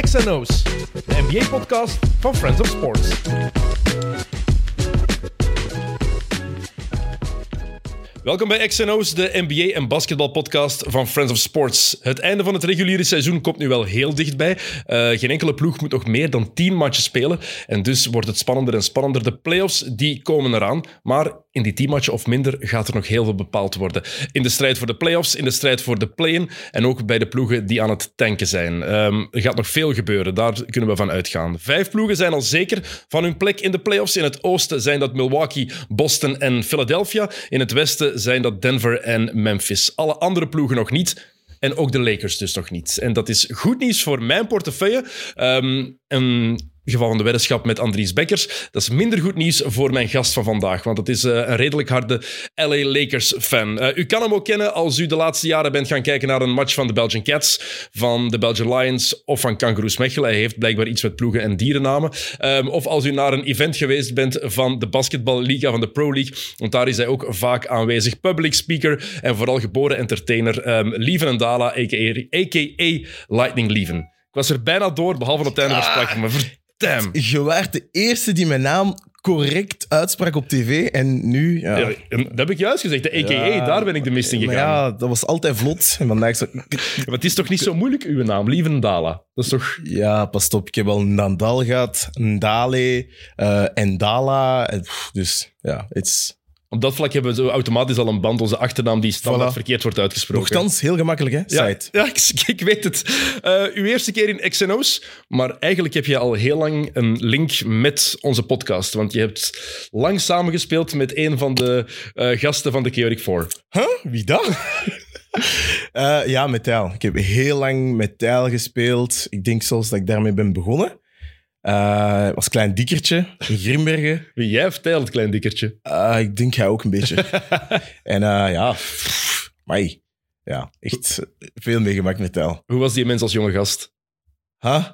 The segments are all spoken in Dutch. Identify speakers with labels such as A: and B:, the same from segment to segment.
A: XNO's, de NBA-podcast van Friends of Sports. Welkom bij XNO's, de NBA- en basketbalpodcast van Friends of Sports. Het einde van het reguliere seizoen komt nu wel heel dichtbij. Eh, geen enkele ploeg moet nog meer dan 10 matches spelen. En dus wordt het spannender en spannender. De playoffs die komen eraan. Maar in die 10 matchen of minder gaat er nog heel veel bepaald worden. In de strijd voor de playoffs, in de strijd voor de play-in. En ook bij de ploegen die aan het tanken zijn. Ehm, er gaat nog veel gebeuren, daar kunnen we van uitgaan. Vijf ploegen zijn al zeker van hun plek in de playoffs. In het oosten zijn dat Milwaukee, Boston en Philadelphia. In het westen zijn dat Denver en Memphis. Alle andere ploegen nog niet. En ook de Lakers dus nog niet. En dat is goed nieuws voor mijn portefeuille. Ehm, een geval van de weddenschap met Andries Bekkers. Dat is minder goed nieuws voor mijn gast van vandaag, want dat is eh, een redelijk harde LA Lakers-fan. Eh, u kan hem ook kennen als u de laatste jaren bent gaan kijken naar een match van de Belgian Cats, van de Belgian Lions of van Kangaroos Mechelen. Hij heeft blijkbaar iets met ploegen en dierennamen. Ehm, of als u naar een event geweest bent van de basketballiga van de Pro League, want daar is hij ook vaak aanwezig. Public speaker en vooral geboren entertainer ehm Lieven en Dala, a.k.a. a.k.a. Lightning Lieven. Ik was er bijna door, behalve op het einde van het maar verdamn.
B: Je waart de eerste die mijn naam correct uitsprak op tv en nu... Ja.
A: Ja, en dat heb ik juist gezegd. De EKE,
B: Ja.
A: daar ben ik de mist in
B: maar
A: gegaan. Ja.
B: ja, dat was altijd vlot. En vandaag zo...
A: Maar het is toch niet zo moeilijk, uw naam? Lievendala. Dat is toch...
B: Ja, pas op. Ik heb al Nandal gehad, Ndale, eh Endala. en pff, Dus ja, it's...
A: Op dat vlak hebben we zo automatisch al een band. Onze achternaam die standaard
B: Voilà.
A: verkeerd wordt uitgesproken.
B: Nochtans, heel gemakkelijk, hè?
A: ja,
B: Site.
A: ja ik, ik weet het. Eh, uw eerste keer in XNO's, maar eigenlijk heb je al heel lang een link met onze podcast. Want je hebt lang samengespeeld met een van de eh, gasten van de Chaotic Four.
B: Huh? Wie dat? Eh, ja, met Tijl. Ik heb heel lang met Tijl gespeeld. Ik denk zelfs dat ik daarmee ben begonnen. Eh was klein dikkertje in Grimbergen.
A: Wie jij vertelt, het klein dikkertje.
B: Eh, ik denk hij ook een beetje. en eh, ja, pff, amai. Ja, echt veel meegemaakt met Tijl.
A: Hoe was die mens als jonge gast?
B: Huh?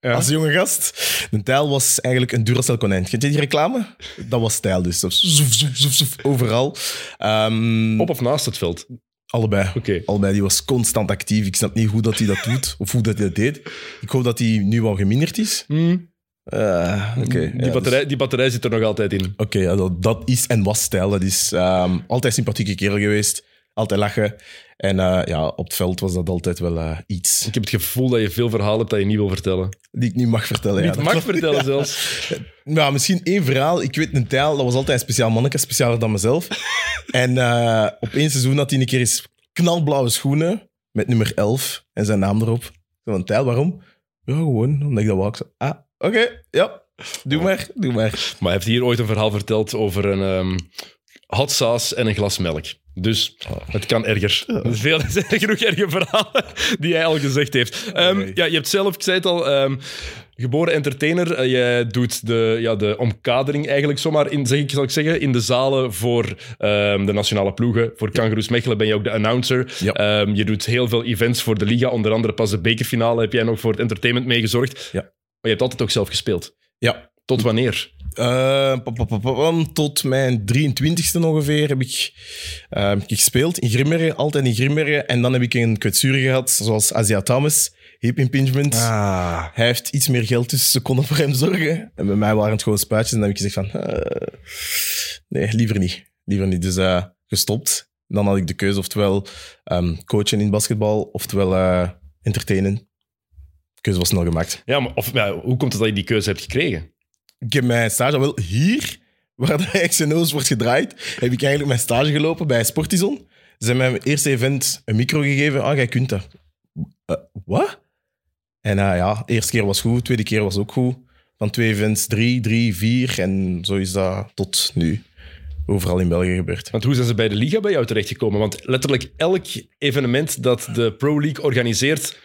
A: Ja.
B: Als jonge gast. De Tijl was eigenlijk een Duracell konijn. Kent je die reclame? Dat was Tijl dus. Zo, zoef, zoef, zoef, zoef, overal. Ehm,
A: Op of naast het veld? Oké.
B: Allebei. Allebei, die was constant actief. Ik snap niet hoe dat hij dat doet of hoe dat hij dat deed. Ik hoop dat hij nu wel geminderd is.
A: Hmm.
B: Eh, Oké,
A: die,
B: ja,
A: batterij, die batterij zit er nog altijd in.
B: dus- Oké, ja, dat, dat is en was stijl. Dat is ehm, altijd sympathieke kerel geweest. Altijd lachen. En eh, ja, op het veld was dat altijd wel eh, iets
A: Ik heb het gevoel dat je veel verhalen hebt dat je niet wil vertellen.
B: die ik niet mag vertellen. ja,
A: niet
B: dat
A: mag
B: klopt.
A: vertellen zelfs.
B: Ja, misschien één verhaal. Ik weet een tijl, dat was altijd een speciaal manneke, specialer dan mezelf. en eh, op één seizoen had hij een keer eens knalblauwe schoenen met nummer 11 en zijn naam erop. Ik zei, Van tijl, waarom? Ja, gewoon, omdat ik dat wou. Ik zei, ah, oké, ja, doe maar, doe maar.
A: Maar hij heeft hier ooit een verhaal verteld over een ehm hot saus en een glas melk. Dus
B: Ah.
A: het kan erger. Veel er zijn genoeg erge verhalen die hij al gezegd heeft. Ehm,
B: Oké.
A: ja, je hebt zelf, ik zei het al, ehm, geboren entertainer. Eh, jij doet de, ja, de omkadering eigenlijk zomaar, in, zeg ik, zal ik zeggen, in de zalen voor ehm, de nationale ploegen. Voor Kangaroos Mechelen ben je ook de announcer.
B: Ja.
A: Ehm, je doet heel veel events voor de liga. Onder andere pas de bekerfinale heb jij nog voor het entertainment meegezorgd.
B: Ja.
A: Maar je hebt altijd ook zelf gespeeld.
B: Ja,
A: Tot wanneer?
B: Eh, pa, pa, pa, pa, pam. tot mijn 23e ongeveer heb ik, eh, heb ik gespeeld in Grimbergen, altijd in Grimbergen. En dan heb ik een kwetsuur gehad, zoals Asia Thomas, hip impingement.
A: Ah.
B: Hij heeft iets meer geld, dus ze konden voor hem zorgen. En bij mij waren het gewoon spuitjes. En dan heb ik gezegd van... eh, nee, liever niet. Liever niet. Dus eh, gestopt. Dan had ik de keuze oftewel ehm, coachen in basketbal, oftewel eh, entertainen. De keuze was snel gemaakt.
A: Ja, maar of, ja, hoe komt het dat je die keuze hebt gekregen?
B: Ik heb mijn stage wel hier, waar de XNO's wordt gedraaid, heb ik eigenlijk mijn stage gelopen bij Sportison. Ze hebben mijn eerste event een micro gegeven. Ah, jij kunt dat. Eh, wat? En eh, ja, de eerste keer was goed, de tweede keer was ook goed. Van twee events drie, drie, vier. En zo is dat tot nu overal in België gebeurd.
A: Want hoe zijn ze bij de Liga bij jou terechtgekomen? Want letterlijk elk evenement dat de Pro League organiseert,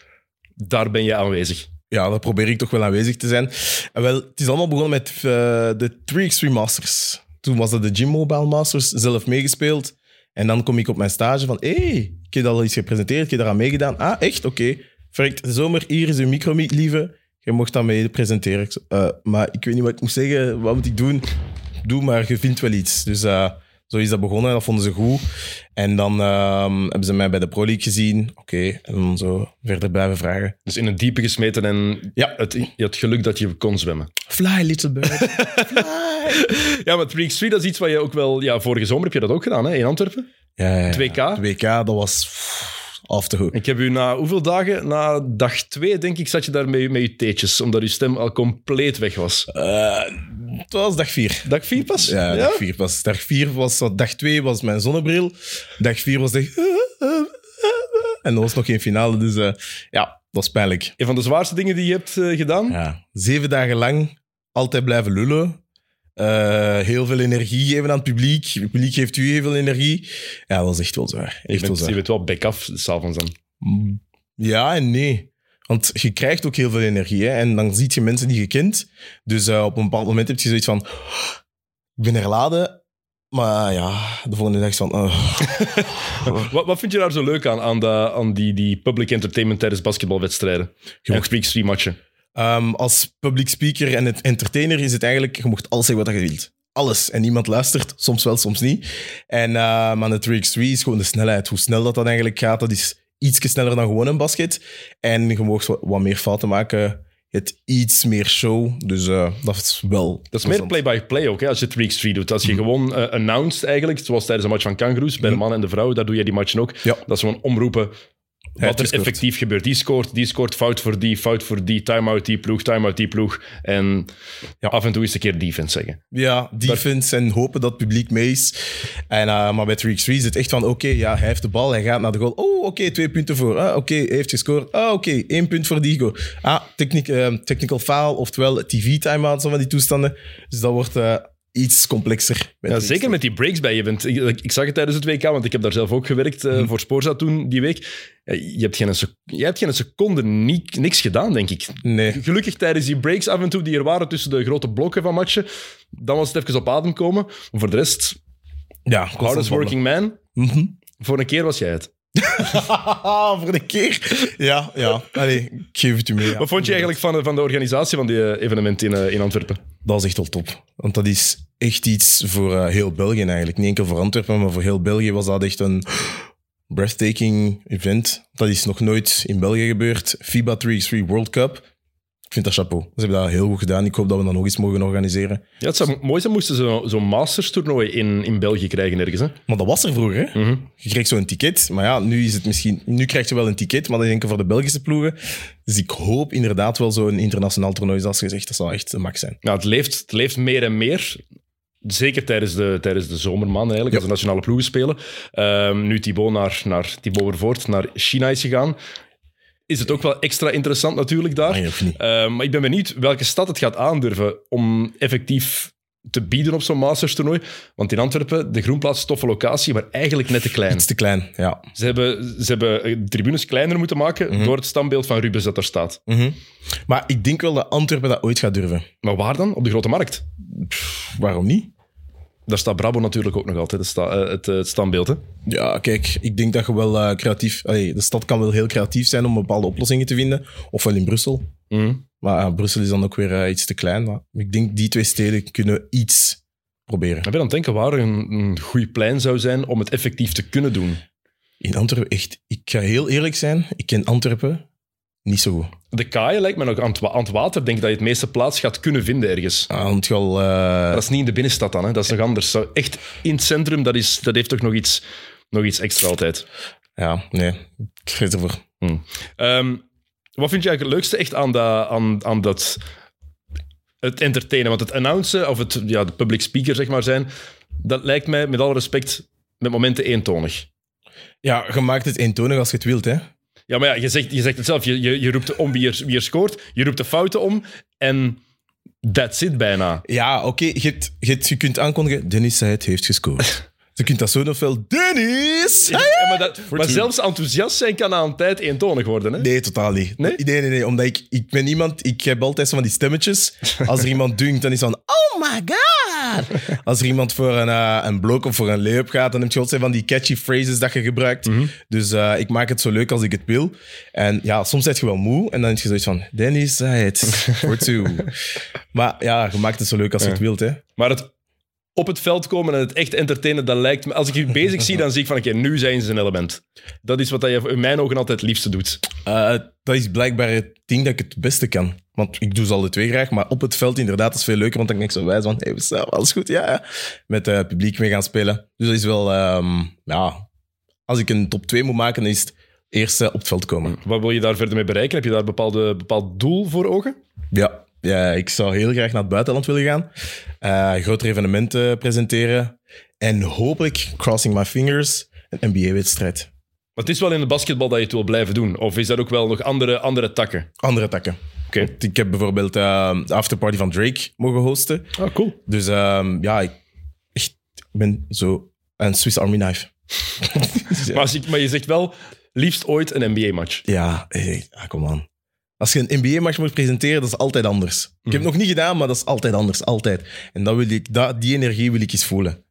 A: daar ben je aanwezig.
B: Ja, daar probeer ik toch wel aanwezig te zijn. En wel, het is allemaal begonnen met eh, de 3x3 Masters. Toen was dat de Gym Mobile Masters, zelf meegespeeld. En dan kom ik op mijn stage van, hé, hey, ik heb al iets gepresenteerd, ik heb daaraan meegedaan. Ah, echt? Oké. Verrekt, zomer, hier is uw micro, lieve. Je mocht dat mee presenteren. Ik zo, "Eh, maar ik weet niet wat ik moet zeggen, wat moet ik doen? Doe maar, je vindt wel iets. Dus eh, Zo is dat begonnen en dat vonden ze goed. En dan ehm, hebben ze mij bij de Pro League gezien. Oké, en dan zo verder blijven vragen.
A: Dus in het diepe gesmeten en
B: Ja.
A: het, je had geluk dat je kon zwemmen.
B: Fly, little bird.
A: Ja, maar 3 Street, dat is iets wat je ook wel... Ja, vorige zomer heb je dat ook gedaan, hè, in Antwerpen.
B: ja, ja, ja.
A: 2K?
B: 2K, dat was pff, off the hook.
A: Ik heb u na hoeveel dagen? Na dag twee, denk ik, zat je daar met, met je theetjes, omdat je stem al compleet weg was.
B: Eh, het was dag 4.
A: Dag vier pas?
B: Ja, dag 4 was. Dag 4 was dat. Dag 2 was mijn zonnebril. Dag 4 was echt. En er was nog geen finale, dus eh, ja, dat was pijnlijk.
A: Een van de zwaarste dingen die je hebt eh, gedaan.
B: Ja. Zeven dagen lang altijd blijven lullen. Eh, heel veel energie geven aan het publiek. Het publiek geeft u heel veel energie. Ja, dat was echt wel zwaar.
A: je,
B: Echt wel
A: bent, je
B: zwaar.
A: bent wel back af s'avonds dan.
B: Mm, Ja en nee. Want je krijgt ook heel veel energie. Hè? En dan zie je mensen die je kent. Dus eh, op een bepaald moment heb je zoiets van... "Oh, Ik ben herladen. Maar ja, de volgende dag is van... eh,
A: Wat, wat vind je daar zo leuk aan, aan, de, aan die, die public entertainment tijdens basketbalwedstrijden? Je mocht week 3 matchen.
B: Ehm, als public speaker en het entertainer is het eigenlijk... Je mocht alles zeggen wat je wilt. Alles. En niemand luistert. Soms wel, soms niet. En ehm, aan de 3x3 is gewoon de snelheid. Hoe snel dat dan eigenlijk gaat, dat is iets sneller dan gewoon een basket. En je mocht wat- wat meer fouten maken... Het iets meer show, dus eh, dat is wel.
A: Dat is meer
B: plezant.
A: play-by-play ook, hè, als je 3x3 doet. Als je gewoon eh, announced eigenlijk, zoals tijdens een match van Kangaroos, bij de mannen en de vrouwen, daar doe je die matchen ook.
B: Ja.
A: Dat is gewoon omroepen
B: heeft
A: wat er
B: gescoord.
A: effectief gebeurt. Die scoort, die scoort, fout voor die, fout voor die, time-out die ploeg, time-out die ploeg. En af en toe eens een keer defense zeggen.
B: Ja, defense en hopen dat het publiek mee is. En, eh, maar bij 3x3 is het echt van, oké, ja, hij heeft de bal, hij gaat naar de goal. Oh, oké, twee punten voor. Ah, oké, hij heeft gescoord. Ah, oké, één punt voor die goal. Ah, technic, eh, technical foul, oftewel TV-timeout, zo van die toestanden. Dus dat wordt eh, iets complexer. bij
A: Ja,
B: 3x3.
A: zeker met die breaks bij je bent. Ik, ik zag het tijdens het WK, want ik heb daar zelf ook gewerkt eh, voor Sporza toen die week. Ja, je, hebt geen sec- je hebt geen seconde ni- niks gedaan, denk ik.
B: Nee.
A: Gelukkig tijdens die breaks af en toe die er waren tussen de grote blokken van matchen, dan was het even op adem komen. Maar voor de rest,
B: Ja,
A: hardest
B: constant ballen.
A: working man,
B: Mhm.
A: voor een keer was jij het.
B: voor de keer. Ja, ja. Allee, ik geef het u mee. ja.
A: Wat vond je eigenlijk van, de- van de organisatie van die eh, evenement in, eh, in Antwerpen?
B: Dat is echt wel top. Want dat is echt iets voor eh, heel België eigenlijk. Niet enkel voor Antwerpen, maar voor heel België was dat echt een breathtaking event. Dat is nog nooit in België gebeurd. FIBA 3x3 World Cup. Ik vind dat chapeau. Ze hebben dat heel goed gedaan. Ik hoop dat we dat nog eens mogen organiseren.
A: Ja, het zou mooi zijn moesten ze zo- zo'n Masters-toernooi in, in België krijgen ergens. Hè?
B: Maar dat was er vroeger, hè?
A: Mhm.
B: Je kreeg zo'n ticket. Maar ja, nu is het misschien... Nu krijg je wel een ticket, maar dat is enkel voor de Belgische ploegen. Dus ik hoop inderdaad wel zo'n internationaal toernooi, zoals gezegd. Dat zou echt de max zijn.
A: Nou, het leeft, het leeft meer en meer. Zeker tijdens de, tijdens de zomerman, eigenlijk, als de nationale ploegen spelen. Ehm, nu Thibaut naar, naar Thibaut Vervoort naar China is gegaan. Is het ook wel extra interessant natuurlijk daar.
B: Nee, of niet?
A: Ehm, maar ik ben benieuwd welke stad het gaat aandurven om effectief te bieden op zo'n Masters toernooi. Want in Antwerpen, de Groenplaats, toffe locatie, maar eigenlijk net te klein.
B: Het is te klein, ja.
A: Ze hebben, ze hebben eh, tribunes kleiner moeten maken door het standbeeld van Rubens dat daar staat.
B: Mhm. Maar ik denk wel dat Antwerpen dat ooit gaat durven.
A: Maar waar dan? Op de Grote Markt.
B: Waarom niet?
A: Daar staat Brabo natuurlijk ook nog altijd, het, sta- eh, het, eh, het standbeeld. Hè?
B: Ja, kijk, ik denk dat je wel eh, creatief... allee, de stad kan wel heel creatief zijn om bepaalde oplossingen te vinden. Ofwel in Brussel. Maar eh, Brussel is dan ook weer eh, iets te klein. Maar ik denk die twee steden kunnen iets proberen.
A: Ik ben aan het denken waar een, een goed plein zou zijn om het effectief te kunnen doen.
B: In Antwerpen, echt... Ik ga heel eerlijk zijn. Ik ken Antwerpen niet zo goed.
A: De kaaien lijkt me nog aan het, wa- aan het water, denk ik, dat je het meeste plaats gaat kunnen vinden ergens.
B: Ah, want je al... eh,
A: Maar dat is niet in de binnenstad dan, hè? dat is nog anders. Zo, echt in het centrum, dat, is, dat heeft toch nog iets, nog iets extra altijd.
B: ja, nee. Ik geef het ervoor.
A: Ehm, wat vind je eigenlijk het leukste echt aan, dat aan, aan dat... Het entertainen, want het announcen of het ja, de public speaker zeg maar zijn, dat lijkt mij met alle respect met momenten eentonig.
B: Ja, je maakt het eentonig als je het wilt, hè.
A: Ja, maar ja, je, zegt, je zegt het zelf. Je, je, je roept om wie er, wie er scoort. Je roept de fouten om. En that's it bijna.
B: Ja, oké. je, hebt- je, hebt- je kunt aankondigen, Dennis Seid heeft gescoord. je kunt dat zo nog wel... Dennis!
A: Ja, maar dat, maar zelfs enthousiast zijn kan aan een tijd eentonig worden. Hè?
B: Nee, totaal niet.
A: Nee?
B: Nee? Nee, nee, Omdat ik, ik ben iemand... Ik heb altijd zo van die stemmetjes. Als er iemand dunkt, dan is het van... Oh my god! Als er iemand voor een, eh, een blok of voor een layup gaat, dan heb je altijd van die catchy phrases dat je gebruikt.
A: Mhm.
B: Dus eh, ik maak het zo leuk als ik het wil. En ja, soms ben je wel moe. En dan heb je zoiets van... Dennis zei het. Voor toe. Maar ja, je maakt het zo leuk als je het wilt, hè.
A: Maar het op het veld komen en het echt entertainen, dat lijkt me... Als ik je bezig zie, dan zie ik van, oké, nu zijn ze een element. Dat is wat dat je in mijn ogen altijd het liefste doet.
B: Eh, dat is blijkbaar het ding dat ik het beste kan. Want ik doe ze alle twee graag, maar op het veld inderdaad is veel leuker, want dan ben ik zo wijs van, hey, we staan, alles goed, ja, ja. Met eh, het publiek mee gaan spelen. Dus dat is wel, ehm, ja, als ik een top 2 moet maken, dan is het eerst eh, op het veld komen.
A: Wat wil je daar verder mee bereiken? Heb je daar een bepaalde, bepaald doel voor ogen?
B: Ja. ja, ik zou heel graag naar het buitenland willen gaan, eh grotere evenementen presenteren en hopelijk, crossing my fingers, een NBA-wedstrijd.
A: Maar het is wel in het basketbal dat je het wil blijven doen. Of is dat ook wel nog andere, andere takken?
B: Andere takken.
A: Oké.
B: Ik heb bijvoorbeeld eh, de afterparty van Drake mogen hosten.
A: Ah, cool.
B: Dus ehm, ja, ik echt, ik ben zo een Swiss Army knife.
A: Maar, als ik, maar je zegt wel, liefst ooit een NBA-match.
B: Ja, hey, ah, kom aan. Als je een NBA-match moet presenteren, dat is altijd anders. Ik heb het nog niet gedaan, maar dat is altijd anders. Altijd. En dat wil ik, dat, die energie wil ik eens voelen.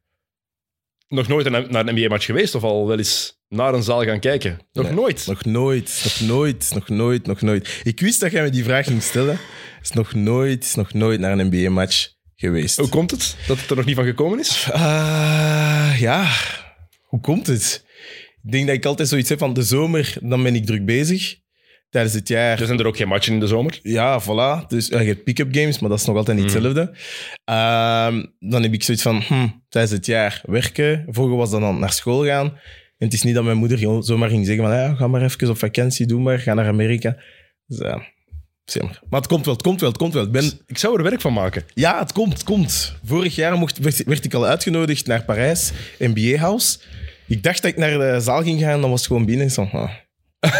A: Nog nooit een- naar een NBA-match geweest of al wel eens naar een zaal gaan kijken? Nog
B: Nee.
A: nooit.
B: Nog nooit, nog nooit, nog nooit, nog nooit. Ik wist dat jij me die vraag ging stellen. Is nog nooit, is nog nooit naar een NBA-match geweest.
A: Hoe komt het dat het er nog niet van gekomen is?
B: Ah, ja, hoe komt het? Ik denk dat ik altijd zoiets heb van de zomer, dan ben ik druk bezig. Tijdens het jaar,
A: Er zijn er ook geen matchen in de zomer.
B: ja, voilà. Dus ja, je hebt pick-up games, maar dat is nog altijd niet hetzelfde. Ehm, dan heb ik zoiets van, hm, tijdens het jaar werken. Vroeger was dat dan naar school gaan. En het is niet dat mijn moeder gewoon zomaar ging zeggen van, ja, ga maar even op vakantie, doe maar, ga naar Amerika. Dus ja, is jammer. Maar het komt wel, het komt wel, het komt wel. Ik ben,
A: Ik zou er werk van maken.
B: ja, het komt, het komt. Vorig jaar mocht, werd, werd ik al uitgenodigd naar Parijs, NBA House. Ik dacht dat ik naar de zaal ging gaan, dan was het gewoon binnen. Ik Zo, ah.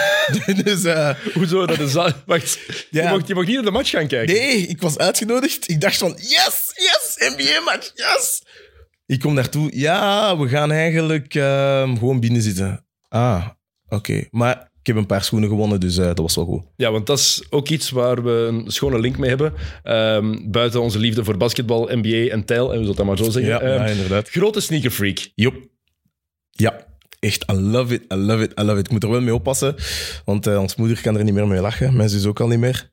B: dus eh,
A: Hoezo? Dat is Wacht,
B: Ja.
A: je, mocht, je mocht niet naar de match gaan kijken.
B: nee, ik was uitgenodigd. Ik dacht van, yes, yes, NBA-match, yes. Ik kom daartoe, ja, we gaan eigenlijk ehm, gewoon binnen zitten. Ah, oké. Maar ik heb een paar schoenen gewonnen, dus eh, dat was wel goed.
A: Ja, want dat is ook iets waar we een schone link mee hebben. Ehm, buiten onze liefde voor basketbal, NBA en tijl, en we zullen het dan maar zo zeggen. Ehm,
B: inderdaad.
A: Grote sneakerfreak.
B: Jop. Ja, echt. I love it, I love it, I love it. Ik moet er wel mee oppassen, want eh ons moeder kan er niet meer mee lachen. Mijn zus ook al niet meer.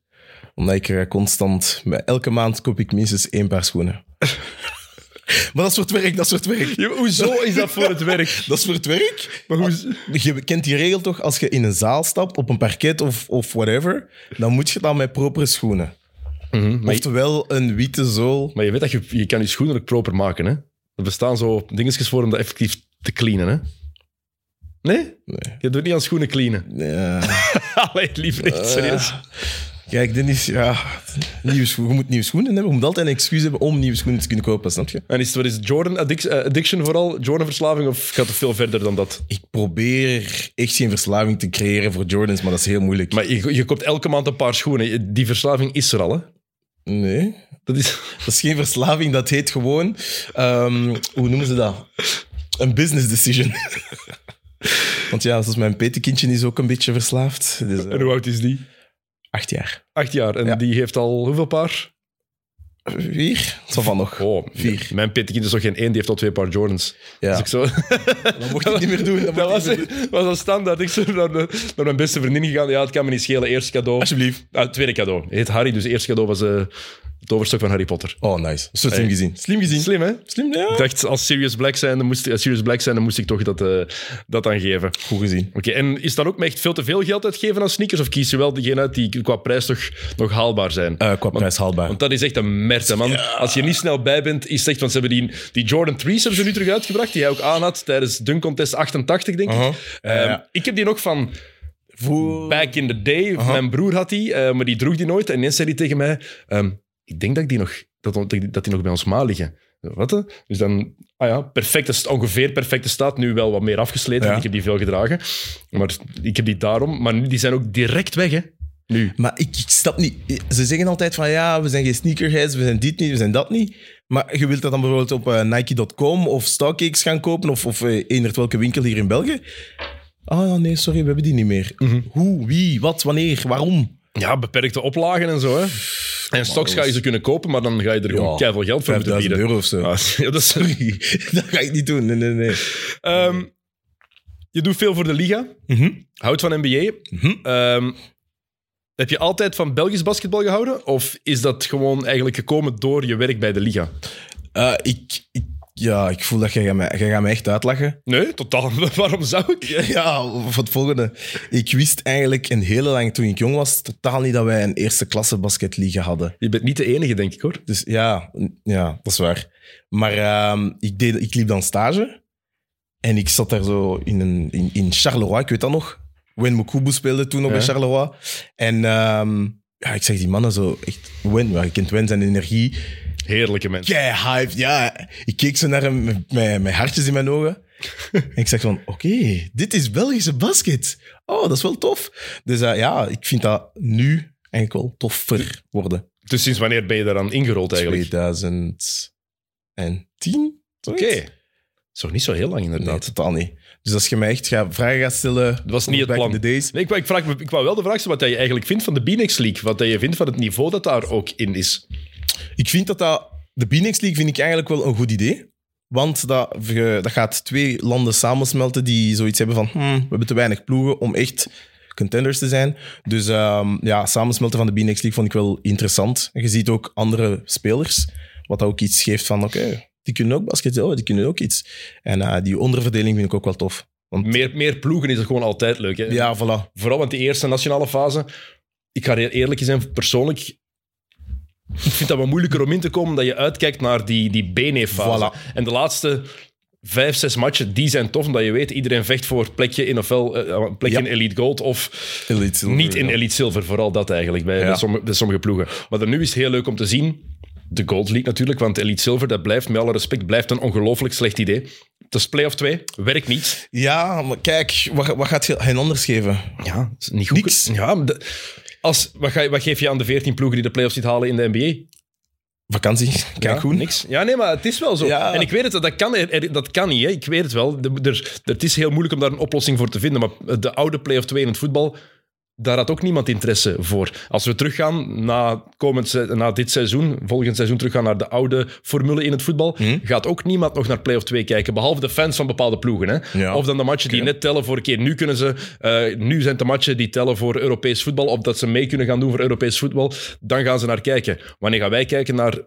B: Omdat ik er constant... met- Elke maand koop ik minstens één paar schoenen. maar dat is voor het werk, dat is voor het werk.
A: Ja, hoezo is dat voor het werk?
B: Dat is voor het werk. Ah,
A: Maar hoe,
B: Je kent die regel toch? Als je in een zaal stapt, op een parket of, of whatever, dan moet je dan met propere schoenen. Mhm,
A: maar, je,
B: Oftewel een witte zool.
A: maar je weet dat je, je kan je schoenen ook proper maken, hè? Er bestaan zo dingetjes voor om dat effectief te cleanen, hè? Nee?
B: Nee.
A: Je doet niet aan schoenen cleanen. Ah.
B: Ja.
A: Allee, liever niet, serieus.
B: Oh, Kijk, Dennis, ja, nieuwe schoen, je moet nieuwe schoenen hebben. Je moet altijd een excuus hebben om nieuwe schoenen te kunnen kopen, snap je?
A: En is, wat is Jordan addic- eh, addiction vooral? Jordan-verslaving of gaat het veel verder dan dat?
B: Ik probeer echt geen verslaving te creëren voor Jordans, maar dat is heel moeilijk.
A: Maar je, je koopt elke maand een paar schoenen. Je- Die verslaving is er al, hè?
B: Nee,
A: Dat is...
B: dat is geen verslaving, dat heet gewoon... ehm, hoe noemen ze dat? Een business decision. Want ja, zoals mijn petekindje is ook een beetje verslaafd. Dus, eh,
A: En hoe oud is die?
B: acht jaar.
A: Acht jaar. En
B: Ja.
A: die heeft al hoeveel paar?
B: Vier? Dat van nog.
A: Oh,
B: Vier.
A: m- Mijn pittekind is nog geen één, die heeft al twee paar Jordans.
B: Ja.
A: Dus ik zo,
B: Dat mocht ik niet meer doen.
A: dat
B: Dat, mocht
A: was,
B: ik niet meer
A: was al standaard. Ik zo naar, de- naar mijn beste vriendin gegaan. Ja, het kan me niet schelen. Eerste cadeau.
B: Alsjeblieft.
A: Ah, tweede cadeau. Het heet Harry, dus het eerste cadeau was eh, het overstuk van Harry Potter.
B: doen. Oh, nice. Zo slim
A: Hey.
B: gezien. Slim gezien.
A: Slim, hè?
B: Slim, ja.
A: Ik dacht, als Sirius Black zijn, dan moest, als Sirius Black zijn, dan moest ik toch dat, eh, dat aan geven.
B: Goed gezien.
A: Oké, en is dat ook echt veel te veel geld uitgeven aan sneakers? Of kies je wel diegene uit die qua prijs toch nog haalbaar zijn?
B: Eh, qua prijs haalbaar.
A: Want dat is echt een mert, hè, man. Als je niet snel bij bent, is het echt... Want ze hebben die, die Jordan 3's hebben ze nu terug uitgebracht, die hij ook aan had tijdens Dunk Contest 88, denk ik.
B: Aha. Ja,
A: Ehm,
B: ja.
A: Ik heb die nog van
B: Voor...
A: back in the day. Mijn broer had die, eh, maar die droeg die nooit. En ineens zei hij tegen mij, ehm, ik denk dat, ik die nog, dat, dat die nog bij ons ma liggen. Wat? hè? Dus dan, ah ja, perfecte, st- ongeveer perfecte staat. Nu wel wat meer afgesleten,
B: Ja.
A: want ik heb die veel gedragen. Maar ik heb die daarom. Maar nu- die zijn ook direct weg, hè. Nu.
B: Maar ik, ik snap niet. Ze zeggen altijd van ja, we zijn geen sneakerheads, we zijn dit niet, we zijn dat niet. Maar je wilt dat dan bijvoorbeeld op eh, Nike.com of StockX gaan kopen of, of eh, eender welke winkel hier in België. Ah ja, nee, sorry, we hebben die niet meer. Hoe, wie, wat, wanneer, waarom?
A: Ja, beperkte oplagen en zo, hè. En stocks ga je ze kunnen kopen, maar dan ga je er gewoon keiveel geld voor moeten
B: 5000
A: bieden.
B: euro of zo.
A: Ah, ja, dat is
B: Sorry, dat ga ik niet doen. Nee, nee, nee.
A: Ehm, je doet veel voor de liga.
B: Mhm.
A: Houdt van NBA.
B: Mhm.
A: Ehm, heb je altijd van Belgisch basketbal gehouden? Of is dat gewoon eigenlijk gekomen door je werk bij de liga?
B: Eh, ik, ik Ja, ik voel dat jij gaat mij, jij gaat mij echt uitlachen.
A: Nee, totaal. Waarom zou ik?
B: Ja, voor het volgende. Ik wist eigenlijk een hele lang, toen ik jong was, totaal niet dat wij een eerste klasse basketliga hadden.
A: Je bent niet de enige, denk ik hoor.
B: Dus ja, n- ja dat is waar. Maar ehm, ik, deed, ik liep dan stage. En ik zat daar zo in, een, in, in Charleroi, ik weet dat nog. Wen Mokubu speelde toen nog
A: Ja.
B: bij Charleroi. En ehm, ja, ik zeg die mannen zo echt... Wen, ja, je kent Wen, zijn energie.
A: Heerlijke mensen.
B: Kei hyped, ja. Ik keek zo naar hem met, met, met hartjes in mijn ogen. en ik zeg van, oké, dit is Belgische basket. Oh, dat is wel tof. Dus eh, ja, ik vind dat nu eigenlijk wel toffer worden.
A: Dus sinds wanneer ben je daaraan ingerold eigenlijk?
B: 2010?
A: Oké. Zo niet zo heel lang inderdaad.
B: Nee, totaal niet. Dus als je mij echt gaat, vragen gaat stellen... Dat
A: was niet het plan.
B: In the days,
A: Nee, ik, wou- ik, vraag, me- ik wou wel de vraag stellen wat dat je eigenlijk vindt van de B-Next League. Wat dat je vindt van het niveau dat daar ook in is.
B: Ik vind dat, dat de Binex League vind ik eigenlijk wel een goed idee. Want dat, je- dat gaat twee landen samensmelten die zoiets hebben van hmm, we hebben te weinig ploegen om echt contenders te zijn. Dus ehm, ja, samensmelten van de Binex League vond ik wel interessant. En Je ziet ook andere spelers, wat dat ook iets geeft van oké, die kunnen ook basketten, oh, die kunnen ook iets. En eh, die onderverdeling vind ik ook wel tof. Want,
A: Meer, meer ploegen is het gewoon altijd leuk. Hè?
B: ja, voilà.
A: Vooral want die eerste nationale fase. Ik ga heel eerlijk zijn, persoonlijk. Ik vind dat wel moeilijker om in te komen dat je uitkijkt naar die, die BNE-fase. En de laatste vijf, zes matchen, die zijn tof. Omdat je weet, iedereen vecht voor een plekje in ofwel eh, een plekje
B: Ja.
A: in Elite Gold of
B: Elite Silver,
A: niet in
B: ja.
A: Elite Silver. Vooral dat eigenlijk, bij,
B: Ja.
A: bij, sommige, bij sommige ploegen. Maar dan nu is het heel leuk om te zien. De Gold League natuurlijk, want Elite Silver, dat blijft, met alle respect, blijft een ongelooflijk slecht idee. Het is play of twee, werkt niet.
B: Ja, maar kijk, wat, wat gaat je hen anders geven?
A: Ja, is niet goed.
B: Niks.
A: Ja, maar de- als, wat, ga, je- wat geef je aan de 14 ploegen die de playoffs niet halen in de NBA?
B: Vakantie, kijk
A: ja,
B: goed.
A: Niks. Ja, nee, maar het is wel zo.
B: Ja.
A: En ik weet het, dat kan, er- er- dat kan niet. Hè. Ik weet het wel. De- er- het is heel moeilijk om daar een oplossing voor te vinden. Maar de oude play-off 2 in het voetbal, daar had ook niemand interesse voor. Als we teruggaan na, komend, se- na dit seizoen, volgend seizoen teruggaan naar de oude formule in het voetbal,
B: Hm?
A: gaat ook niemand nog naar play-off 2 kijken, behalve de fans van bepaalde ploegen. Hè.
B: Ja.
A: Of dan de matchen die net tellen voor een keer. Nu, kunnen ze, eh, nu zijn het de matchen die tellen voor Europees voetbal, of dat ze mee kunnen gaan doen voor Europees voetbal. Dan gaan ze naar kijken. Wanneer gaan wij kijken naar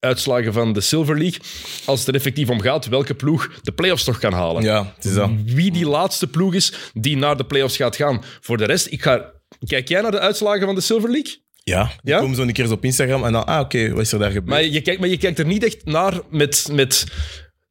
A: uitslagen van de Silver League? Als het er effectief om gaat, welke ploeg de play-offs toch kan halen
B: Ja, het is dat.
A: wie die laatste ploeg is die naar de playoffs gaat gaan. Voor de rest, ik ga... kijk jij naar de uitslagen van de Silver League?
B: Ja, die
A: Ja?
B: komen zo een keer eens op Instagram en dan, ah oké, wat is er daar gebeurd?
A: Maar je, kijkt, maar je kijkt er niet echt naar met, met...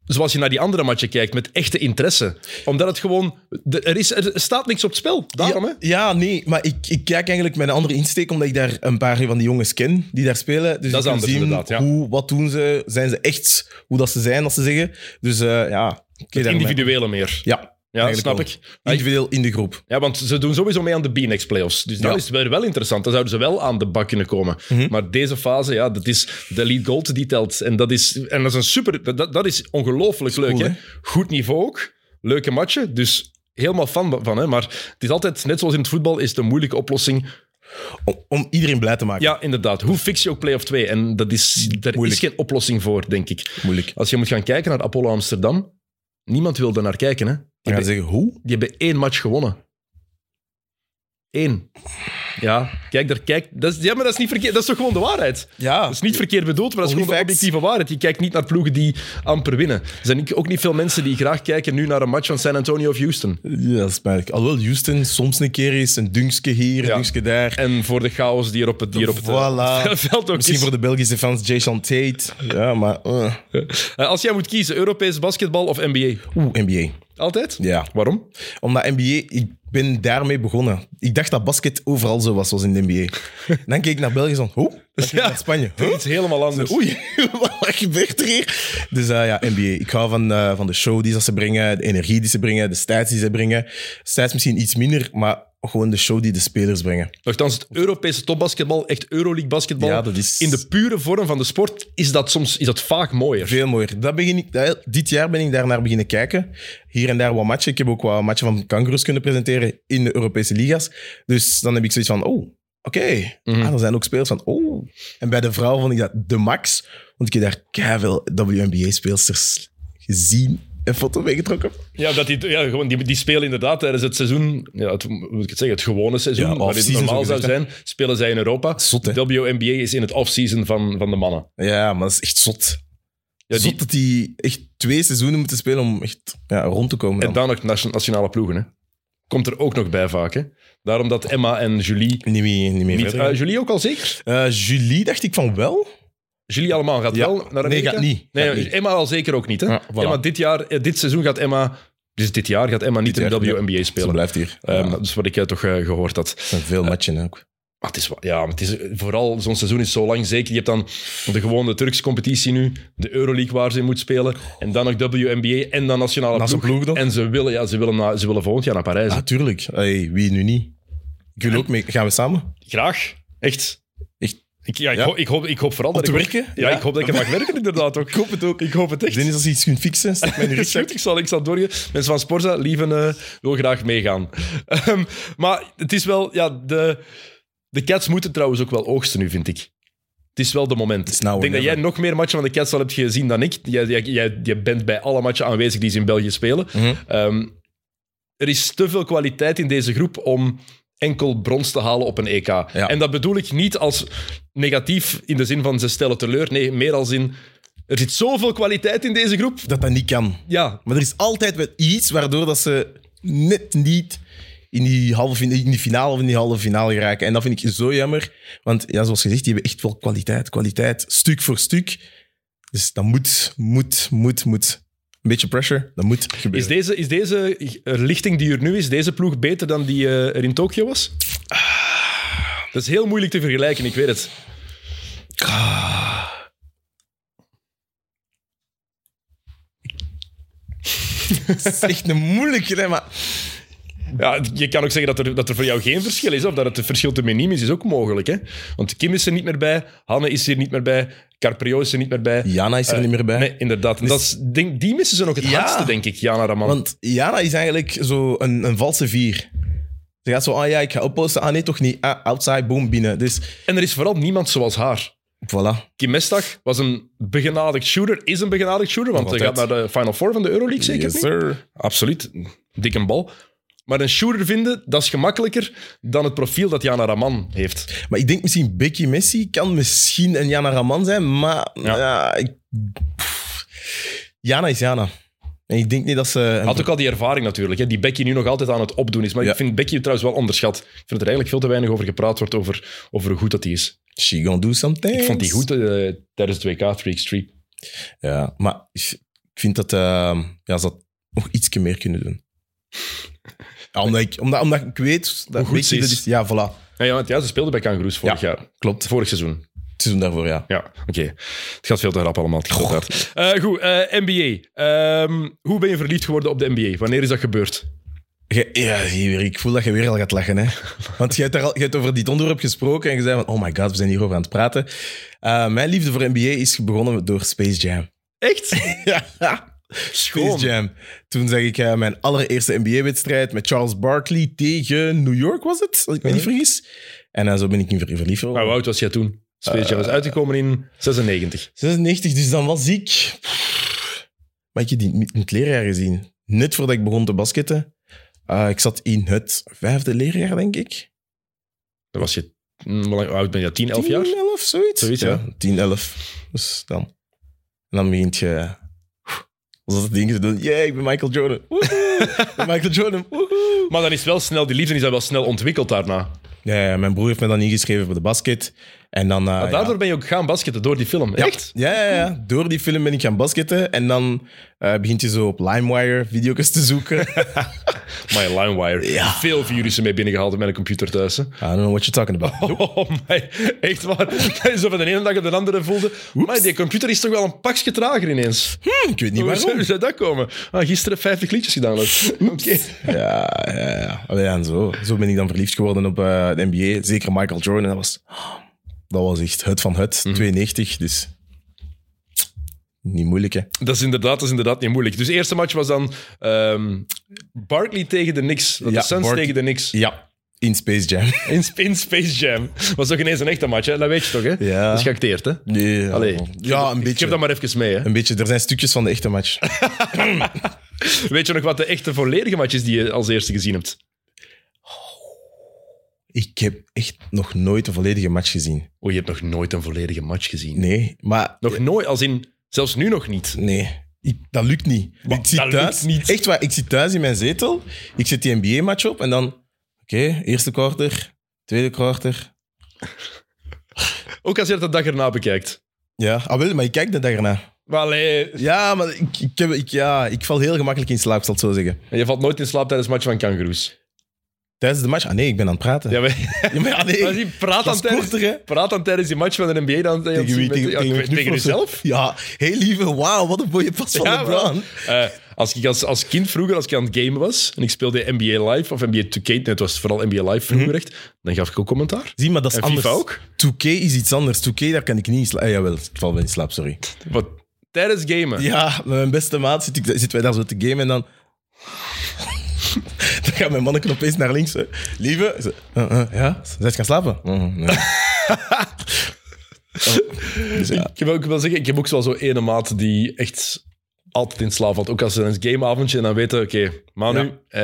A: Zoals je naar die andere matchen kijkt, met echte interesse. Omdat het gewoon... de- er, is, er staat niks op het spel, daarom hè?
B: ja, ja, nee, maar ik, ik kijk eigenlijk met een andere insteek, omdat ik daar een paar van die jongens ken die daar spelen. Dus
A: Dat is
B: ik kan
A: anders
B: zien
A: inderdaad, ja.
B: Hoe, wat doen ze? Zijn ze echt hoe dat ze zijn, als ze zeggen? Dus eh, ja, oké, daarmee.
A: Individuele meer.
B: Ja,
A: Ja,
B: eigenlijk
A: snap
B: wel.
A: ik.
B: Individueel in de groep.
A: Ja, want ze doen sowieso mee aan de B-Next playoffs. Dus dat
B: Ja. Mhm.
A: is wel, wel interessant. Dan zouden ze wel aan de bak kunnen komen. Maar deze fase, ja, dat is de lead gold die telt. En dat is, en dat is een super. Dat- Dat, dat is ongelooflijk leuk.
B: cool,
A: hè? Goed niveau ook. Leuke matchen. Dus helemaal fan van. Hè? Maar het is altijd, net zoals in het voetbal, is de moeilijke oplossing.
B: Om, om iedereen blij te maken.
A: Ja, inderdaad. Hoe fix je ook play-off 2? En dat is, daar
B: Moeilijk.
A: is geen oplossing voor, denk ik.
B: Moeilijk.
A: Als je moet gaan kijken naar Apollo Amsterdam, niemand wil daar naar kijken. Hè?
B: Dan
A: Die
B: gaan ze zeggen, hoe?
A: die hebben één match gewonnen. Eén. Ja, kijk, daar, kijk dat is, ja, maar dat is, niet verkeerd, dat is toch gewoon de waarheid?
B: Ja.
A: Dat is niet verkeerd bedoeld, maar dat is
B: Only
A: gewoon de
B: facts.
A: objectieve waarheid. Je kijkt niet naar ploegen die amper winnen. Er zijn ook niet veel mensen die graag kijken nu naar een match van San Antonio of Houston.
B: Ja, dat is pijnlijk. Alhoewel Houston soms een keer is, een dunkske hier,
A: Ja.
B: een dunkske daar.
A: En voor de chaos die er op het, die er op het
B: Voilà.
A: eh, veld ook
B: Misschien
A: is.
B: voor de Belgische fans, Jason Tate. Ja, maar... eh.
A: Eh, Als jij moet kiezen, Europees basketbal of NBA?
B: Oeh, NBA.
A: Altijd?
B: Ja.
A: Waarom?
B: Omdat NBA, ik ben daarmee begonnen. Ik dacht dat basket overal zo was, zoals in de NBA. Dan keek ik naar België zo, hoe? Dan keek ik
A: Ja.
B: naar Spanje, huh?
A: Iets helemaal anders.
B: Oei, wat gebeurt er hier? Dus eh, ja, NBA. Ik hou van, eh, van de show die ze brengen, de energie die ze brengen, de stats die ze brengen. Stats misschien iets minder, maar gewoon de show die de spelers brengen.
A: Nochtans, het Europese topbasketbal, echt Euroleague basketbal,
B: Ja, dat is-
A: in de pure vorm van de sport, is dat soms is dat vaak mooier.
B: Veel mooier. Dat begin ik, dat- dit jaar ben ik daarnaar beginnen kijken. Hier en daar wat matchen. Ik heb ook wat matchen van Kangaroos kunnen presenteren in de Europese liga's. Dus dan heb ik zoiets van, oh, oké.
A: Mhm.
B: Ah, er zijn ook spelers van, oh. En bij de vrouw vond ik dat de max. Want ik heb daar keiveel WNBA-speelsters gezien en foto meegetrokken.
A: Ja, dat die, ja gewoon, die, die spelen inderdaad tijdens het seizoen, ja, het, hoe moet ik het zeggen, het gewone seizoen,
B: Ja,
A: waar dit
B: off-season
A: normaal zou
B: zogezegd,
A: zijn, spelen zij in Europa.
B: Zot, hè?
A: WNBA is in het off-season van, van de mannen.
B: Ja, maar dat is echt zot.
A: Ja, die-
B: Zot dat die echt twee seizoenen moeten spelen om echt ja, rond te komen.
A: En
B: Dan.
A: dan ook nation- nationale ploegen. Hè. Komt er ook nog bij vaak. Hè. Daarom dat Emma en Julie
B: Niet meer, niet meer
A: niet...
B: verder.
A: Eh, Julie ook al zeker?
B: Eh, Julie dacht ik van wel.
A: Julie allemaal gaat
B: Ja.
A: wel naar
B: Nee,
A: Amerika?
B: gaat niet.
A: Nee,
B: Gaat niet.
A: Emma al zeker ook niet. Hè?
B: Ja, voilà.
A: Emma dit, jaar, eh, dit seizoen gaat Emma... Dus dit jaar gaat Emma niet
B: Dit
A: in de
B: jaar,
A: WNBA
B: Ze
A: spelen.
B: blijft hier.
A: Ehm,
B: Ja,
A: Dat is wat ik eh, toch eh, gehoord had.
B: er zijn veel matchen ook.
A: Maar het is, wel- ja, maar het is eh, vooral zo'n seizoen is zo lang. Zeker, je hebt dan de gewone Turkse competitie nu, de Euroleague waar ze in moet spelen, en dan nog WNBA en dan nationale
B: Naast de
A: ploeg.
B: ploeg dan?
A: En ze willen, ja, ze, willen na, ze willen volgend jaar naar Parijs.
B: Ah, tuurlijk. Hey, wie nu niet? Ik wil ook mee. Gaan we samen?
A: Graag, echt.
B: Echt?
A: Ik, ja, ik,
B: Ja.
A: Hoop, ik, hoop, ik hoop vooral dat
B: te
A: ik
B: werken?
A: Ook, ja,
B: Ja.
A: ik hoop dat ik er mag werken inderdaad ook. Ik hoop het ook. Ik hoop het echt.
B: Dennis, als je iets kunt fixen, stek mij in de
A: Is
B: rugzak.
A: goed, ik zal, ik zal doorgaan. Mensen van Sporza, lieven, eh, wil graag meegaan. Ehm, maar het is wel, ja, de, de Cats moeten trouwens ook wel oogsten nu, vind ik. Het is wel de moment.
B: is
A: Ik
B: now
A: denk
B: or
A: dat jij nog meer matchen van de Cats al hebt gezien dan ik. Jij, jij, jij, jij bent bij alle matchen aanwezig die ze in België spelen.
B: Mhm.
A: Ehm, er is te veel kwaliteit in deze groep om enkel brons te halen op een EK. En dat bedoel ik niet als negatief in de zin van ze stellen teleur. Nee, meer als in... Er zit zoveel kwaliteit in deze groep.
B: Dat dat niet kan.
A: Ja,
B: Maar er is altijd wel iets waardoor dat ze net niet in die, halve, in die finale of in die halve finale geraken. En dat vind ik zo jammer. Want ja, zoals gezegd, die hebben echt wel kwaliteit. Kwaliteit, stuk voor stuk. Dus dat moet, moet, moet, moet. Een beetje pressure, dat moet gebeuren.
A: Is deze, is deze lichting die er nu is, deze ploeg beter dan die eh, er in Tokio was? Dat is heel moeilijk te vergelijken, ik weet het.
B: Dat is echt een moeilijke, hè, maar...
A: Ja, je kan ook zeggen dat er, dat er voor jou geen verschil is, of dat het verschil te miniem is, is ook mogelijk. Hè? Want Kim is er niet meer bij, Hanne is er niet meer bij, Carprio is er niet meer bij.
B: Jana is er niet meer bij. Dus-
A: Nee, inderdaad. En dat is, denk, die missen ze nog het
B: Ja.
A: hardste, denk ik, Jana Raman.
B: Want Jana is eigenlijk zo een, een valse vier. Ze gaat zo, ah ja, ik ga opposten. Ah nee, toch niet. Ah, outside, boom, binnen. Dus,
A: En er is vooral niemand zoals haar.
B: voilà.
A: Kim Mestag was een begenadigd shooter, is een begenadigd shooter, want
B: Nog
A: hij gaat naar
B: altijd.
A: de Final Four van de Euroleague, zeker
B: Yes,
A: niet?
B: sir.
A: Absoluut. Dikke bal. Maar een shooter vinden, dat is gemakkelijker dan het profiel dat Jana Raman heeft.
B: Maar ik denk misschien Becky Messi kan misschien een Jana Raman zijn, maar
A: Ja.
B: ja. ik, pff. Jana is Jana. En ik denk niet dat ze...
A: Had ook al die ervaring natuurlijk, hè, die Becky nu nog altijd aan het opdoen is. Maar
B: Ja.
A: ik vind Becky trouwens wel onderschat. Ik vind dat er eigenlijk veel te weinig over gepraat wordt, over, over hoe goed dat die is.
B: She gonna do something.
A: Ik vond die goed eh, tijdens het WK 3x3.
B: Ja, maar ik ik vind dat eh, ja, ze dat nog ietsje meer kunnen doen. Ja, omdat, ik, omdat, omdat ik weet dat
A: Hoe goed ze
B: Becky
A: is.
B: dat Ja, voilà.
A: Ah, Ja, ja, want ja, ze speelde bij Kangaroos vorig jaar.
B: Klopt.
A: Vorig seizoen.
B: Het is hem daarvoor, ja.
A: Ja, oké. Het gaat veel te rap allemaal. het gaat hard. Eh, goed, eh, NBA. Ehm, hoe ben je verliefd geworden op de NBA? Wanneer is dat gebeurd?
B: Je- ja, hier, ik voel dat je weer al gaat lachen. Hè? Want je hebt, daar al, je hebt over dit onderwerp gesproken en je zei van, oh my god, we zijn hierover aan het praten. Eh, mijn liefde voor NBA is begonnen door Space Jam.
A: Echt?
B: ja, Space Jam. Toen zag ik eh, mijn allereerste NBA-wedstrijd met Charles Barkley tegen New York, was het? Als ik me niet vergis. En eh, zo ben ik in ver- verliefd
A: Maar
B: geworden.
A: hoe oud was jij toen?
B: Eh,
A: Space Jam was uitgekomen in 96.
B: 96, dus dan was ik... Maar ik heb die in het leerjaar gezien. Net voordat ik begon te basketten. Eh, ik zat in het vijfde leerjaar, denk ik.
A: Dan was je... hm, Hoe lang- hoe oud ben je? dat? 10, 11 jaar?
B: 10, 11, zoiets.
A: Zoiets,
B: ja. 10, 11. Dus dan. En dan begint je... Als dat ding te doen. Yeah, ik ben Michael Jordan. Woehoe. Ik ben Michael Jordan. Woehoe.
A: Maar dan is wel snel... Die liefde is dan wel snel ontwikkeld
B: Ah,
A: daarna.
B: Ja, ja, mijn broer heeft me dan ingeschreven voor de basket. En dan... eh,
A: Maar
B: ja.
A: daardoor ben je ook gaan basketten, door die film.
B: Ja.
A: Ah, Echt?
B: Ja, ja, ja. Door die film ben ik gaan basketten. En dan eh, begint je zo op LimeWire video's te zoeken. I
A: My LimeWire.
B: Ja.
A: Veel virussen mee binnengehaald op mijn computer thuis. hè.
B: don't know what you're talking about.
A: Oh my, echt waar. Dat is van de ene dag op de andere voelde. Maar die computer is toch wel een pakje trager ineens.
B: Ik weet niet
A: Hoe zou,
B: waarom.
A: hoe zou dat komen? Ah, gisteren 50 liedjes gedaan. dus. Oké.
B: Ja, ja, ja. Allee, en zo. zo ben ik dan verliefd geworden op eh, de NBA. Zeker Michael Jordan. Dat was, dat was echt het van het.
A: Mhm.
B: 92, dus... Niet moeilijk, hè.
A: Dat is, inderdaad, dat is inderdaad niet moeilijk. Dus de eerste match was dan ehm Barkley tegen de Knicks. De
B: Ja,
A: Suns
B: Barkley-
A: tegen de Knicks.
B: Ja, in Space Jam.
A: In, in Space Jam. Was toch ineens een echte match, hè? dat weet je toch? Hè?
B: Ja.
A: Dat is geacteerd, hè?
B: Nee, ja.
A: Allee.
B: ja, een
A: Ik heb
B: beetje.
A: dat maar even mee. Hè?
B: Een beetje. Er zijn stukjes van de echte match.
A: Weet je nog wat de echte volledige match is die je als eerste gezien hebt?
B: Ik heb echt nog nooit een volledige match gezien.
A: Oh, je hebt nog nooit een volledige match gezien.
B: Nee, maar
A: Nog nooit, als in Zelfs nu nog niet.
B: Nee, ik- dat lukt niet.
A: Wat?
B: ik zit
A: Dat lukt
B: thuis,
A: niet.
B: Echt waar, ik zit thuis in mijn zetel. Ik zet die NBA-match op en dan... Oké, eerste kwartier, tweede kwartier.
A: Ook als je dat de dag erna bekijkt.
B: Ja, ah, wel, maar ik kijk de dag erna.
A: Maar allee,
B: Ja, maar ik, ik, heb, ik, ja, ik val heel gemakkelijk in slaap, zal ik zo zeggen.
A: je valt nooit in slaap tijdens match van kangaroes.
B: Tijdens de match... Ah nee, ik ben aan het praten.
A: Ja,
B: Ja,
A: maar,
B: maar ja, nee.
A: maar zie, praat,
B: Dat
A: dan
B: is
A: tijdens,
B: korter, hè.
A: praat dan tijdens die match van de NBA dan dan-
B: Tegen wie?
A: met-
B: Tegen,
A: ja,
B: tegen,
A: ik weet- tegen
B: Knuffel
A: jezelf.
B: of zo? Ja, heel lieve. Wauw, wat een mooie pas van
A: Ja,
B: LeBron.
A: Eh, als ik als, als kind vroeger, als ik aan het gamen was en ik speelde NBA Live of NBA 2K, nee, het was vooral NBA Live
B: Mhm.
A: vroeger echt, dan gaf ik ook commentaar.
B: Zie, maar dat is
A: En
B: anders.
A: FIFA ook? 2K
B: is iets anders. 2K, daar kan ik niet in slapen. Ah, jawel, ik val wel in slaap, sorry.
A: Wat, tijdens gamen.
B: Ja, met mijn beste maat zit ik, zitten wij daar zo te gamen en dan... dan gaat mijn manneken opeens naar links. hè. Lieve, ze- eh, eh, ja, zij is gaan slapen. Mm,
A: Mhm,
B: nee. Dus ja.
A: Ik, wil, ik wil zeggen, ik heb ook wel zo'n ene maat die echt altijd in slaap valt. Ook als ze een gameavondje en dan weten, oké, Manu, en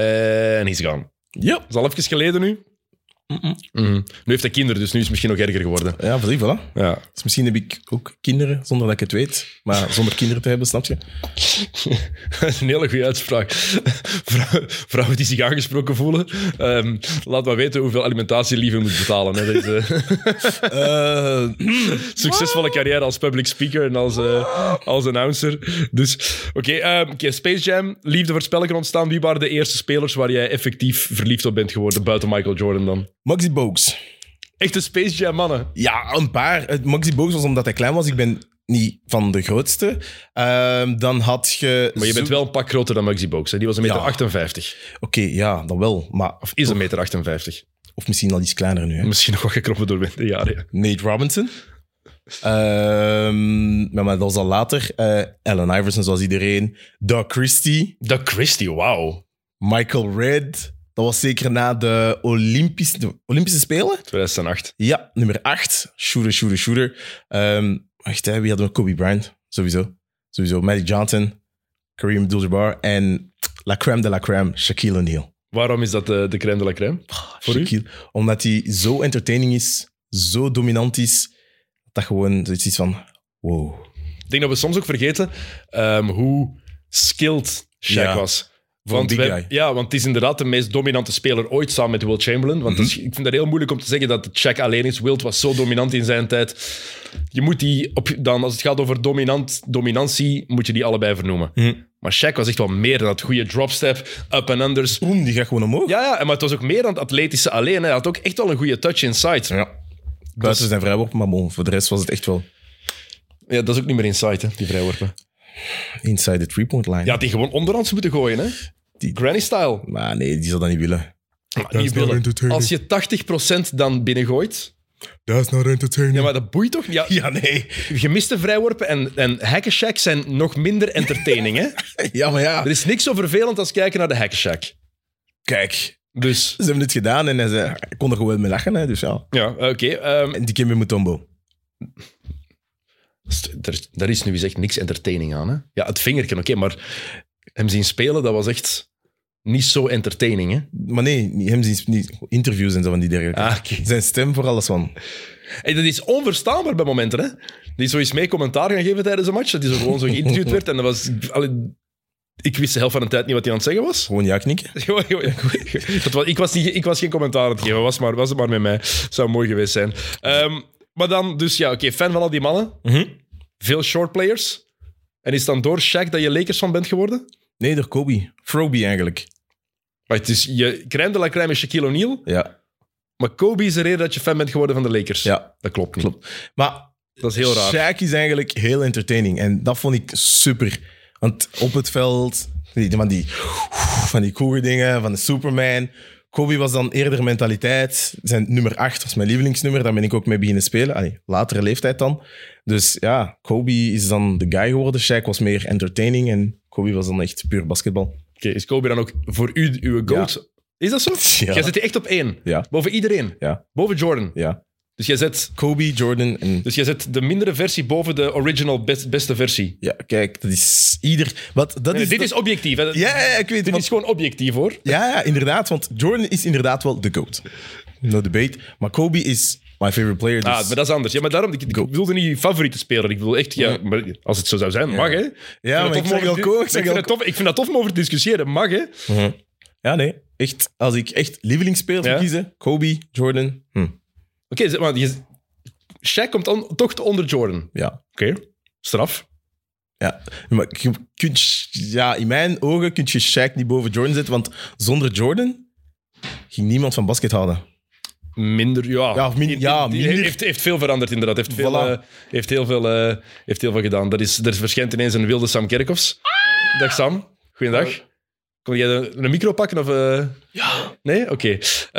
A: hij is gone.
B: Ja,
A: Dat is al even geleden nu. Mhm. Nu heeft hij kinderen, dus nu is het misschien nog erger geworden.
B: ja voor die, voilà.
A: Ja.
B: Dus misschien heb ik ook kinderen, zonder dat ik het weet. Maar zonder kinderen te hebben, snap je?
A: Dat is een hele goede uitspraak. Vrou- Vrouwen die zich aangesproken voelen, ehm, laat maar weten hoeveel alimentatie Lieve moet betalen. Hè. Dat is, eh,
B: Eh,
A: succesvolle carrière als public speaker en als, eh, als announcer. Dus, oké, ehm, oké, Space Jam, liefde voor spelletjes ontstaan. Wie waren de eerste spelers waar jij effectief verliefd op bent geworden, buiten Michael Jordan dan?
B: Maxi Bogues.
A: Echte Space Jam mannen.
B: Ja, een paar. Het Maxi Bogues was omdat hij klein was. Ik ben niet van de grootste. Ehm, dan had je...
A: Maar je bent
B: zo-
A: wel een pak groter dan Maxi Bogues. hè. Die was 1,58 meter.
B: Ja.
A: 58.
B: Oké, ja, dan wel. Maar,
A: Of is 1,58 meter. 58.
B: of misschien al iets kleiner nu. Hè?
A: Misschien nog wat gekroppen door de jaren. ja.
B: Nate Robinson. Ehm, maar, maar dat was al later. Eh Allen Iverson, zoals iedereen. Doug Christie.
A: Doug Christie, wauw.
B: Michael Red. Dat was zeker na de Olympische, de Olympische Spelen.
A: 2008.
B: Ja, nummer 8. Shooter, shooter, shooter. Ehm wacht, hè, wie hadden we? Kobe Bryant, sowieso. Sowieso. Magic Johnson, Kareem Abdul-Jabbar en la crème de la crème, Shaquille O'Neal.
A: Waarom is dat de, de crème de la crème? Voor u?
B: Shaquille, omdat hij zo entertaining is, zo dominant is, dat gewoon zoiets is van, wow.
A: Ik denk dat we soms ook vergeten ehm, hoe skilled Shaq
B: Ja,
A: was.
B: voor een big
A: we-
B: guy.
A: Ja, want het is inderdaad de meest dominante speler ooit samen met Will Chamberlain. Want het
B: Mhm.
A: is- ik vind dat heel moeilijk om te zeggen dat het Shaq alleen is. Wilt was zo dominant in zijn tijd. Je moet die, op, dan, als het gaat over dominant, dominantie, moet je die allebei vernoemen. Maar Shaq was echt wel meer dan dat goede dropstep, up and unders.
B: Boom, die gaat gewoon omhoog.
A: Ja, ja, maar het was ook meer dan het atletische alleen. hè. Hij had ook echt wel een goede touch inside.
B: Ja. Buiten zijn vrijworp, maar bon, voor de rest was het echt wel
A: Ja, dat is ook niet meer inside, hè, die vrijworpen.
B: inside the three-point line.
A: Ja, die gewoon onderhands moeten gooien, hè?
B: Die-
A: Granny style.
B: Maar nee, die zou dat niet willen.
A: Maar niet
C: wel
A: willen.
C: entertaining.
A: Als je 80% dan binnengooit,
C: That's not entertaining.
A: ja, maar dat boeit toch niet? Ja,
B: Ja, nee.
A: gemiste vrijworpen en, en hackenshack zijn nog minder entertaining, hè?
B: Ja, maar ja.
A: Er is niks zo vervelend als kijken naar de hackenshack.
B: Kijk,
A: Dus,
B: Ze hebben het gedaan en hij zei, ik kon er gewoon mee lachen. Hè, dus ja.
A: ja, oké. ehm,
B: En die Kimmy Mutombo.
A: st- er- daar is nu eens echt niks entertaining aan, hè? Ja, het vingerken, oké, maar hem zien spelen, dat was echt niet zo entertaining, hè?
B: Maar nee, niet hem zien niet interviews en zo van die dergelijke.
A: Ah, oké.
B: Zijn stem voor alles van.
A: Hey, dat is onverstaanbaar bij momenten, hè? Die zoiets mee commentaar gaan geven tijdens een match. Dat hij zo gewoon zo geïnterviewd werd. En dat was. allee, ik wist de helft van de tijd niet wat hij aan het zeggen was.
B: Gewoon ja knikken.
A: Gewoon- gewoon- dat was, ik, was niet, ik was geen commentaar aan het geven. Was, maar, was het maar met mij. Zou mooi geweest zijn. Ehm, maar dan, dus ja, oké, fan van al die mannen.
B: Mhm.
A: Veel shortplayers. En is het dan door Shaq dat je Lakers van bent geworden?
B: Nee, door Kobe. Froby eigenlijk.
A: Maar het is je crème de la crème is Shaquille O'Neal.
B: Ja,
A: Maar Kobe is de reden dat je fan bent geworden van de Lakers.
B: ja.
A: Dat klopt niet.
B: klopt. Maar
A: Dat is heel raar.
B: Shaq is eigenlijk heel entertaining. En dat vond ik super. Want op het veld, die- van die, van die coole dingen, van de Superman. Kobe was dan eerder mentaliteit. Zijn nummer 8 was mijn lievelingsnummer. Daar ben ik ook mee beginnen spelen. Allee, latere leeftijd dan. Dus ja, Kobe is dan de guy geworden. Shaq was meer entertaining. En Kobe was dan echt puur basketbal.
A: Oké, is Kobe dan ook voor u uw goat? Is dat zo?
B: Ja.
A: Jij zet die echt op één.
B: Ja.
A: Boven iedereen.
B: Ja.
A: Boven Jordan.
B: Ja.
A: Dus jij, zet,
B: Kobe, Jordan en...
A: dus jij zet de mindere versie boven de original best- beste versie.
B: Ja, kijk, dat is ieder... Wat, dat
A: Nee,
B: is,
A: dit is objectief. hè.
B: Ja, ja, ik weet
A: Dit
B: want-
A: is gewoon objectief, hoor. Ah,
B: Ja, ja, inderdaad. Want Jordan is inderdaad wel de GOAT. No debate. Maar Kobe is My favorite player. Dus.
A: Ah, maar dat is anders. Ja, maar daarom, ik, ik bedoelde niet je favoriete speler. Ik bedoel echt, ja, maar als het zo zou zijn, mag hè. Ik vind
B: maar
A: het tof
B: ik
A: om
B: zeg
A: over
B: al
A: te-
B: Koen, ik
A: ik
B: zeg
A: vind
B: al
A: het tof- Ik vind dat tof om over te discussiëren, mag hè.
B: Ja, nee. Echt, als ik echt lievelingsspelers
A: Ja.
B: moet kiezen, Kobe, Jordan. Hm.
A: Oké, zeg maar je, Shaq komt dan toch te onder Jordan.
B: Ja.
A: Oké, straf.
B: Ja. Maar je kunt, ja, in mijn ogen kun je Shaq niet boven Jordan zetten, want zonder Jordan ging niemand van basket houden.
A: Minder, ja.
B: Ja, of min-
A: Die-
B: ja,
A: die
B: minder.
A: Heeft, heeft veel veranderd, inderdaad. Heeft veel,
B: Voilà.
A: eh, heeft heel, veel, eh, heeft heel veel gedaan. Dat is, er verschijnt ineens een wilde Sam Kerkhoffs. Dag Sam, goeiedag. Kon jij een, een micro pakken? Of, eh? Ja. Nee? Oké.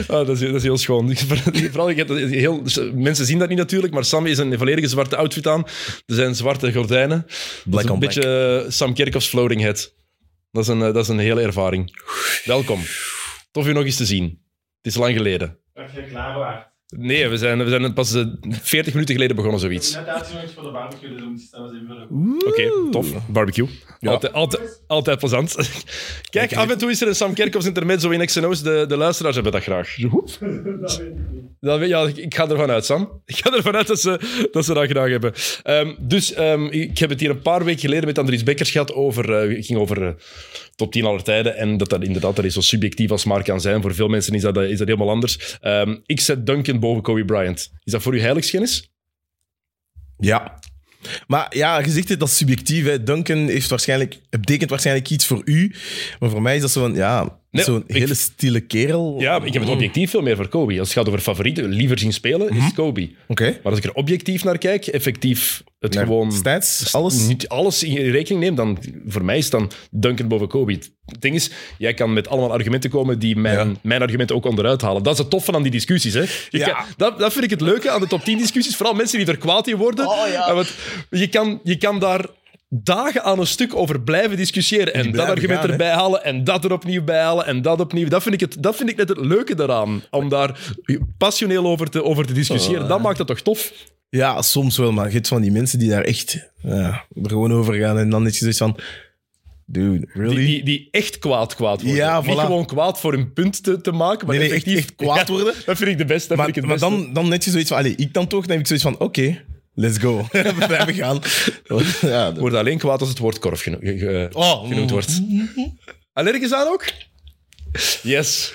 A: Eh, ah, dat, is, dat is heel schoon. Vooral, ik heb dat heel, dus, eh, mensen zien dat niet natuurlijk, maar Sam is een volledige zwarte outfit aan. Er zijn zwarte gordijnen. Dat is
B: Black
A: een
B: on black.
A: beetje eh, Sam Kerkhoffs floating head. Dat is, een, eh, dat is een hele ervaring. Welkom. Tof u nog eens te zien. Het is lang geleden.
C: Dat je klaar waart.
A: Nee, we zijn, we zijn pas eh, 40 minuten geleden begonnen,
C: Ik
A: zoiets.
C: heb net uitgenodigd voor de barbecue, dus we moeten staan even voor de
A: Oké, tof. Barbecue.
B: Ja.
A: Altijd, altijd, altijd plezant. Kijk, af en toe is er een Sam Kerkhoffs intermezzo in XNO's. De, de luisteraars hebben dat graag.
C: Dat weet ik niet.
A: Dat weet- ja, ik, ik ga ervan uit, Sam. Ik ga ervan uit dat ze dat, ze dat graag hebben. Ehm, dus ehm, ik heb het hier een paar weken geleden met Andries Bekkers gehad over... eh, het ging over eh, top 10 aller tijden. En dat dat inderdaad dat is zo subjectief als maar kan zijn. Voor veel mensen is dat, eh, is dat helemaal anders. Ehm, ik zet Duncan boven Kobe Bryant. Is dat voor u heiligschennis?
B: Ja. Maar ja, je zegt het, dat is subjectief. Hè. Duncan heeft waarschijnlijk, betekent waarschijnlijk iets voor u. Maar voor mij is dat zo'n ja,
A: Nee,
B: zo'n
A: ik-
B: hele stille kerel.
A: Ja, ik heb het objectief veel meer voor Kobe. Als het gaat over favorieten, liever zien spelen, is Kobe.
B: Oké.
A: Maar als ik er objectief naar kijk, effectief het
B: Nee,
A: gewoon...
B: Stats,
A: Als
B: alles.
A: niet alles in rekening neemt, dan voor mij is dan Duncan boven Kobe. Het ding is, jij kan met allemaal argumenten komen die mijn,
B: Ja.
A: mijn argumenten ook onderuit halen. Dat is het toffe aan die discussies. Hè? Je
B: Ja.
A: kan- dat, dat vind ik het leuke aan de top 10 discussies. Vooral mensen die er kwaad in worden.
B: Oh,
A: Eh, Want je kan, je kan daar dagen aan een stuk over blijven discussiëren. En dat
B: blijven
A: argument
B: gaan, hè?
A: erbij halen, en dat er opnieuw bij halen, en dat opnieuw. Dat vind ik, het, dat vind ik net het leuke daaraan. Om daar passioneel over te, over te discussiëren.
B: Oh.
A: Dat maakt het toch tof?
B: Ja, soms wel, maar je hebt van die mensen die daar echt ja, er gewoon over gaan. En dan is je zoiets van... Dude, really?
A: Die, die, die echt kwaad kwaad worden.
B: Ja,
A: Niet
B: voilà.
A: gewoon kwaad voor een punt te, te maken, maar
B: Nee, nee, echt-
A: effectief
B: echt kwaad
A: Ja,
B: worden.
A: dat vind ik de beste. Dat
B: maar
A: vind ik het
B: maar
A: beste.
B: dan, dan net je zoiets van... Allee, ik dan toch, dan heb ik zoiets van... Oké, let's go. We blijven gaan. ja, dat-
A: Ik word alleen kwaad als het woord korf geno- ge- ge-
B: Oh,
A: genoemd wordt. Allergisch aan ook? Yes.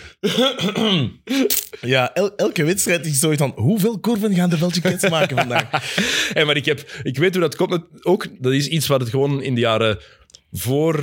B: ja el- elke wedstrijd is zoiets van... Hoeveel korven gaan de Belgische kids maken vandaag?
A: Hey, maar ik, heb, ik weet hoe dat komt. met- Ook, dat is iets wat het gewoon in de jaren voor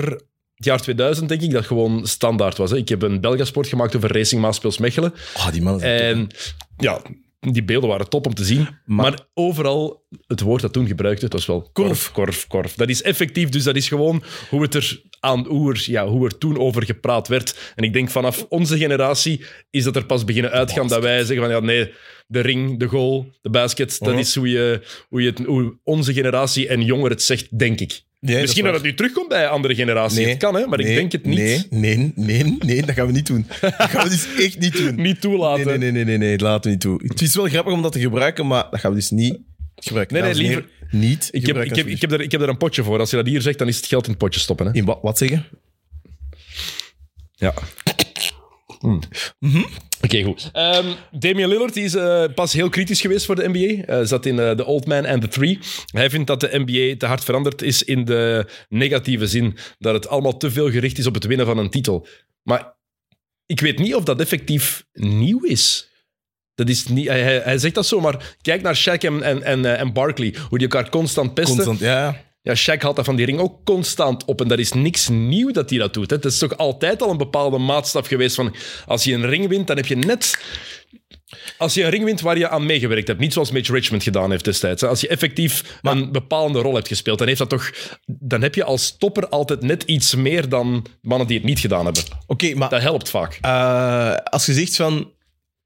A: het jaar 2000, denk ik, dat gewoon standaard was. Hè. Ik heb een Belgasport gemaakt over Racing Maasspeels Mechelen.
B: Oh, die mannen zijn
A: En ja, die beelden waren top om te zien. Maar, overal, het woord dat toen gebruikt werd, was wel korf, korf, korf. Dat is effectief, dus dat is gewoon hoe, het er aan, hoe, er, ja, hoe er toen over gepraat werd. En ik denk vanaf onze generatie is dat er pas beginnen uitgaan dat wij zeggen van ja, nee, de ring, de goal, de basket, dat
B: Mhm.
A: is hoe, je, hoe, je het, hoe onze generatie en jonger het zegt, denk ik.
B: dat is
A: Misschien dat,
B: waar.
A: het nu terugkomt bij andere generaties.
B: Nee,
A: het kan, hè, maar ik
B: nee,
A: denk het niet.
B: Nee, nee, nee, nee, dat gaan we niet doen. Dat gaan we dus echt niet doen.
A: Niet toelaten.
B: Nee, nee, nee, nee, nee, nee, dat laten we niet toe. Het is wel grappig om dat te gebruiken, maar dat gaan we dus niet gebruiken.
A: Nee, nee,
B: Dames en heren, Niet.
A: Ik heb, ik, heb, ik, heb er, ik heb er een potje voor. Als je dat hier zegt, dan is het geld in het potje stoppen. Hè?
B: In wat, wat zeggen?
A: Ja. Hmm. Oké, goed. Ehm, Damian Lillard die is eh, pas heel kritisch geweest voor de NBA. Eh, zat in eh, The Old Man and the Three. Hij vindt dat de NBA te hard veranderd is in de negatieve zin. Dat het allemaal te veel gericht is op het winnen van een titel. Maar ik weet niet of dat effectief nieuw is. Dat is niet, hij, hij, hij zegt dat zo, maar kijk naar Shaq en, en, en, eh, en Barkley. Hoe die elkaar constant pesten.
B: Constant, ja.
A: Ja, Shaq haalt dat van die ring ook constant op. En dat is niks nieuw dat hij dat doet. Hè. Het is toch altijd al een bepaalde maatstaf geweest van... Als je een ring wint, dan heb je net... Als je een ring wint waar je aan meegewerkt hebt. Niet zoals Mitch Richmond gedaan heeft destijds. hè. Als je effectief een bepalende rol hebt gespeeld, dan, heeft dat toch, dan heb je als topper altijd net iets meer dan mannen die het niet gedaan hebben.
B: Oké, maar
A: Dat helpt vaak.
B: eh, als je zegt van...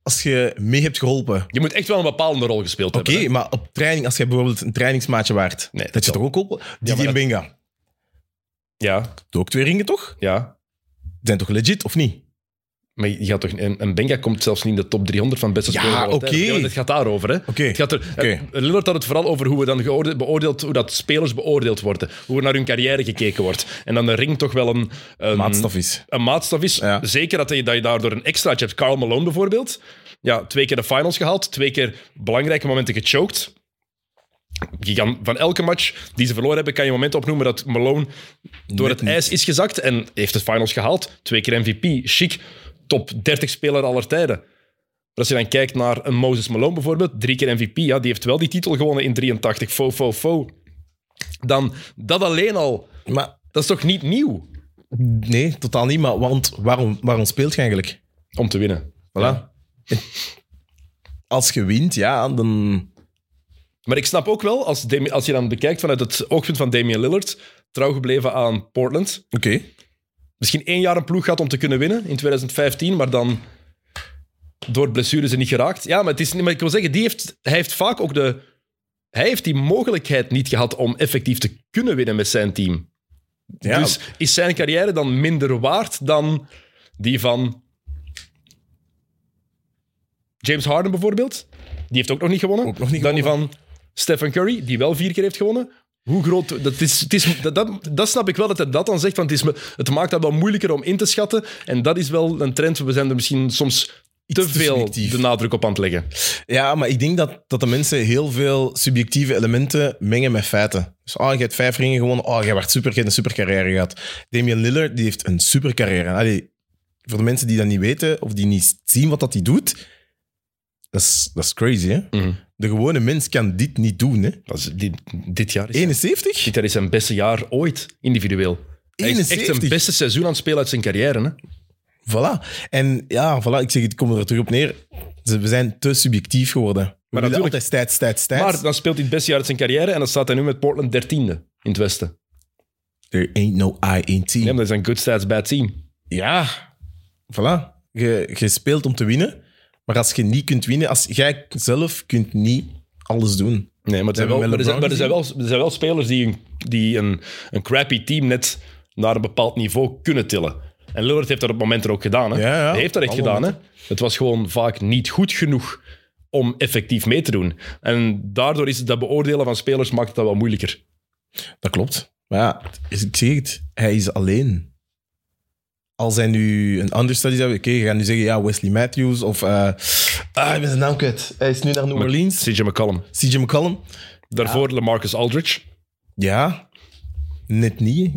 B: Als je mee hebt geholpen...
A: Je moet echt wel een bepalende rol gespeeld
B: Oké,
A: hebben. hè.
B: maar op training, als je bijvoorbeeld een trainingsmaatje waard,
A: Nee,
B: dat je
A: dat-
B: toch ook helpen? Die
A: maar
B: die
A: dat-
B: Benga.
A: Ja,
B: Doe ook twee ringen, toch?
A: ja. Mm.
B: Zijn toch legit, of niet?
A: Maar je gaat toch, en, en Benga komt zelfs niet in de top 300 van beste
B: Ja,
A: spelers. aller
B: oké.
A: tijden. Ja, want Het gaat daarover. Hè?
B: Oké.
A: Het gaat er,
B: Oké.
A: het- Lillard had het vooral over hoe we dan geoorde- beoordeeld, hoe dat spelers beoordeeld worden. Hoe er naar hun carrière gekeken wordt. En dan de ring toch wel een, een,
B: maatstaf is.
A: een maatstaf is.
B: Ja.
A: Zeker dat je, dat je daardoor een extraatje hebt. Carl Malone bijvoorbeeld. Ja, twee keer de finals gehaald. Twee keer belangrijke momenten gechoked. Je kan van elke match die ze verloren hebben, kan je momenten opnoemen dat Malone door
B: Net
A: het ijs is gezakt en heeft de finals gehaald. Twee keer MVP, chic, top 30 speler aller tijden. Maar als je dan kijkt naar een Moses Malone bijvoorbeeld, drie keer MVP, ja, die heeft wel die titel gewonnen in 83, fo, fo, fo. Dan dat alleen al,
B: Maar
A: dat is toch niet nieuw
B: nee, totaal niet. Maar want waarom, waarom speelt je eigenlijk?
A: om te winnen?
B: Voilà. Als je wint, ja, dan...
A: Maar ik snap ook wel, als, Demi- als je dan bekijkt vanuit het oogpunt van Damian Lillard, trouw gebleven aan Portland.
B: Oké.
A: Misschien één jaar een ploeg gehad om te kunnen winnen in 2015, maar dan door blessures er niet geraakt. Ja, maar, het is, niet- maar ik wil zeggen, die heeft, hij heeft vaak ook de... Hij heeft die mogelijkheid niet gehad om effectief te kunnen winnen met zijn team.
B: Ja,
A: Dus is zijn carrière dan minder waard dan die van James Harden bijvoorbeeld? Die heeft ook nog niet gewonnen.
B: Ook nog niet
A: dan die van Stephen Curry, die wel vier keer heeft gewonnen. Hoe groot... Dat, is, het is, dat, dat, dat snap ik wel dat hij dat dan zegt, want het, is, me- het maakt dat wel moeilijker om in te schatten. En dat is wel een trend. We zijn er misschien soms te
B: te
A: veel
B: selectief.
A: de nadruk op aan het leggen.
B: Ja, maar ik denk dat, dat de mensen heel veel subjectieve elementen mengen met feiten. Dus, oh, je hebt vijf ringen gewonnen. Oh, jij werd super, je hebt een supercarrière gehad. Damian Lillard, die heeft een supercarrière. Allee, voor de mensen die dat niet weten, of die niet zien wat dat hij doet, dat is, dat is crazy, hè?
A: Mhm.
B: De gewone mens kan dit niet doen, hè?
A: Dat is, dit, dit jaar is
B: 71?
A: Dit jaar is zijn beste jaar ooit, individueel. Hij is echt
B: 71.
A: zijn beste seizoen aan het spelen uit zijn carrière. Hè?
B: Voilà. En ja, voilà, ik zeg, het komt er terug op neer. Ze- We zijn te subjectief geworden. We maar willen
A: natuurlijk-
B: altijd tijd, tijd, tijd.
A: Maar dan speelt hij het beste jaar uit zijn carrière en dan staat hij nu met Portland 13e in het Westen.
B: There ain't no I in team.
A: Ja, maar dat is een good stats, bad team.
B: Ja, voilà. Je, je speelt om te winnen, maar als je niet kunt winnen, als jij zelf kunt niet alles doen.
A: Nee, maar, het zijn
B: We
A: wel, maar, er,
B: hebben
A: zijn,
B: Melo
A: maar er, zijn wel, er zijn wel spelers die, een, die een, een crappy team net naar een bepaald niveau kunnen tillen. En Lillard heeft dat op momenten ook gedaan. Hè?
B: Ja, ja.
A: Hij heeft dat echt
B: Alle
A: gedaan. Hè? Het was gewoon vaak niet goed genoeg om effectief mee te doen. En daardoor is het dat beoordelen van spelers maakt dat wel moeilijker.
B: Dat klopt. Maar ja, het is- ik zeg het, hij is alleen. Als hij nu een understudy zou hebben, oké, je gaat nu zeggen, ja, Wesley Matthews of... eh, ah, ik ben zijn naam kwijt. Hij is nu naar New Orleans.
A: CJ McCollum.
B: CJ McCollum.
A: Daarvoor LaMarcus Aldridge.
B: Ja, net niet.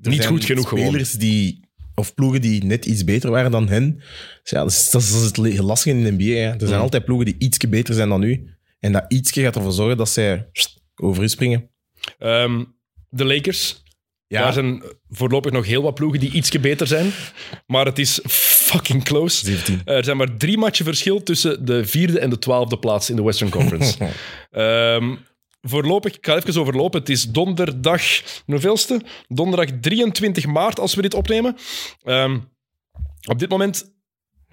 B: Er
A: Niet
B: zijn
A: goed genoeg gewoon.
B: Spelers die, of ploegen die net iets beter waren dan hen. Dus ja, dat is, dat is dat is het le- lastige in de NBA. Hè. Er zijn
A: Mm.
B: altijd ploegen die ietsje beter zijn dan u. En dat ietsje gaat ervoor zorgen dat zij pst, over u springen.
A: Ehm, de Lakers.
B: Ja,
A: Daar zijn voorlopig nog heel wat ploegen die ietsje beter zijn. Maar het is fucking close. Eh,
B: 17.
A: Er zijn maar drie matchen verschil tussen de vierde en de twaalfde plaats in de Western Conference. Ehm, voorlopig, ik ga even overlopen. Het is donderdag, hoeveelste? Donderdag 23 maart als we dit opnemen. Ehm, op dit moment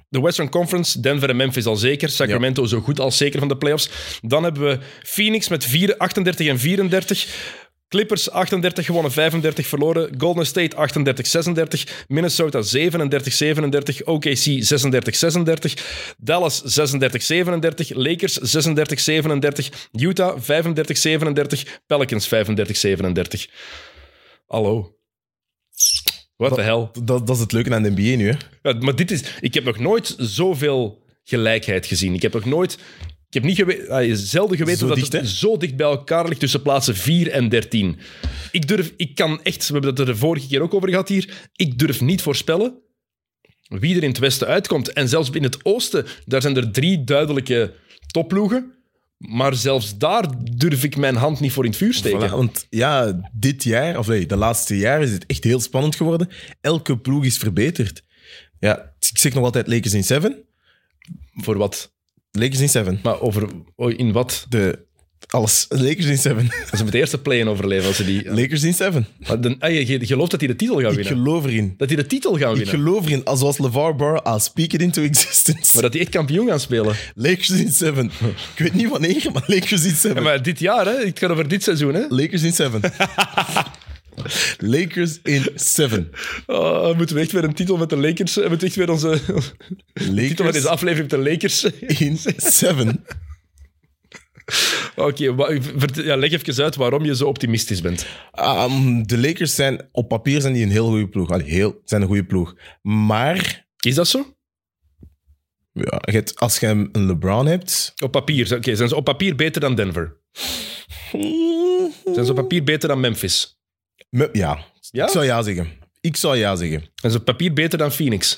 A: de Western Conference, Denver en Memphis al zeker, Sacramento zo goed als zeker van de playoffs. Dan hebben we Phoenix met vier- 38 en 34. Clippers 38 gewonnen, 35 verloren. Golden State 38-36. Minnesota 37-37. OKC 36-36. Dallas 36-37. Lakers 36-37. Utah 35-37. Pelicans 35-37. Hallo. What the hell?
B: dat, dat is het leuke aan de NBA nu. Hè.
A: Ja, maar dit is... Ik heb nog nooit zoveel gelijkheid gezien. Ik heb nog nooit... Ik heb niet gewe- ah, zelden geweten
B: Zo
A: dat
B: dicht,
A: het
B: hè?
A: zo dicht bij elkaar ligt tussen plaatsen 4 en 13. Ik durf... Ik kan echt... We hebben het er de vorige keer ook over gehad hier. Ik durf niet voorspellen wie er in het westen uitkomt. En zelfs in het oosten, daar zijn er drie duidelijke topploegen. Maar zelfs daar durf ik mijn hand niet voor in het vuur steken.
B: Voilà, want ja, dit jaar, of nee, de laatste jaren is het echt heel spannend geworden. Elke ploeg is verbeterd. Ja, ik zeg nog altijd Lakers in 7.
A: Voor wat?
B: Lakers in 7.
A: Maar over... oh, In wat?
B: De, alles. Lakers in 7.
A: Dat ze met de eerste play-in overleven. Als ze die,
B: Lakers in 7.
A: Maar dan- ah, je- je gelooft dat hij de titel gaat
B: Ik
A: winnen?
B: geloof erin.
A: Dat hij de titel gaat
B: Ik
A: winnen.
B: geloof erin, als zoals LeVar Burr, I'll speak it into existence.
A: Maar dat hij echt kampioen gaat spelen.
B: Lakers in 7. Ik weet niet wanneer, maar Lakers in 7.
A: maar dit jaar, hè? Ik ga over dit seizoen, hè?
B: Lakers in 7. Lakers in 7.
A: Oh, moeten we echt weer een titel met de Lakers... We moeten echt weer onze titel met
B: Lakers
A: deze aflevering met de Lakers...
B: in 7.
A: Oké, wa- vert- ja, leg even uit waarom je zo optimistisch bent.
B: Ehm, de Lakers zijn op papier zijn die een heel goede ploeg. Allee, heel, zijn een goede ploeg. Maar
A: Is dat zo?
B: ja, je hebt- als je een LeBron hebt.
A: Op papier. Oké, zijn ze op papier beter dan Denver? Zijn ze op papier beter dan Memphis?
B: Me- ja.
A: Ja?
B: ik zou ja zeggen. Ik zou ja zeggen.
A: Zijn ze op papier beter dan Phoenix?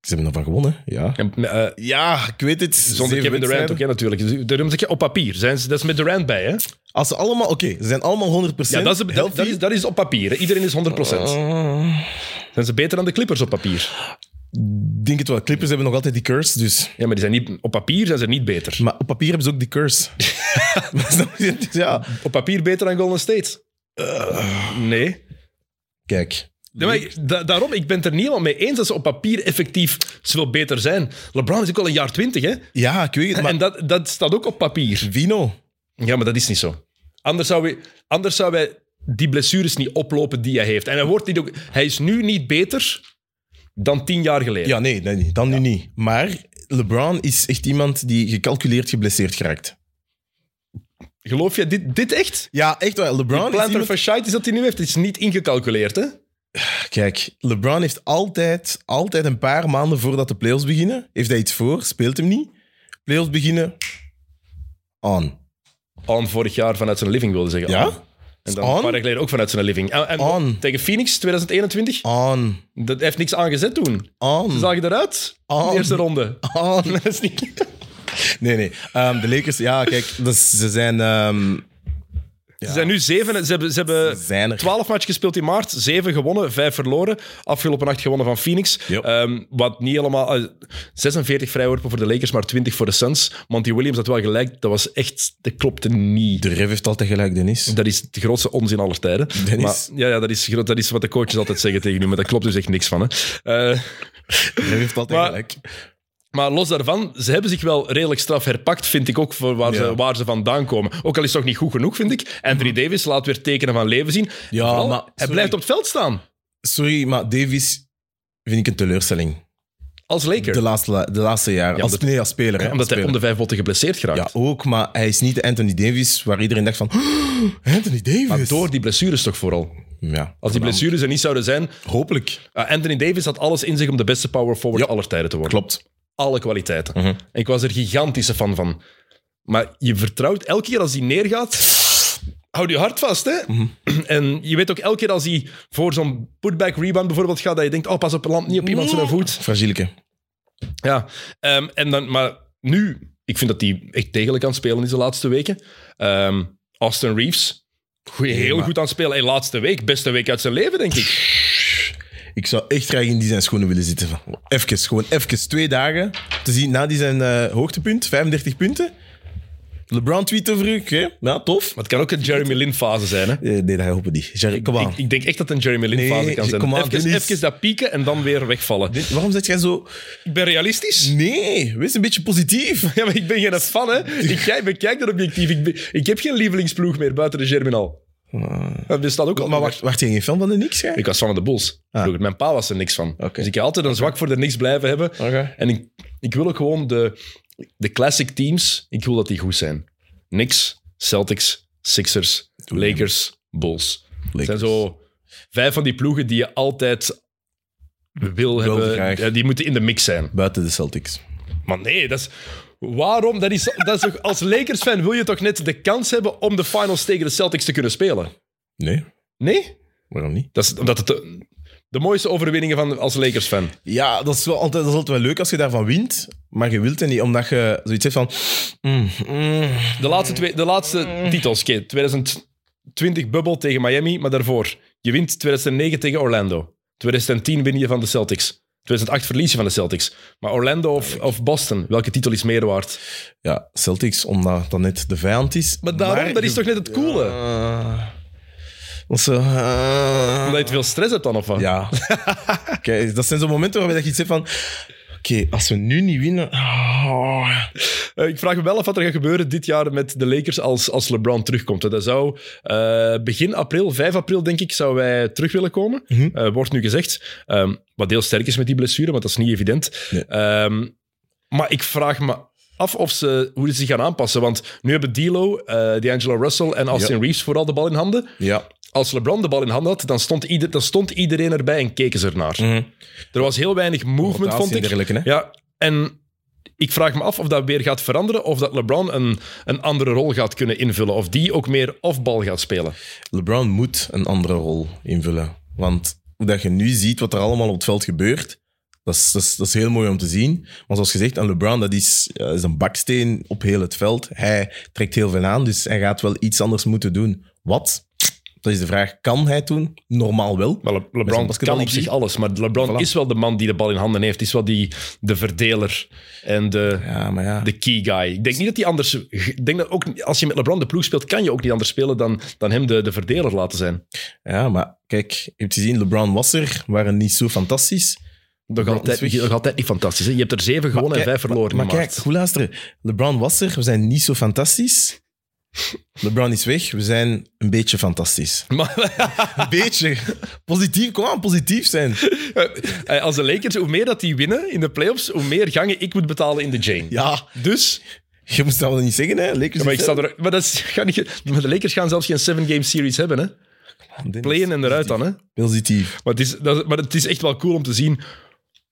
B: Ze hebben ervan gewonnen, ja.
A: En, eh,
B: Ja, ik weet het.
A: zonder
B: Zeven
A: Kevin Durant ook,
B: wedstrijden.
A: hè, natuurlijk. Dus Daarom zeg je op papier. Zijn ze, dat is met Durant bij, hè?
B: Als ze allemaal, oké, ze zijn allemaal 100
A: Ja, dat is, dat,
B: healthy.
A: dat is, dat is op papier. hè. Iedereen is 100%.
B: Eh,
A: Zijn ze beter dan de Clippers op papier?
B: ik denk het wel. Clippers hebben nog altijd die curse, dus.
A: Ja, maar die zijn niet, op papier zijn ze niet beter.
B: Maar op papier hebben ze ook die curse. Maar snap je? Dus ja.
A: Op papier beter dan Golden State? Eh, nee.
B: Kijk,
A: Ja, maar ik- da- daarom, ik ben het er niet helemaal mee eens dat ze op papier effectief zoveel beter zijn. LeBron is ook al een jaar twintig, hè?
B: ja, ik weet het, maar
A: En dat, dat staat ook op papier.
B: Vino. Ja,
A: Ja, maar dat is niet zo. Anders zou, wij, anders zou wij die blessures niet oplopen die hij heeft. En hij, wordt niet ook, hij is nu niet beter dan tien jaar geleden.
B: nee, nee, nee, dan nu niet. Maar LeBron is echt iemand die gecalculeerd geblesseerd geraakt.
A: Geloof je dit, dit echt?
B: Ja, echt wel. LeBron is
A: Planter
B: iemand-
A: fasciitis dat hij nu heeft, het is niet ingecalculeerd, hè?
B: Kijk, LeBron heeft altijd, altijd een paar maanden voordat de playoffs beginnen, heeft hij iets voor, speelt hem niet. Playoffs beginnen, on.
A: On vorig jaar vanuit zijn living wilde zeggen.
B: Ja?
A: On. En dan
B: On?
A: een paar jaar geleden ook vanuit zijn living. En, en
B: On.
A: tegen Phoenix 2021,
B: On,
A: dat heeft niks aangezet toen.
B: on,
A: Zag je eruit?
B: On.
A: De eerste ronde.
B: on.
A: Dat is niet...
B: Nee, nee. Ehm, de Lakers, ja, kijk, dat is- ze zijn... ehm,
A: Ze zijn nu zeven. Ze hebben, ze hebben
B: Ze zijn er.
A: Eh, twaalf matchen gespeeld in maart. Zeven gewonnen, vijf verloren. Afgelopen nacht gewonnen van Phoenix.
B: Ja.
A: Ehm, wat niet helemaal... eh, 46 vrijworpen voor de Lakers, maar 20 voor de Suns. Monty Williams had wel gelijk. Dat was echt... Dat klopte niet. Dus
B: de Rev heeft altijd gelijk, Dennis.
A: Dat is de grootste onzin aller tijden.
B: Dennis.
A: Maar, ja, ja dat, is, groot- dat is wat de coaches altijd zeggen tegen u, maar daar klopt dus echt niks van. Hè. Eh,
B: De Rev heeft altijd
A: Maar-
B: gelijk.
A: maar los daarvan, ze hebben zich wel redelijk straf herpakt, vind ik ook, voor waar,
B: Ja.
A: ze, waar ze vandaan komen. Ook al is het toch niet goed genoeg, vind ik. Anthony Davis laat weer tekenen van leven zien.
B: Ja,
A: En vooral,
B: maar-
A: Hij
B: sorry.
A: blijft op het veld staan,
B: Sorry, maar Davis vind ik een teleurstelling.
A: als Laker.
B: De laatste, de laatste jaren.
A: Ja,
B: als,
A: omdat-
B: nee, als speler. hè,
A: omdat
B: als
A: hij om
B: speler.
A: de vijf botten geblesseerd geraakt.
B: Ja, ook, maar hij is niet de Anthony Davis waar iedereen dacht van... "Oh, Anthony Davis?
A: Maar door die blessures toch vooral.
B: Ja,
A: Als die blessures er niet zouden zijn...
B: Hopelijk.
A: eh, Anthony Davis had alles in zich om de beste power forward
B: Ja.
A: aller tijden te worden.
B: Klopt.
A: Alle kwaliteiten.
B: Mhm.
A: Ik was er gigantische fan van. Maar je vertrouwt elke keer als hij neergaat. Houd je hart vast, hè? En je weet ook elke keer als hij voor zo'n putback rebound bijvoorbeeld gaat, dat je denkt: oh, pas op, land niet op iemand zijn voet.
B: Fragieleke.
A: Ja, ehm, en dan, maar nu, ik vind dat hij echt degelijk aan het spelen is de laatste weken. Ehm, Austin Reeves, goeie, heel
B: maar-
A: goed aan het spelen. Hey, laatste week, beste week uit zijn leven, denk ik.
B: Ik zou echt graag in die zijn schoenen willen zitten. Van. Even, gewoon even twee dagen. Te zien na die zijn eh, hoogtepunt, 35 punten. LeBron tweet over u, oké. Ja, tof.
A: Maar het kan ook een Jeremy Lin-fase zijn, hè?
B: Eh, nee, dat hopen die. Jerry, kom aan.
A: Ik, ik denk echt dat het een Jeremy Lin-fase
B: Nee,
A: kan zijn.
B: kom aan,
A: even,
B: Dennis.
A: even dat pieken en dan weer wegvallen.
B: Waarom zet jij zo...
A: Ik ben realistisch.
B: Nee, wees een beetje positief.
A: Ja, maar ik ben geen fan, hè. Ik kijk, bekijk dat objectief. Ik, be- ik heb geen lievelingsploeg meer buiten de Germinal. Dat bestaat ook al.
B: Maar wacht, wacht je geen fan van de niks, jij?
A: Ik was fan van de Bulls. Vroeger, mijn pa was er niks van.
B: Ah. Oké.
A: Dus ik heb altijd een zwak voor de niks blijven hebben.
B: Oké.
A: En ik, ik wil ook gewoon de, de classic teams, ik wil dat die goed zijn. Knicks, Celtics, Sixers, Lakers, Bulls. Het zijn
B: Lakers.
A: zo vijf van die ploegen die je altijd wil hebben.
B: graag.
A: Ja, die moeten in de mix zijn.
B: Buiten de Celtics.
A: Maar nee, dat is... Waarom? Dat is, dat is toch, als Lakers-fan wil je toch net de kans hebben om de finals tegen de Celtics te kunnen spelen?
B: Nee,
A: Nee?
B: waarom niet?
A: Dat is omdat het de, de mooiste overwinningen van als Lakers-fan.
B: Ja, dat is, wel altijd, dat is altijd wel leuk als je daarvan wint. Maar je wilt het niet, omdat je zoiets hebt van... mm, mm.
A: De laatste, twee, de laatste titels, oké, 2020 bubbel tegen Miami, maar daarvoor. Je wint 2009 tegen Orlando. 2010 win je van de Celtics. 2008 verlies je van de Celtics. Maar Orlando of, of Boston, welke titel is meer waard?
B: Ja, Celtics, omdat dat net de vijand is.
A: Maar daarom, dat is toch net het coole?
B: Eh, dat is zo, eh,
A: Omdat je te veel stress hebt dan, of wat?
B: Ja. Kijk, dat zijn zo'n momenten waarbij dat je iets hebt van... Oké, als we nu niet winnen... oh.
A: Eh, ik vraag me wel af wat er gaat gebeuren dit jaar met de Lakers als, als LeBron terugkomt. hè. Dat zou eh, begin april, 5 april denk ik, zou wij terug willen komen.
B: Mhm.
A: Eh, wordt nu gezegd. Ehm, wat heel sterk is met die blessure, want dat is niet evident.
B: Nee.
A: Ehm, maar ik vraag me af of ze, hoe ze zich gaan aanpassen. Want nu hebben D'Lo, eh D'Angelo Russell en Austin Reeves vooral de bal in handen.
B: Ja.
A: Als LeBron de bal in handen had, dan stond, ieder, dan stond iedereen erbij en keken ze ernaar. Er was heel weinig movement,
B: Mhm. Rotatie
A: vond
B: en
A: ik.
B: dergelijke, hè?
A: Ja, en ik vraag me af of dat weer gaat veranderen. Of dat LeBron een, een andere rol gaat kunnen invullen. Of die ook meer off-bal gaat spelen.
B: LeBron moet een andere rol invullen. Want hoe dat je nu ziet wat er allemaal op het veld gebeurt, dat is, dat is, dat is heel mooi om te zien. Maar zoals gezegd, en LeBron dat is, eh, is een baksteen op heel het veld. Hij trekt heel veel aan, dus hij gaat wel iets anders moeten doen. Wat? Dat is de vraag. Kan hij het doen? Normaal wel.
A: Maar Le-
B: zijn
A: LeBron kan op
B: basketballegie.
A: zich alles. Maar LeBron
B: Voilà.
A: is wel de man die de bal in handen heeft. Is wel die, de verdeler en de,
B: Ja, maar ja.
A: de key guy. Ik denk niet dat hij anders... Ik denk dat ook als je met LeBron de ploeg speelt, kan je ook niet anders spelen dan, dan hem de, de verdeler laten zijn.
B: Ja, maar kijk, je hebt gezien, LeBron was er, waren niet zo fantastisch.
A: Nog
B: LeBron
A: altijd,
B: is weg.
A: nog altijd niet fantastisch. Hè? Je hebt er zeven gewonnen en
B: kijk-
A: vijf verloren.
B: Maar,
A: in
B: maar kijk,
A: maart.
B: goed luisteren. LeBron was er, we zijn niet zo fantastisch. LeBron is weg, we zijn een beetje fantastisch.
A: Maar-
B: Een beetje. Positief, kom aan, positief zijn.
A: Eh, Als de Lakers, hoe meer dat die winnen in de playoffs, hoe meer gangen ik moet betalen in de Jane.
B: Ja,
A: Dus,
B: je moest dat wel niet zeggen, hè? Lakers
A: maar, ik
B: niet
A: sta er, maar, dat is, ga niet, maar de Lakers gaan zelfs geen seven-game series hebben. Hè?
B: verder.
A: Playen en eruit dan. Hè?
B: Positief.
A: Maar, het is, dat, is- maar het is echt wel cool om te zien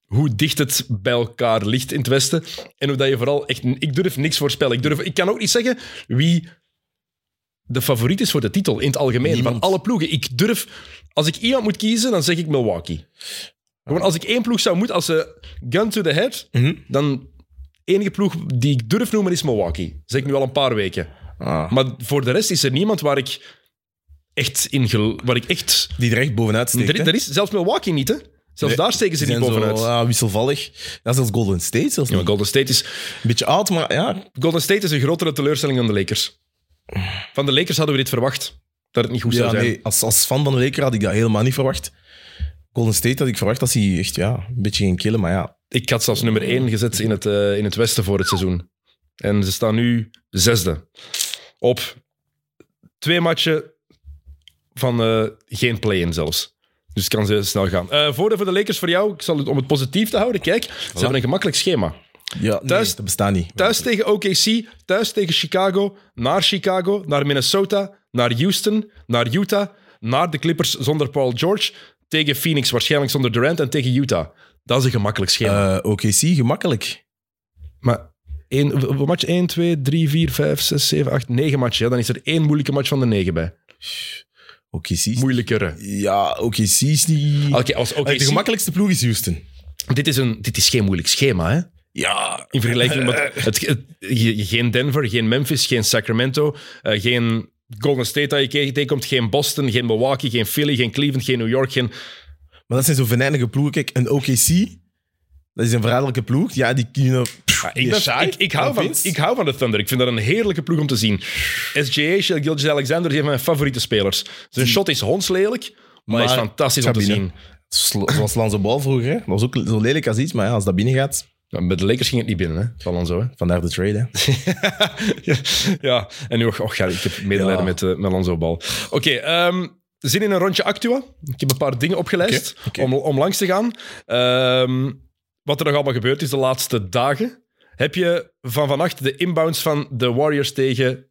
A: hoe dicht het bij elkaar ligt in het Westen. En hoe dat je vooral echt... Ik durf niks voorspellen. Ik, durf, ik kan ook niet zeggen wie de favoriet is voor de titel in het algemeen.
B: Niemand.
A: Van alle ploegen. Ik durf... Als ik iemand moet kiezen, dan zeg ik Milwaukee. Gewoon als ik één ploeg zou moeten... Als ze gun to the head,
B: Mhm.
A: dan... enige ploeg die ik durf noemen is Milwaukee. Dat zeg ik nu al een paar weken.
B: Ah,
A: Maar voor de rest is er niemand waar ik echt in gel- waar ik echt
B: die er echt bovenuit steekt.
A: er,
B: hè?
A: er is zelfs Milwaukee niet, hè? Zelfs
B: Nee,
A: daar steken ze
B: Die
A: niet
B: zijn
A: bovenuit.
B: Zo, ah, wisselvallig. Dat is als Golden State. Zelfs
A: Ja, maar
B: niet.
A: Golden State is,
B: Een beetje oud, maar ja.
A: Golden State is een grotere teleurstelling dan de Lakers. Van de Lakers hadden we dit verwacht. Dat het niet goed zou
B: ja
A: zijn.
B: nee, als, als fan van de Lakers had ik dat helemaal niet verwacht. Golden State had ik verwacht dat ze echt ja, een beetje ging killen, maar ja.
A: Ik had ze als nummer 1 gezet in het, eh, in het westen voor het seizoen. En ze staan nu zesde. Op twee matchen van eh, geen play-in zelfs. Dus het kan ze snel gaan. Eh voordeel voor de Lakers voor jou, ik zal het, om het positief te houden, kijk, ze hebben een gemakkelijk schema.
B: ja
A: Thuis-
B: nee, dat bestaat niet.
A: Thuis tegen OKC, thuis tegen Chicago, naar Chicago, naar Minnesota, naar Houston, naar Utah, naar de Clippers zonder Paul George, tegen Phoenix waarschijnlijk zonder Durant en tegen Utah. Dat is een gemakkelijk schema.
B: Eh, OKC, gemakkelijk.
A: maar één, w- w- match 1, 2, 3, 4, 5, 6, 7, 8, 9 matchen. Ja, dan is er één moeilijke match van de 9 bij.
B: OKC. is-
A: Moeilijkere.
B: Ja, OKC is niet...
A: Oké, als
B: Eh, de
A: OKC,
B: gemakkelijkste ploeg is Houston.
A: dit, is een, dit is geen moeilijk schema, hè?
B: Ja,
A: In vergelijking met het, het- ge- geen Denver, geen Memphis, geen Sacramento, eh, geen Golden State dat je ke- tegenkomt, geen Boston, geen Milwaukee, geen Philly, geen Cleveland, geen New York. Geen...
B: maar dat zijn zo venijnige ploegen. Kijk, een OKC, dat is een verraderlijke ploeg. Ja, die kunnen...
A: Ik, ben-
B: saai.
A: ik, ik, hou
B: Dan
A: van,
B: Vince.
A: ik hou van de Thunder. Ik vind dat een heerlijke ploeg om te zien. SGA, Gilgis Alexander, is een van mijn favoriete spelers. Zijn shot is hondslelijk, maar, hij is
B: Maar
A: fantastisch om
B: gaat
A: te zien.
B: binnen. Sl- Zoals Lanzo Bal vroeger, hè. dat was ook zo lelijk als iets. Maar ja, als dat binnen gaat,
A: Nou, Met de Lakers ging het niet binnen, hè? Van Lonzo, hè?
B: vandaar de trade. Hè.
A: ja, ja, en nu, och, och, ja, ik heb medelijden
B: Ja.
A: met, eh, met Lonzo Bal. Oké, ehm, zin in een rondje Actua. Ik heb een paar dingen opgelijst
B: Oké, oké.
A: Om, om langs te gaan. Ehm, wat er nog allemaal gebeurd is de laatste dagen. Heb je van vannacht de inbounds van de Warriors tegen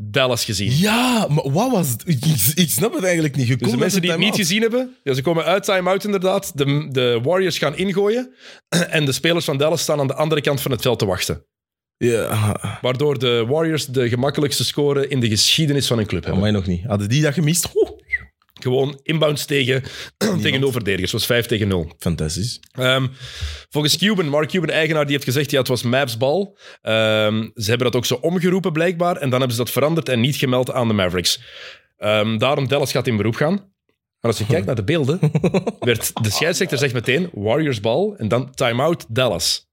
A: Dallas gezien?
B: Ja, maar wat was het? Ik, ik- ik snap het eigenlijk niet. Je
A: Dus
B: komt
A: de
B: met
A: mensen
B: een
A: die het niet
B: time-out.
A: gezien hebben, ja, ze komen uit time-out inderdaad. De, de Warriors gaan ingooien. En de spelers van Dallas staan aan de andere kant van het veld te wachten.
B: Ja,
A: Waardoor de Warriors de gemakkelijkste score in de geschiedenis van een club
B: ah,
A: hebben.
B: mij nog niet. Hadden die dat gemist? Oeh,
A: Gewoon inbounds tegen, tegen nul verdedigers. Het was 5 tegen 0.
B: fantastisch.
A: Ehm, volgens Cuban, Mark Cuban, eigenaar, die heeft gezegd, ja, het was Mavs bal. Ehm, ze hebben dat ook zo omgeroepen, blijkbaar. En dan hebben ze dat veranderd en niet gemeld aan de Mavericks. Ehm, daarom Dallas gaat in beroep gaan. Maar als je kijkt naar de beelden, werd de scheidsrechter zegt meteen Warriors bal en dan timeout Dallas.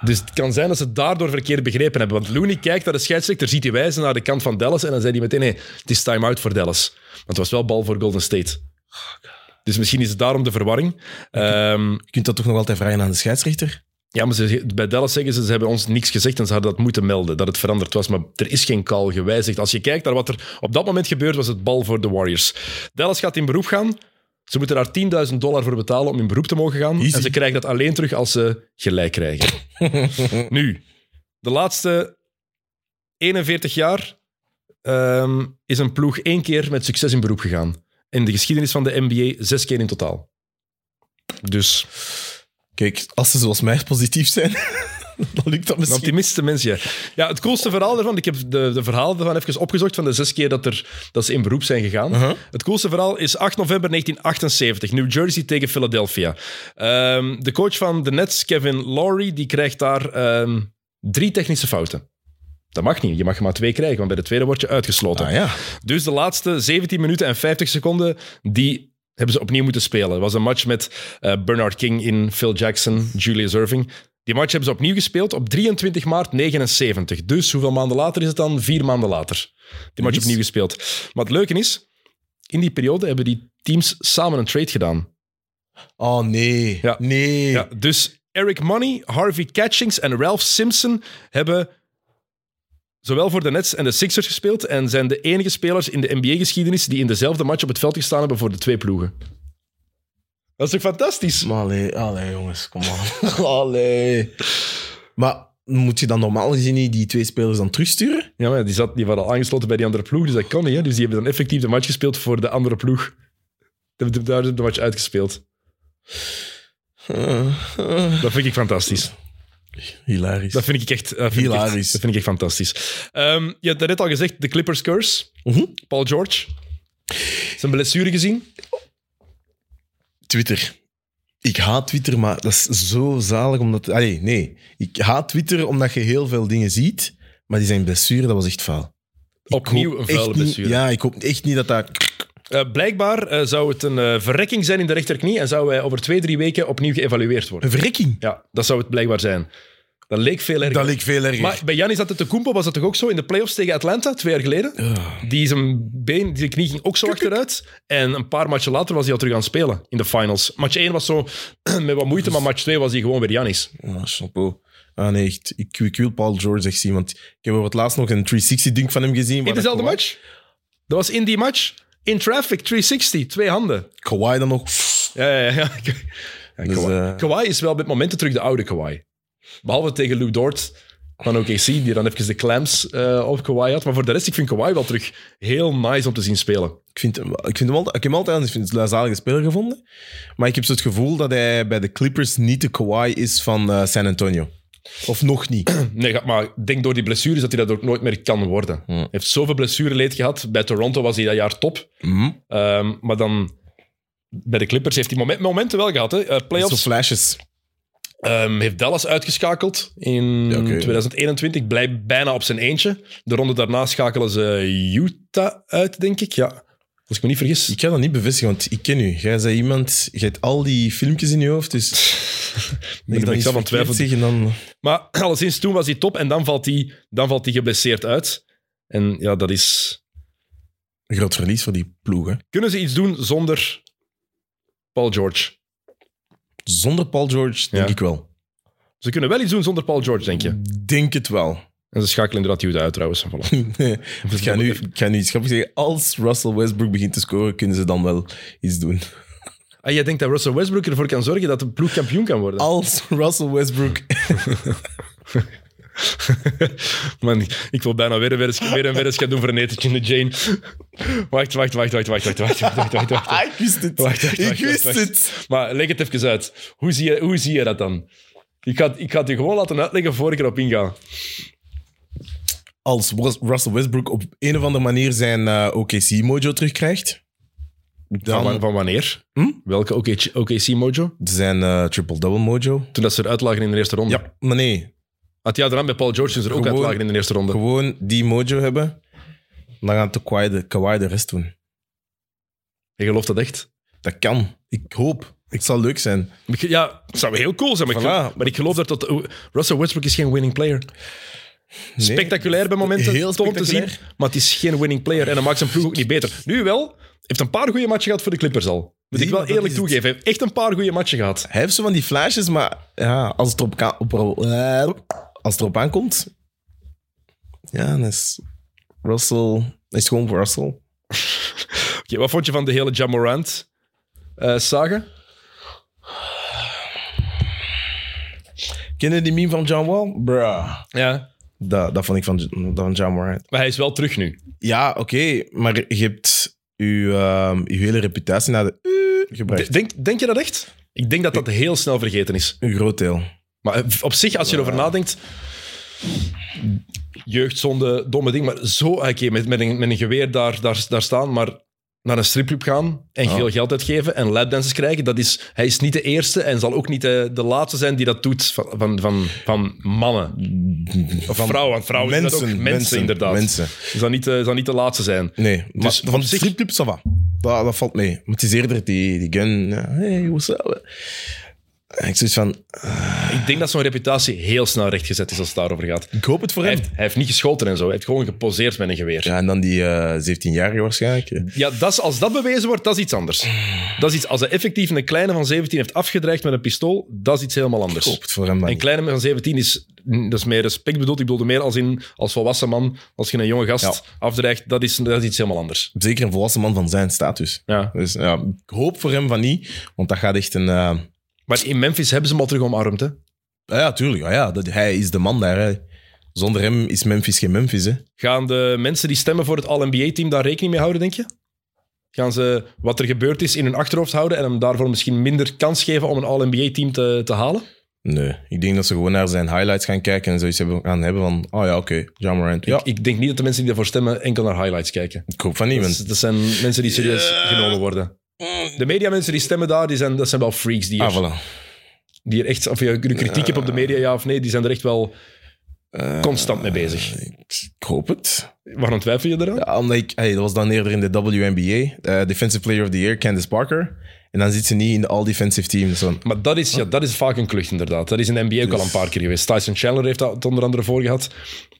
A: Dus het kan zijn dat ze het daardoor verkeerd begrepen hebben. Want Looney kijkt naar de scheidsrechter, ziet hij wijzen naar de kant van Dallas en dan zei hij meteen, nee, het is timeout voor Dallas. Want het was wel bal voor Golden State. Dus misschien is het daarom de verwarring. Ehm
B: Je kunt dat toch nog altijd vragen aan de scheidsrechter?
A: Ja, maar ze, bij Dallas zeggen ze, ze hebben ons niks gezegd en ze hadden dat moeten melden, dat het veranderd was. Maar er is geen call gewijzigd. Als je kijkt naar wat er op dat moment gebeurd was, het bal voor de Warriors. Dallas gaat in beroep gaan. Ze moeten daar 10.000 dollar voor betalen om in beroep te mogen gaan.
B: Easy.
A: En ze krijgen dat alleen terug als ze gelijk krijgen. nu, de laatste 41 jaar ehm, is een ploeg één keer met succes in beroep gegaan. In de geschiedenis van de NBA zes keer in totaal. Dus,
B: Kijk, als ze zoals mij positief zijn, dan lukt dat
A: een
B: misschien.
A: optimiste mens, ja. Ja, het coolste verhaal daarvan, ik heb de, de verhalen daarvan even opgezocht van de zes keer dat, er, dat ze in beroep zijn gegaan.
B: Uh-huh.
A: Het coolste verhaal is 8 november 1978, New Jersey tegen Philadelphia. Ehm, de coach van de Nets, Kevin Lowry, die krijgt daar ehm, drie technische fouten. Dat mag niet. Je mag er maar twee krijgen, want bij de tweede word je uitgesloten.
B: Ah ja.
A: Dus de laatste 17 minuten en 50 seconden, die hebben ze opnieuw moeten spelen. Het was een match met eh, Bernard King in Phil Jackson, Julius Irving. Die match hebben ze opnieuw gespeeld op 23 maart 79. Dus hoeveel maanden later is het dan? Vier maanden later. Die match
B: Nice.
A: opnieuw gespeeld. Maar het leuke is, in die periode hebben die teams samen een trade gedaan.
B: Oh nee.
A: Ja.
B: Nee.
A: Ja, dus Eric Money, Harvey Catchings en Ralph Simpson hebben zowel voor de Nets en de Sixers gespeeld en zijn de enige spelers in de NBA-geschiedenis die in dezelfde match op het veld gestaan hebben voor de twee ploegen. Dat is toch fantastisch?
B: Maar allee, allee, jongens, kom aan. Allee. Maar moet je dan normaal gezien niet die twee spelers dan terugsturen?
A: Ja, maar die, zat, die waren al aangesloten bij die andere ploeg, dus dat kan niet. Hè? Dus die hebben dan effectief de match gespeeld voor de andere ploeg. Die hebben Daar de match uitgespeeld.
B: Eh, eh.
A: Dat vind ik fantastisch.
B: Hilarisch.
A: Dat vind ik echt, dat vind ik echt-
B: Hilarisch.
A: dat vind ik echt fantastisch. Ehm, je hebt net al gezegd, de Clippers curse.
B: Mhm.
A: Paul George. Zijn blessure gezien.
B: Twitter. Ik haat Twitter, maar dat is zo zalig omdat... Allee, nee. Ik haat Twitter omdat je heel veel dingen ziet, maar die zijn blessure, dat was echt faal. Ik
A: Opnieuw
B: hoop
A: een vuile
B: echt niet-
A: blessure.
B: ja, ik hoop echt niet dat dat...
A: Eh, blijkbaar eh, zou het een eh, verrekking zijn in de rechterknie en zou hij over twee, drie weken opnieuw geëvalueerd worden.
B: Een verrekking.
A: Ja, dat zou het blijkbaar zijn. Dat leek veel erger.
B: Dat leek veel erger.
A: maar bij Janis Antetokounmpo was dat toch ook zo in de playoffs tegen Atlanta, twee jaar geleden?
B: Ah,
A: Die zijn been, die knie ging ook zo achteruit. En een paar matchen later was hij al terug aan het spelen in de finals. Match 1 was zo met wat moeite, maar match 2 was hij gewoon weer Janis.
B: Ah, chapeau. Ah nee, echt. Ik, ik wil Paul George echt zien, want ik heb over het laatst nog een 360-dunk van hem gezien.
A: In
B: waar dat
A: dezelfde
B: Kawhi-
A: match? Dat was in die match. In traffic, 360, twee handen.
B: Kawhi dan nog...
A: Ja, ja, ja. ja
B: Dus,
A: Kawhi.
B: eh,
A: Kawhi is wel met momenten terug de oude Kawhi. Behalve tegen Lou Dort van OKC, die dan even de clamps eh, op Kawhi had. Maar voor de rest, ik vind Kawhi wel terug heel nice om te zien spelen.
B: Ik vind, hem- ik vind hem altijd, ik heb hem altijd ik vind het een zalige speler gevonden. Maar ik heb zo het gevoel dat hij bij de Clippers niet de Kawhi is van eh, San Antonio. Of nog niet.
A: Nee, ga- maar ik denk door die blessures dat hij dat ook nooit meer kan worden. Hij heeft zoveel blessureleed gehad. Bij Toronto was hij dat jaar top.
B: Mhm.
A: Ehm, maar dan... Bij de Clippers heeft hij moment- momenten wel gehad. Hè. Eh,
B: Zo
A: playoffs
B: flashes.
A: Ehm, heeft Dallas uitgeschakeld in
B: Ja, oké.
A: 2021. Blijft bijna op zijn eentje. De ronde daarna schakelen ze Utah uit, denk ik. Ja, als ik me niet vergis.
B: Ik kan dat niet bevestigen, want ik ken u. Jij zei iemand, je hebt al die filmpjes in je hoofd, dus
A: ben ik
B: dat
A: zelf aan het
B: verkeerd
A: twijfelen.
B: zeg en dan...
A: Maar alleszins, toen was hij top en dan valt hij, dan valt hij geblesseerd uit. En ja, dat is...
B: Een groot verlies voor die ploegen.
A: Kunnen ze iets doen zonder Paul George?
B: Zonder Paul George, denk
A: Ja.
B: ik wel.
A: Ze kunnen wel iets doen zonder Paul George, denk je.
B: Denk het wel.
A: En ze schakelen inderdaad Utah uit, trouwens. Voilà.
B: Nee, ik, ga nu, ik ga nu iets grappigs zeggen. Als Russell Westbrook begint te scoren, kunnen ze dan wel iets doen.
A: Ah, jij denkt dat Russell Westbrook ervoor kan zorgen dat de ploeg kampioen kan worden?
B: Als Russell Westbrook...
A: Man, ik- ik wil bijna weer een weddenschap weer een weddenschap doen voor een etentje in de Jane. Wacht, wacht, wacht, wacht, wacht, wacht, wacht, wacht, wacht, wacht, wacht.
B: Ah, ik wist het.
A: Wacht, wacht,
B: ik
A: wacht,
B: wist
A: wacht,
B: het.
A: Maar leg het even uit. Hoe zie je, hoe zie je dat dan? Ik ga, het- ik ga het je gewoon laten uitleggen voor ik erop inga.
B: Als Wes- Russell Westbrook op een of andere manier zijn eh, OKC-mojo terugkrijgt,
A: Van, wa-
B: dan
A: van wanneer?
B: Hm?
A: Welke OKC, mojo?
B: zijn eh, triple-double mojo...
A: Toen dat ze eruit lagen in de eerste ronde.
B: Ja, maar nee,
A: Had jij daarna bij Paul George toen ze er ook
B: Gewoon-
A: uitlagen in de eerste ronde?
B: gewoon die mojo hebben, dan gaat de Kawhi de, Kawhi de rest doen.
A: Je gelooft dat echt?
B: Dat kan. Ik hoop. Het zal leuk zijn.
A: Ik- Ja, het zou heel cool zijn, maar, ik,
B: Voilà.
A: geloof, maar ik geloof dat, dat... Russell Westbrook is geen winning player.
B: Nee.
A: Spectaculair bij momenten.
B: Heel
A: tof om te zien.
B: spectaculair.
A: Maar het is geen winning player. En dat maakt zijn ploeg ook niet beter. Nu wel. Heeft een paar goede matchen gehad voor de Clippers al. Moet ik
B: Die,
A: wel
B: maar dat
A: eerlijk
B: is het.
A: toegeven. Hij heeft echt een paar goede matchen gehad.
B: Hij heeft zo van die flashes, maar ja, als het erop, ka- op, eh, als het erop aankomt... Ja, dan is Russell... Dat is gewoon Russell.
A: Oké, wat vond je van de hele Jamorant eh saga?
B: Ken je die meme van John Wall? Bruh.
A: Ja.
B: Dat, dat vond ik van, van John Moran.
A: Maar hij is wel terug nu.
B: Ja, oké, maar je hebt je, ehm, je hele reputatie naar de eh, gebracht.
A: D- Denk, denk je dat echt? Ik denk dat dat heel snel vergeten is.
B: Een groot deel.
A: Maar eh, op zich, als je erover nadenkt... Jeugdzonde, domme ding. Maar zo, ah, oké, met, met, een, met een geweer daar, daar, daar staan, maar naar een stripclub gaan en
B: Ja.
A: veel geld uitgeven en lapdances krijgen, dat is, hij is niet de eerste en zal ook niet eh, de, de laatste zijn die dat doet van, van, van, van mannen. Of vrouwen, want vrouwen doen dat ook. Mensen, inderdaad.
B: Mensen.
A: Zal, niet, eh, zal niet de laatste zijn.
B: Nee, maar
A: Dus op
B: van de
A: zich-
B: stripclub, ça va. Dat, dat valt mee. Maar het is eerder die, die gun. ja, hey, what's up? En ik zoiets van,
A: Ik denk dat zo'n reputatie heel snel rechtgezet is als het daarover gaat.
B: ik hoop het voor
A: Hij
B: hem.
A: heeft, hij heeft niet geschoten en zo. Hij heeft gewoon geposeerd met een geweer. Ja.
B: Ja, en dan die eh 17-jarige waarschijnlijk.
A: dat is, als dat bewezen wordt, dat is iets anders. Dat is iets, als hij effectief een kleine van 17 heeft afgedreigd met een pistool, dat is iets helemaal
B: Ik
A: anders.
B: hoop het voor hem dan.
A: Een
B: niet.
A: kleine van 17 is, dat is meer respect bedoeld. Ik bedoelde meer als, in, als volwassen man, als je een jonge gast
B: Ja.
A: afdreigt, dat is, dat is iets helemaal anders.
B: Zeker een volwassen man van zijn status.
A: Ja.
B: Dus ja, ik hoop voor hem van niet, want dat gaat echt een... eh, ah
A: Maar in Memphis hebben ze hem al terug omarmd. Hè?
B: Ja, ja tuurlijk. Ja, ja, dat, hij is de man daar. Hè. Zonder hem is Memphis geen Memphis. Hè.
A: Gaan de mensen die stemmen voor het All-NBA-team daar rekening mee houden, denk je? Gaan ze wat er gebeurd is in hun achterhoofd houden en hem daarvoor misschien minder kans geven om een All-NBA-team te, te halen?
B: Nee, ik denk dat ze gewoon naar zijn highlights gaan kijken en zoiets hebben, gaan hebben van... Oh ja, oké, John Morant. Ja, ik,
A: Ik denk niet dat de mensen die daarvoor stemmen enkel naar highlights kijken.
B: hoop van
A: Dat,
B: niemand.
A: is- dat zijn mensen die serieus
B: Ja.
A: genomen worden. De media mensen die stemmen daar, die zijn, dat zijn wel freaks. Die, er,
B: Ah, voilà.
A: die er echt, of je de kritiek hebt op de media, ja of nee, die zijn er echt wel
B: Eh,
A: constant mee bezig.
B: Ik, ik hoop het.
A: Waarom twijfel je eraan?
B: Ja, omdat ik... Hey, dat was dan eerder in de WNBA. eh, Defensive Player of the Year, Candace Parker. En dan zit ze niet in de All-Defensive Team. Dus dan,
A: Maar dat is, ja, dat is vaak een klucht, inderdaad. Dat is in de NBA ook
B: Dus-
A: al een paar keer geweest. Tyson Chandler heeft dat onder andere voor gehad.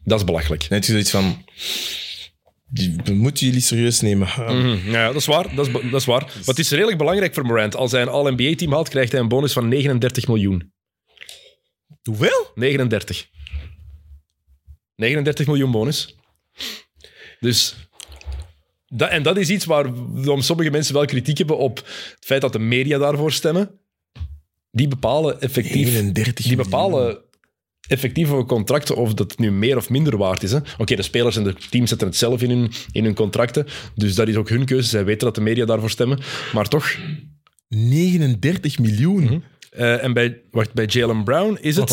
A: Dat is belachelijk.
B: net zoiets van... die- We moeten jullie serieus nemen. Ah,
A: Mhm, Ja, dat is waar. Dat is, be- dat is waar. Maar het is redelijk belangrijk voor Morant. Als hij een All-NBA-team haalt, krijgt hij een bonus van 39 miljoen.
B: Hoeveel?
A: 39. 39 miljoen bonus. Dus... Dat, en dat is iets waar waarom sommige mensen wel kritiek hebben op het feit dat de media daarvoor stemmen. Die bepalen effectief...
B: 31
A: Die bepalen effectief over contracten of dat nu meer of minder waard is. hè. Oké, de spelers en de teams zetten het zelf in hun, in hun contracten. Dus dat is ook hun keuze. Zij weten dat de media daarvoor stemmen. Maar toch.
B: 39 miljoen.
A: eh, en bij, wacht, bij Jalen Brown is het.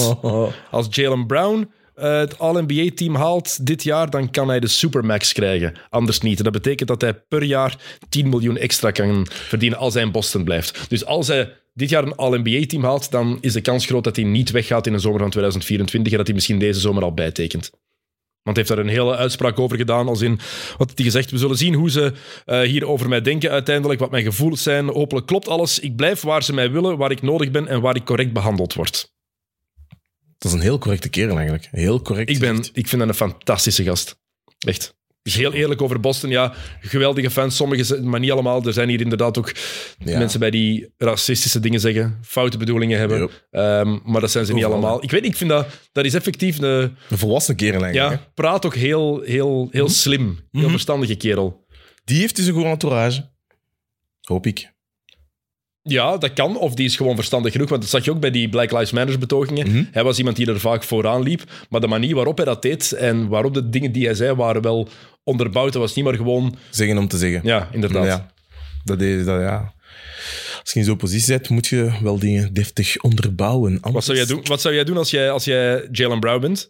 A: Als Jalen Brown eh, het All-NBA-team haalt dit jaar, dan kan hij de Supermax krijgen. Anders niet. En dat betekent dat hij per jaar 10 miljoen extra kan verdienen als hij in Boston blijft. Dus als hij dit jaar een All-NBA-team haalt, dan is de kans groot dat hij niet weggaat in de zomer van 2024 en dat hij misschien deze zomer al bijtekent. Want hij heeft daar een hele uitspraak over gedaan, als in wat had hij gezegd. We zullen zien hoe ze eh, hier over mij denken uiteindelijk, wat mijn gevoelens zijn. Hopelijk klopt alles. Ik blijf waar ze mij willen, waar ik nodig ben en waar ik correct behandeld word.
B: Dat is een heel correcte kerel eigenlijk. Heel correct.
A: Ik, ben,
B: gezicht.
A: ik vind dat een fantastische gast. Echt. Dus heel eerlijk over Boston, ja, geweldige fans, sommigen, zijn- maar niet allemaal. Er zijn hier inderdaad ook
B: Ja.
A: mensen bij die racistische dingen zeggen, foute bedoelingen hebben.
B: Yep.
A: Ehm, maar dat zijn ze niet
B: Overal,
A: allemaal. Ik weet niet, ik vind dat, dat is effectief een...
B: Een volwassen kerel eigenlijk. hè.
A: Ja, praat ook heel, heel, heel
B: Mhm.
A: slim. Heel verstandige kerel.
B: Die heeft dus een goede entourage. Hoop ik.
A: Ja, dat kan. Of die is gewoon verstandig genoeg. Want dat zag je ook bij die Black Lives Matter betogingen. Hij was iemand die er vaak vooraan liep. Maar de manier waarop hij dat deed en waarop de dingen die hij zei waren wel onderbouwd. Dat was niet maar gewoon...
B: Zeggen om te zeggen.
A: Ja, inderdaad.
B: Ja. Dat is, dat, ja. Als je in zo'n positie zit, moet je wel dingen deftig onderbouwen.
A: Wat,
B: Anders-
A: zou jij doen, wat zou jij doen als jij, als jij Jalen Brown bent?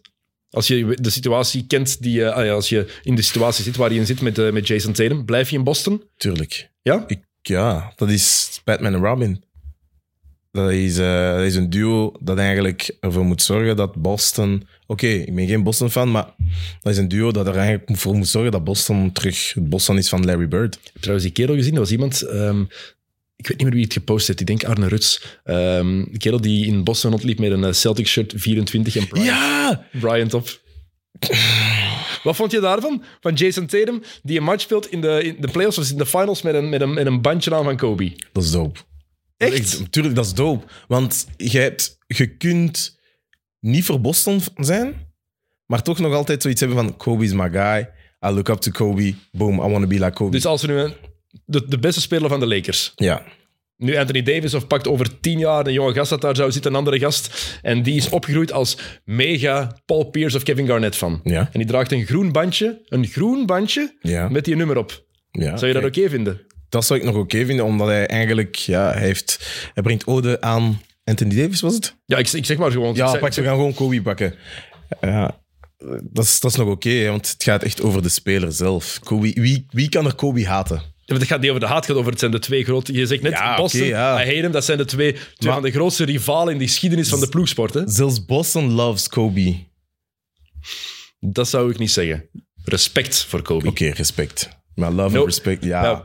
A: Als je de situatie kent die... eh, ah ja, als je in de situatie zit waar je in zit met, eh, met Jason Tatum. Blijf je in Boston?
B: Tuurlijk.
A: Ja?
B: Ik, ja, dat is Batman en Robin. Dat is, eh, dat is een duo dat eigenlijk ervoor moet zorgen dat Boston... Oké, ik ben geen Boston-fan, maar dat is een duo dat er eigenlijk voor moet zorgen dat Boston terug het Boston is van Larry Bird.
A: trouwens die kerel gezien. Dat was iemand, ehm, ik weet niet meer wie het gepost heeft. Ik denk Arne Ruts. Ehm de kerel die in Boston rondliep met een eh, Celtic shirt 24 en Bryant,
B: Ja!
A: Bryant op. Wat vond je daarvan? Van Jason Tatum, die een match speelt in de, in de playoffs of in de finals met een, met een, met een bandje aan van Kobe.
B: Dat is dope.
A: Echt?
B: Natuurlijk, dat is dope. Want je, hebt, je kunt niet voor Boston zijn, maar toch nog altijd zoiets hebben van Kobe is my guy. I look up to Kobe. Boom, I want to be like Kobe.
A: Dus als we nu een- de, de beste speler van de Lakers.
B: ja.
A: Nu Anthony Davis of pakt over tien jaar een jonge gast dat daar zou zitten, een andere gast. En die is opgegroeid als mega Paul Pierce of Kevin Garnett van.
B: Ja.
A: En die draagt een groen bandje, een groen bandje
B: Ja.
A: met die nummer op.
B: ja.
A: Zou je dat oké vinden?
B: Dat zou ik nog oké vinden, omdat hij eigenlijk, ja, hij, heeft, hij brengt ode aan Anthony Davis, was het?
A: Ja, ik, ik zeg maar gewoon. ik
B: Ja,
A: zeg-
B: pak, we gaan gewoon Kobe pakken. Ja, dat is, dat is nog oké, hè, want het gaat echt over de speler zelf. Kobe, wie, wie kan er Kobe haten?
A: Ja, maar het gaat niet over de haat, het gaat over het zijn de twee grote. Je zegt net
B: Ja,
A: Boston,
B: oké, ja.
A: I hate him, dat zijn de twee, twee
B: Maar-
A: van de grootste rivalen in de geschiedenis van de ploegsport. Hè?
B: Zelfs Boston loves Kobe. Oké,
A: Dat zou ik niet zeggen. Respect voor Kobe.
B: respect. Maar love
A: No.
B: and respect, ja.
A: Nou,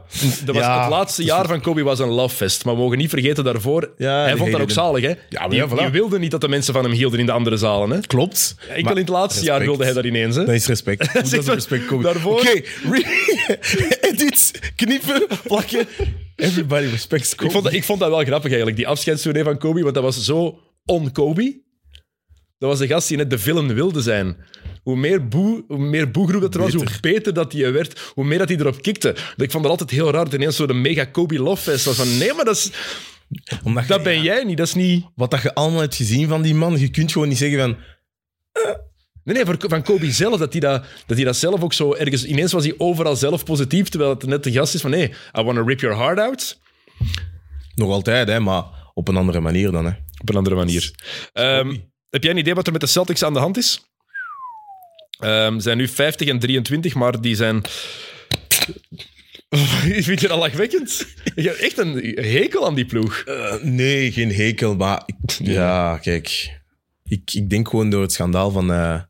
A: dat was
B: Ja.
A: het laatste jaar van Kobe was een lovefest. Maar we mogen niet vergeten daarvoor,
B: Ja,
A: hij
B: die
A: vond dat
B: hele-
A: ook zalig. Hè?
B: Ja, maar
A: die,
B: ja, voilà.
A: die wilde niet dat de mensen van hem hielden in de andere zalen. Hè?
B: Klopt.
A: Enkel
B: maar
A: in het laatste jaar
B: respect.
A: wilde hij dat ineens. Hè?
B: Dat is respect. Hoe Dat
A: Zeg
B: is
A: maar,
B: respect, Kobe.
A: daarvoor-
B: Oké, re- edit, knippen, plakken. Everybody respects Kobe.
A: Ik vond, dat, ik vond dat wel grappig eigenlijk, die afscheidstournee van Kobe, want dat was zo on-Kobe. Dat was de gast die net de villain wilde zijn. Hoe meer, boe, hoe meer boegroep dat er was, hoe beter dat hij werd, hoe meer dat hij erop kikte. Dat Ik vond dat altijd heel raar, dat ineens zo de mega Kobe love fest was. Van, nee, maar dat, is,
B: Omdat je-
A: dat ben jij niet, dat is niet...
B: Wat dat je allemaal hebt gezien van die man, je kunt gewoon niet zeggen van...
A: Nee, nee, voor- van Kobe zelf, dat hij dat, dat hij dat zelf ook zo ergens... Ineens was hij overal zelf positief, terwijl het net de gast is van, nee, I want to rip your heart out.
B: Nog altijd, hè, maar op een andere manier dan. Hè.
A: Op een andere manier. Ehm, heb jij een idee wat er met de Celtics aan de hand is? Ehm, Ze zijn nu 50 en 23, maar die zijn. Ik vind je dat lachwekkend? Je hebt echt een hekel aan die ploeg.
B: Eh, nee, geen hekel, maar... ik- ja, kijk. Ik, ik denk gewoon door het schandaal van... eh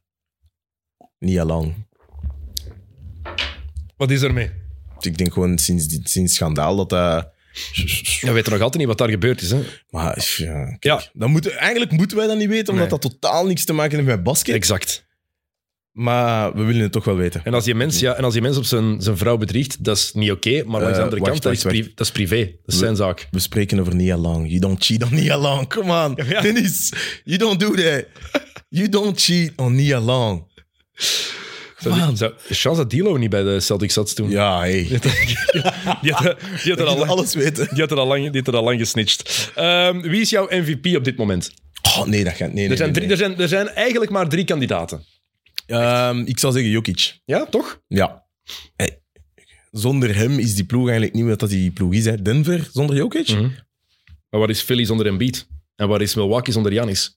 B: Nia Lang.
A: Wat is er mee?
B: Ik denk gewoon sinds, die- sinds het schandaal dat eh, dat...
A: We weten nog altijd niet wat daar gebeurd is. Hè?
B: Maar ja, kijk,
A: Ja.
B: Dan moeten, eigenlijk moeten wij dat niet weten, omdat
A: Nee.
B: dat totaal niks te maken heeft met basket.
A: Exact.
B: Maar we willen het toch wel weten.
A: En als die mens, ja, en als die mens op zijn, zijn vrouw bedriegt, dat is niet oké. maar aan de
B: Eh,
A: andere
B: wacht,
A: kant, dat,
B: wacht,
A: is pri-
B: wacht.
A: dat is privé. Dat is zijn zaak.
B: We spreken over Nia Lang. You don't cheat on Nia Lang. Come on.
A: ja.
B: Dennis, you don't do that. You don't cheat on Nia Lang.
A: Zou, zou, chance dat Dilo niet bij de Celtics zat toen.
B: Ja, hey.
A: Die had- die had er
B: Dat
A: al lang-
B: alles weten.
A: Die had er al lang, die had er al lang gesnitcht. Ehm, wie is jouw MVP op dit moment?
B: Oh, nee, dat gaat... Nee, nee,
A: er, zijn
B: nee,
A: drie, dus-
B: nee.
A: er, zijn, er zijn eigenlijk maar drie kandidaten.
B: Ehm, ik zou zeggen Jokic.
A: Ja, toch?
B: Ja. Hey, Zonder hem is die ploeg eigenlijk niet meer dat die ploeg is. Hè. Denver zonder Jokic?
A: Mhm. Maar wat is Philly zonder Embiid? En wat is Milwaukee zonder Giannis?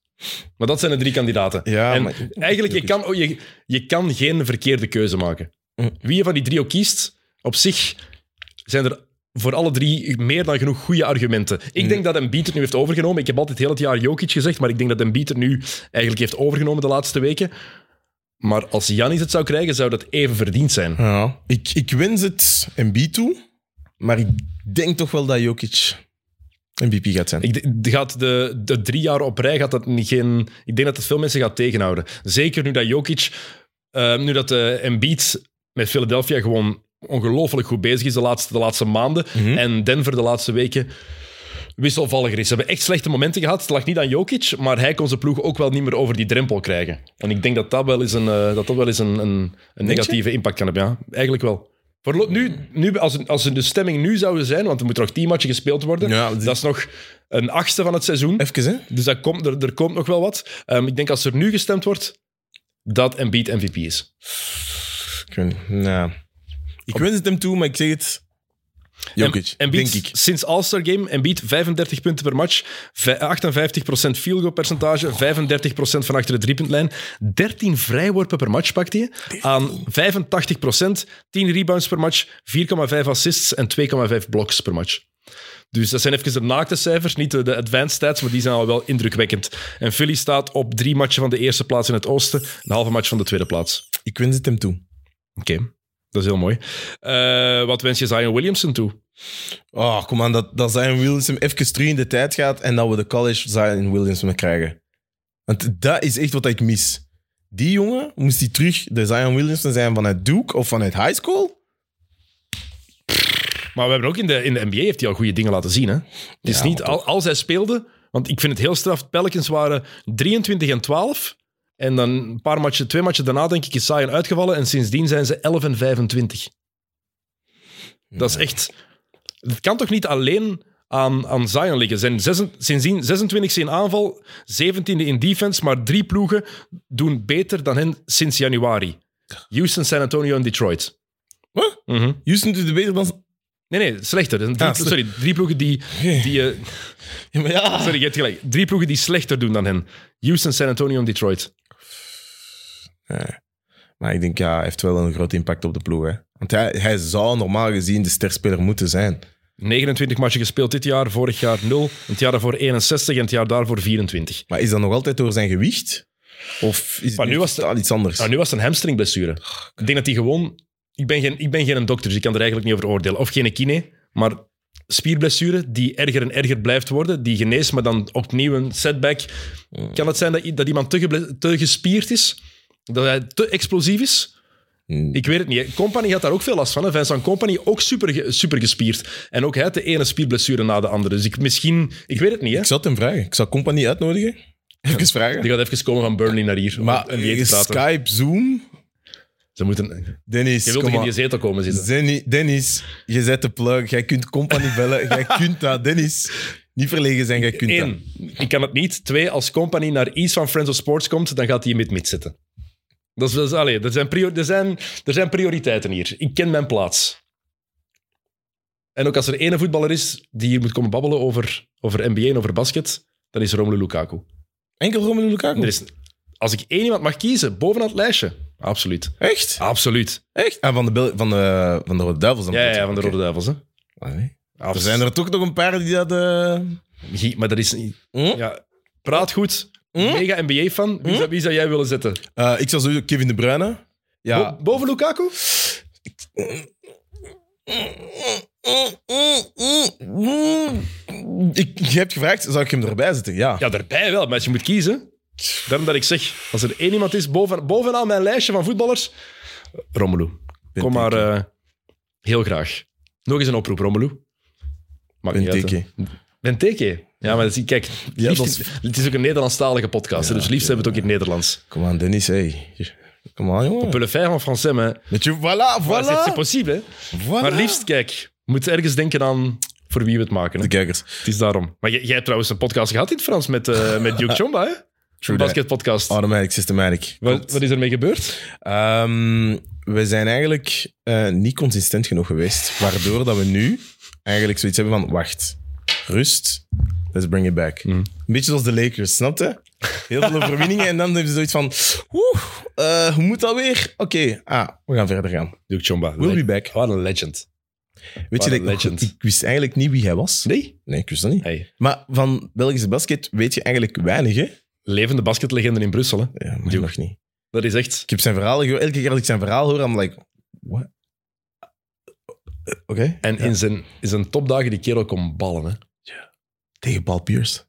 A: Maar dat zijn de drie kandidaten.
B: Ja,
A: en
B: maar-
A: eigenlijk, je kan, je, je kan geen verkeerde keuze maken.
B: Mhm.
A: Wie je van die drie ook kiest, op zich zijn er voor alle drie meer dan genoeg goede argumenten. Ik
B: Hm.
A: denk dat Embiid het nu heeft overgenomen. Ik heb altijd heel het jaar Jokic gezegd, maar ik denk dat Embiid het nu eigenlijk heeft overgenomen de laatste weken. Maar als Giannis het zou krijgen, zou dat even verdiend zijn.
B: Ja. Ik, ik wens het Embiid toe, maar ik denk toch wel dat Jokic MVP gaat zijn.
A: Ik, d- gaat de, de drie jaar op rij gaat dat niet geen. Ik denk dat dat veel mensen gaat tegenhouden. Zeker nu dat Jokic, eh, nu dat eh Embiid met Philadelphia gewoon ongelooflijk goed bezig is de laatste, de laatste maanden.
B: Mhm.
A: En Denver de laatste weken wisselvalliger is. Ze hebben echt slechte momenten gehad. Het lag niet aan Jokic, maar hij kon zijn ploeg ook wel niet meer over die drempel krijgen. En ik denk dat dat wel eens een, eh, dat dat wel eens een, een, een
B: je?
A: negatieve impact kan hebben. Ja, eigenlijk wel. Voorlo- Nu, nu, als, als de stemming nu zouden zijn, want er moeten nog tien matchen gespeeld worden,
B: Ja,
A: dat
B: die-
A: is nog een achtste van het seizoen.
B: Even, hè?
A: Dus dat komt, er, er komt nog wel wat. Ehm, ik denk als er nu gestemd wordt, dat Embiid MVP is.
B: Ik, weet, nou, ik wens het hem toe, maar ik zeg het. Jokic,
A: Em- Embiid,
B: denk ik.
A: Sinds All-Star Game, Embiid 35 punten per match, vij- 58% field goal percentage, 35% van achter de driepuntlijn, 13 vrijworpen per match pakt hij aan 85%, 10 rebounds per match, 4,5 assists en 2,5 blocks per match. Dus dat zijn even de naakte cijfers, niet de, de advanced stats, maar die zijn al wel indrukwekkend. En Philly staat op drie matchen van de eerste plaats in het oosten, een halve match van de tweede plaats.
B: Ik wens het hem toe.
A: Oké, dat is heel mooi. Eh, wat wens je Zion Williamson toe?
B: Oh, kom aan, dat, dat Zion Williamson even terug in de tijd gaat en dat we de college Zion Williamson krijgen. Want dat is echt wat ik mis. Die jongen, moest die terug de Zion Williamson zijn vanuit Duke of vanuit high school?
A: Maar we hebben ook in de, in de NBA heeft hij al goede dingen laten zien. Hè? Het is
B: Ja,
A: niet
B: maar
A: al, als hij speelde, want ik vind het heel straf. Pelicans waren 23 en 12. En dan een paar matchen, twee matchen daarna, denk ik, is Zion uitgevallen. En sindsdien zijn ze 11 en 25. Dat is echt. Het kan toch niet alleen aan, aan Zion liggen? Zijn zes, sindsdien 26 in aanval, 17e in defense, maar drie ploegen doen beter dan hen sinds januari: Houston, San Antonio en Detroit.
B: Wat?
A: Mhm.
B: Houston doet het beter dan...
A: Nee, nee, slechter. Dat zijn Drie,
B: Ah,
A: plo- sorry, drie ploegen die. die eh,
B: Ja, maar ja.
A: sorry, je hebt gelijk. Drie ploegen die slechter doen dan hen: Houston, San Antonio en Detroit.
B: Maar ik denk, ja, hij heeft wel een groot impact op de ploeg. Hè. Want hij, hij zou normaal gezien de sterspeler moeten zijn.
A: 29 matchen gespeeld dit jaar, vorig jaar 0, het jaar daarvoor 61 en het jaar daarvoor 24.
B: Maar is dat nog altijd door zijn gewicht? Of is
A: Maar
B: het
A: nu
B: nu
A: was de-
B: totaal iets anders?
A: Nou, nu was het een hamstringblessure.
B: Oh,
A: Ik denk dat hij gewoon... Ik ben, geen, ik ben geen dokter, dus ik kan er eigenlijk niet over oordelen. Of geen kine, maar spierblessure die erger en erger blijft worden, die geneest, maar dan opnieuw een setback.
B: Mm.
A: Kan het zijn dat, i- dat iemand te, geble- te gespierd is? Dat hij te explosief is?
B: Hmm.
A: Ik weet het niet. hè. Company had daar ook veel last van. Hè. Vincent Company ook super, ge- super gespierd. En ook hij had de ene spierblessure na de andere. Dus ik, misschien... Ik weet het niet, hè.
B: Ik zou het hem vragen. Ik zou Company uitnodigen. Even vragen.
A: Die gaat even komen van Burnley naar hier. om
B: Maar
A: NBA te praten.
B: Skype, Zoom...
A: Ze moeten...
B: Dennis,
A: Je wilt toch
B: kom
A: in
B: maar.
A: die zetel komen zitten?
B: Dennis, Dennis, je zet de plug. Jij kunt Company bellen. Jij kunt dat. Dennis, niet verlegen zijn. Jij kunt dat.
A: Eén, ik kan het niet. Twee, als company naar iets van Friends of Sports komt, dan gaat hij in mid-mid zitten. Dat is, dat is, allee, er, zijn prior- er, zijn, er zijn prioriteiten hier. Ik ken mijn plaats. En ook als er ene voetballer is die hier moet komen babbelen over, over NBA en over basket, dan is Romelu Lukaku.
B: Enkel Romelu Lukaku.
A: Er is, als ik één iemand mag kiezen, bovenaan het lijstje, absoluut.
B: Echt?
A: Absoluut.
B: Echt? Ah, van, de Bel- van, de, van de Rode Duivels. dan
A: Ah. Ja, ja,
B: bedoel
A: van
B: je?
A: de Rode Duivels. Hè.
B: Oké. Allee. Er zijn er toch nog een paar die dat... eh,
A: Gie- Maar dat is niet...
B: Hm?
A: Ja, praat goed.
B: Hm?
A: Mega NBA-fan. Wie, zou- wie zou jij willen zetten?
B: Eh, ik zou sowieso Kevin De Bruyne. Ja.
A: Bo- boven Lukaku?
B: Ik, je hebt gevraagd, zou ik hem erbij zetten? Ja.
A: Ja, daarbij wel, maar als je moet kiezen. Daarom dat ik zeg, als er één iemand is boven, bovenaan mijn lijstje van voetballers, Romelu. Kom maar eh, heel graag. Nog eens een oproep, Romelu. Maakt niet uit, hè.
B: Benteke.
A: Benteke. Ja, maar dat is, kijk, liefst
B: dat is-
A: in- het is ook een Nederlandstalige podcast, hè, dus liefst hebben we het ook in het Nederlands.
B: Kom aan, Dennis. Hey. Kom aan, jongen.
A: Pulle vijf en Français, hè.
B: Weet je, voilà,
A: Maar c'est- c'est
B: voilà.
A: possible, hè.
B: voilà.
A: Maar liefst, kijk, moet ergens denken aan voor wie we het maken. hè.
B: De kijkers.
A: Het is daarom. Maar jij, jij hebt trouwens een podcast gehad in het Frans met, eh met Duke Chomba, hè?
B: True
A: Een
B: that.
A: basketpodcast.
B: Automatic, systematic.
A: Wat, wat is ermee gebeurd?
B: Ehm, we zijn eigenlijk eh, niet consistent genoeg geweest. Waardoor dat we nu eigenlijk zoiets hebben van: wacht, rust, let's bring it back.
A: Mm.
B: Een beetje zoals de Lakers, snapte? Heel veel overwinningen en dan hebben ze zoiets van: oeh, eh, hoe moet dat weer? Oké, ah, we gaan verder gaan.
A: Duke Chomba.
B: We'll be back.
A: Wat een legend.
B: Weet je,
A: Wat
B: dat
A: een
B: ik, nog-
A: legend.
B: ik wist eigenlijk niet wie hij was.
A: Nee?
B: Nee, ik wist dat niet.
A: Hey.
B: Maar van Belgische basket weet je eigenlijk weinig, hè?
A: Levende basketlegende in Brussel. Hè?
B: Ja, maar
A: Duke.
B: nog niet.
A: Dat is echt...
B: Ik heb zijn verhaal gehoord. Elke keer als ik zijn verhaal hoor, I'm like, what? Oké.
A: En
B: Ja.
A: in, zijn, in zijn topdagen die kerel kon ballen. Hè?
B: Tegen Paul Pierce.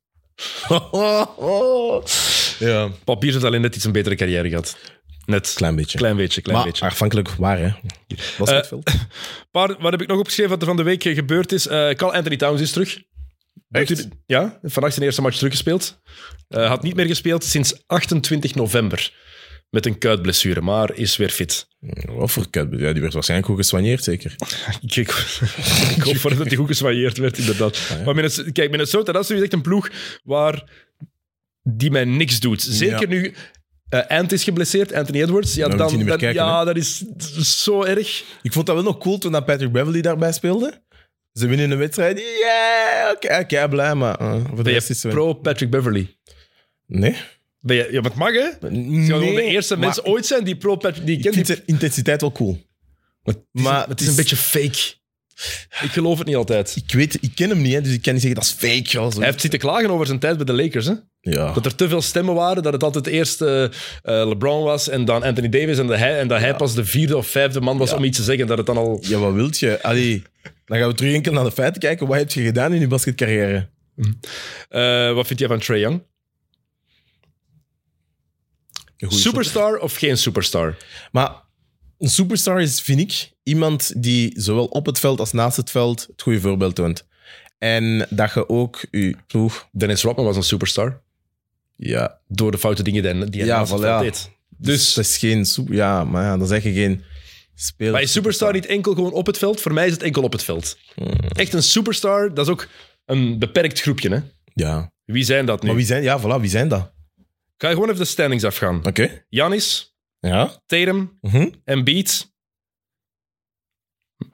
B: ja, een
A: Paul Pierce heeft alleen net iets een betere carrière gehad. Net.
B: klein beetje.
A: Klein beetje, klein
B: maar
A: beetje.
B: afhankelijk waar, hè? Was
A: Eh,
B: het veel?
A: Paar, wat heb ik nog opgeschreven wat er van de week eh, gebeurd is? Eh Carl Anthony Towns is terug. Doet
B: Echt?
A: hij de- ja, vannacht zijn eerste match teruggespeeld. Eh had niet meer gespeeld sinds 28 november. Met een kuitblessure, maar is weer fit.
B: Mm, Wat voor kut? Ja, die werd waarschijnlijk goed gesoigneerd, zeker.
A: Ik, ik, ik hoop voor dat hij goed geswailleerd werd, inderdaad.
B: Ah, ja.
A: Maar Minnesota, kijk, Minnesota, dat is nu echt een ploeg waar die mij niks doet. Zeker
B: Ja. Nou,
A: nu eh Ant is geblesseerd, Anthony Edwards. Ja,
B: Dan
A: dan,
B: moet je niet meer
A: dan-
B: kijken,
A: ja dat is zo erg.
B: Ik vond dat wel nog cool toen dat Patrick Beverly daarbij speelde. Ze winnen een wedstrijd. Yeah! Oké, oké, blij, maar eh, voor de
A: Ben
B: rest is
A: je
B: het wel-
A: pro Patrick Beverly?
B: Nee?
A: Ben je, ja, maar het mag, hè?
B: Nee,
A: Je zou gewoon de eerste
B: maar
A: mensen ooit zijn die pro Patrick... Die
B: Ik
A: kent
B: vind
A: die-
B: zijn intensiteit wel cool.
A: maar het is,
B: maar
A: een- het is een beetje fake. Ik geloof het niet altijd.
B: Ik, weet, ik ken hem niet, hè, dus ik kan niet zeggen dat is fake. Joh, zo.
A: Hij heeft zitten klagen over zijn tijd bij de Lakers, hè?
B: ja.
A: Dat er te veel stemmen waren, dat het altijd eerst eh, eh, LeBron was en dan Anthony Davis en, dat hij, en dat hij pas de vierde of vijfde man was om iets te zeggen. Dat het dan al...
B: ja, wat wilt je? Allee, dan gaan we terug enkel naar de feiten kijken. Wat heb je gedaan in je basketcarrière?
A: Eh, wat vind jij van Trae Young?
B: Een goede
A: Superstar of geen superstar?
B: Maar een superstar is, vind ik, iemand die zowel op het veld als naast het veld het goede voorbeeld toont. En dat je ook je ploeg...
A: Dennis Rodman was een superstar.
B: Ja,
A: Door de foute dingen die hij- die hij
B: Ja,
A: naast het
B: voilà.
A: veld deed. Dus,
B: dat is geen... soep- Ja, maar ja, dan zeg je geen speler.
A: maar is superstar niet enkel gewoon op het veld? Voor mij is het enkel op het veld.
B: Hmm.
A: Echt een superstar, dat is ook een beperkt groepje. Hè?
B: Ja.
A: Wie zijn dat nu?
B: Maar wie zijn... Ja, voilà, wie zijn dat? Oké.
A: Ga je gewoon even de standings afgaan. Janis,
B: Ja.
A: Tatum,
B: Mhm.
A: Embiid.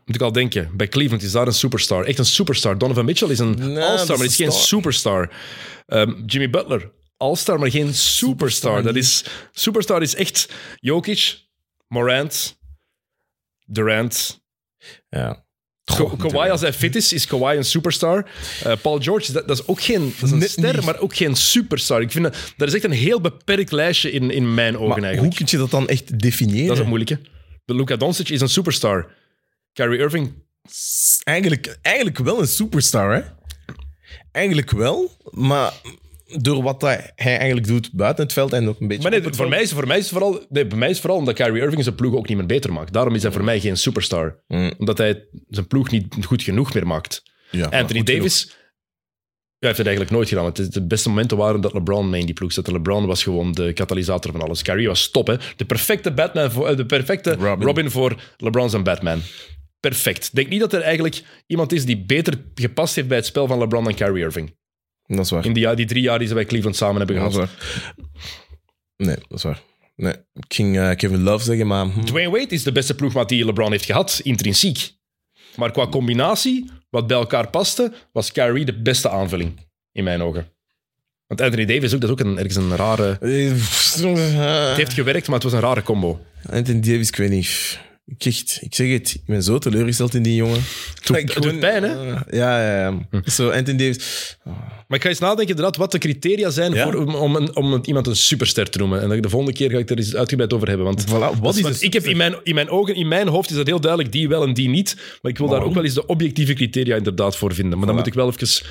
A: Moet ik al denken. Bij Cleveland is daar een superstar. Echt een superstar. Donovan Mitchell is een
B: Nee,
A: all-star, maar
B: dat
A: is
B: is
A: geen
B: een star.
A: superstar. Ehm, Jimmy Butler, all-star, maar geen superstar. Dat is, superstar is echt Jokic, Morant, Durant.
B: Ja.
A: Ka- Kawhi, als hij fit is, is Kawhi een superstar. Eh, Paul George, dat, dat is ook geen dat is een
B: Net
A: ster,
B: niet.
A: maar ook geen superstar. Ik vind dat, dat is echt een heel beperkt lijstje in, in mijn ogen
B: Maar
A: eigenlijk.
B: hoe kun je dat dan echt definiëren?
A: Dat is het moeilijke. De Luka Doncic is een superstar. Kyrie Irving,
B: eigenlijk, eigenlijk wel een superstar, hè? Eigenlijk wel, maar door wat dat hij eigenlijk doet buiten het veld en ook een beetje.
A: maar nee,
B: op het
A: voor
B: veld.
A: mij, is, voor mij is het vooral, nee, bij mij is het vooral omdat Kyrie Irving zijn ploeg ook niet meer beter maakt. Daarom is hij voor mij geen superstar.
B: Mm.
A: Omdat hij zijn ploeg niet goed genoeg meer maakt.
B: Ja, maar
A: Anthony
B: goed
A: Davis ja, heeft het eigenlijk nooit gedaan. Het is- de beste momenten waren dat LeBron mee in die ploeg zat. LeBron was gewoon de katalysator van alles. Kyrie was top, hè. De perfecte, Batman voor, eh, de perfecte Robin.
B: Robin.
A: voor LeBron en Batman. Perfect. Denk niet dat er eigenlijk iemand is die beter gepast heeft bij het spel van LeBron dan Kyrie Irving.
B: genoeg. Dat is waar.
A: In die, ja- die drie jaar die ze bij Cleveland samen hebben
B: Dat
A: gehad.
B: is waar. Nee, dat is waar. Nee, ik ging eh, Kevin Love zeggen, maar hm,
A: Dwayne Wade is de beste ploegmaat die LeBron heeft gehad, intrinsiek. Maar qua combinatie, wat bij elkaar paste, was Kyrie de beste aanvulling, in mijn ogen. Want Anthony Davis ook, dat is ook een, ergens een rare...
B: eh, pff, eh,
A: Het heeft gewerkt, maar het was een rare combo.
B: Anthony Davis, ik weet niet. Ik, echt, ik zeg het, ik ben zo teleurgesteld in die jongen.
A: Het doet,
B: Ik
A: het doet
B: gewoon-
A: pijn, hè? Hm.
B: Ja, ja, ja. Zo, Anthony Davis.
A: Maar ik ga eens nadenken inderdaad wat de criteria zijn
B: Ja?
A: voor, om, om, een- om een- iemand een superster te noemen. En de volgende keer ga ik er eens uitgebreid over hebben. Want,
B: Voilà, wat is
A: want
B: het?
A: ik heb in mijn, in mijn ogen, in mijn hoofd is dat heel duidelijk, die wel en die niet. Maar ik wil daar ook wel eens de objectieve criteria inderdaad voor vinden. Maar dan
B: Voilà.
A: moet ik wel even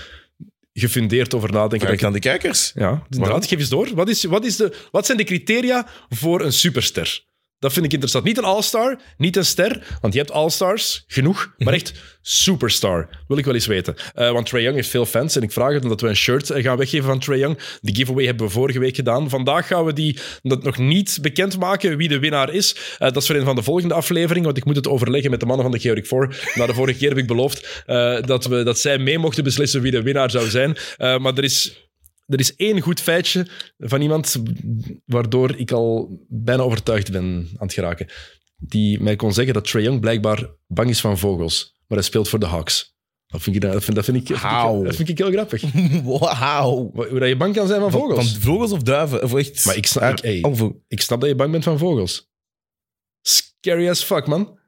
A: gefundeerd over nadenken.
B: Kijk aan de kijkers.
A: Ja, inderdaad. Geef eens door. Wat, is, wat, is de, wat zijn de criteria voor een superster? Dat vind ik interessant. Niet een all-star, niet een ster, want je hebt all-stars, genoeg. Maar echt superstar, wil ik wel eens weten. Eh, want Trae Young heeft veel fans en ik vraag het omdat we een shirt eh, gaan weggeven van Trae Young. Die giveaway hebben we vorige week gedaan. Vandaag gaan we die dat nog niet bekendmaken wie de winnaar is. Eh, dat is voor een van de volgende afleveringen, want ik moet het overleggen met de mannen van de Georg Voor. Na de vorige keer heb ik beloofd eh, dat, we, dat zij mee mochten beslissen wie de winnaar zou zijn. Eh, maar er is er is één goed feitje van iemand waardoor ik al bijna overtuigd ben aan het geraken. Die mij kon zeggen dat Trae Young blijkbaar bang is van vogels, maar hij speelt voor de Hawks. Dat vind ik, dat vind, dat vind ik, dat vind ik-
B: How?
A: dat vind ik heel grappig.
B: Wauw.
A: Hoe hoe dat je bang kan zijn van vogels.
B: Van vogels of duiven? Of echt...
A: Maar ik snap- ik- hey.
B: Oh, vo-
A: Ik snap dat je bang bent van vogels. Scary as fuck, man.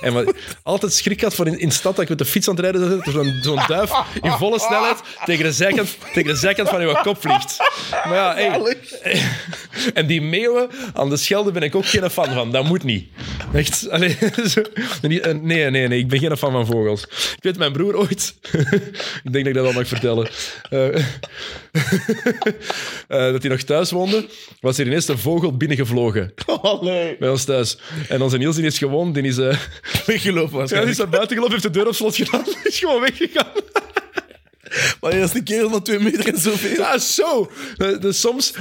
A: En wat altijd schrik had voor in, in stad dat ik met de fiets aan het rijden was, dat er zo'n zo'n duif in volle snelheid tegen de zijkant, tegen de zijkant van je kop vliegt. Maar ja, hey. En die meeuwen aan de Schelde ben ik ook geen fan van. Dat moet niet. Echt. allee, zo- niet- eh, nee, nee, nee. Ik ben geen fan van vogels. Ik weet mijn broer ooit... ik denk dat ik dat al mag vertellen. Eh, eh, dat hij nog thuis woonde, was er ineens een vogel binnengevlogen
B: Oh, nee.
A: bij ons thuis. En onze Niels die is gewoon, die is, eh
B: Weggelopen
A: ja, die
B: waarschijnlijk.
A: is naar buiten gelopen, heeft de deur op slot gedaan, is gewoon weggegaan.
B: Maar dat is een kerel van twee meter en zoveel.
A: Ja, zo. Eh, Dus soms,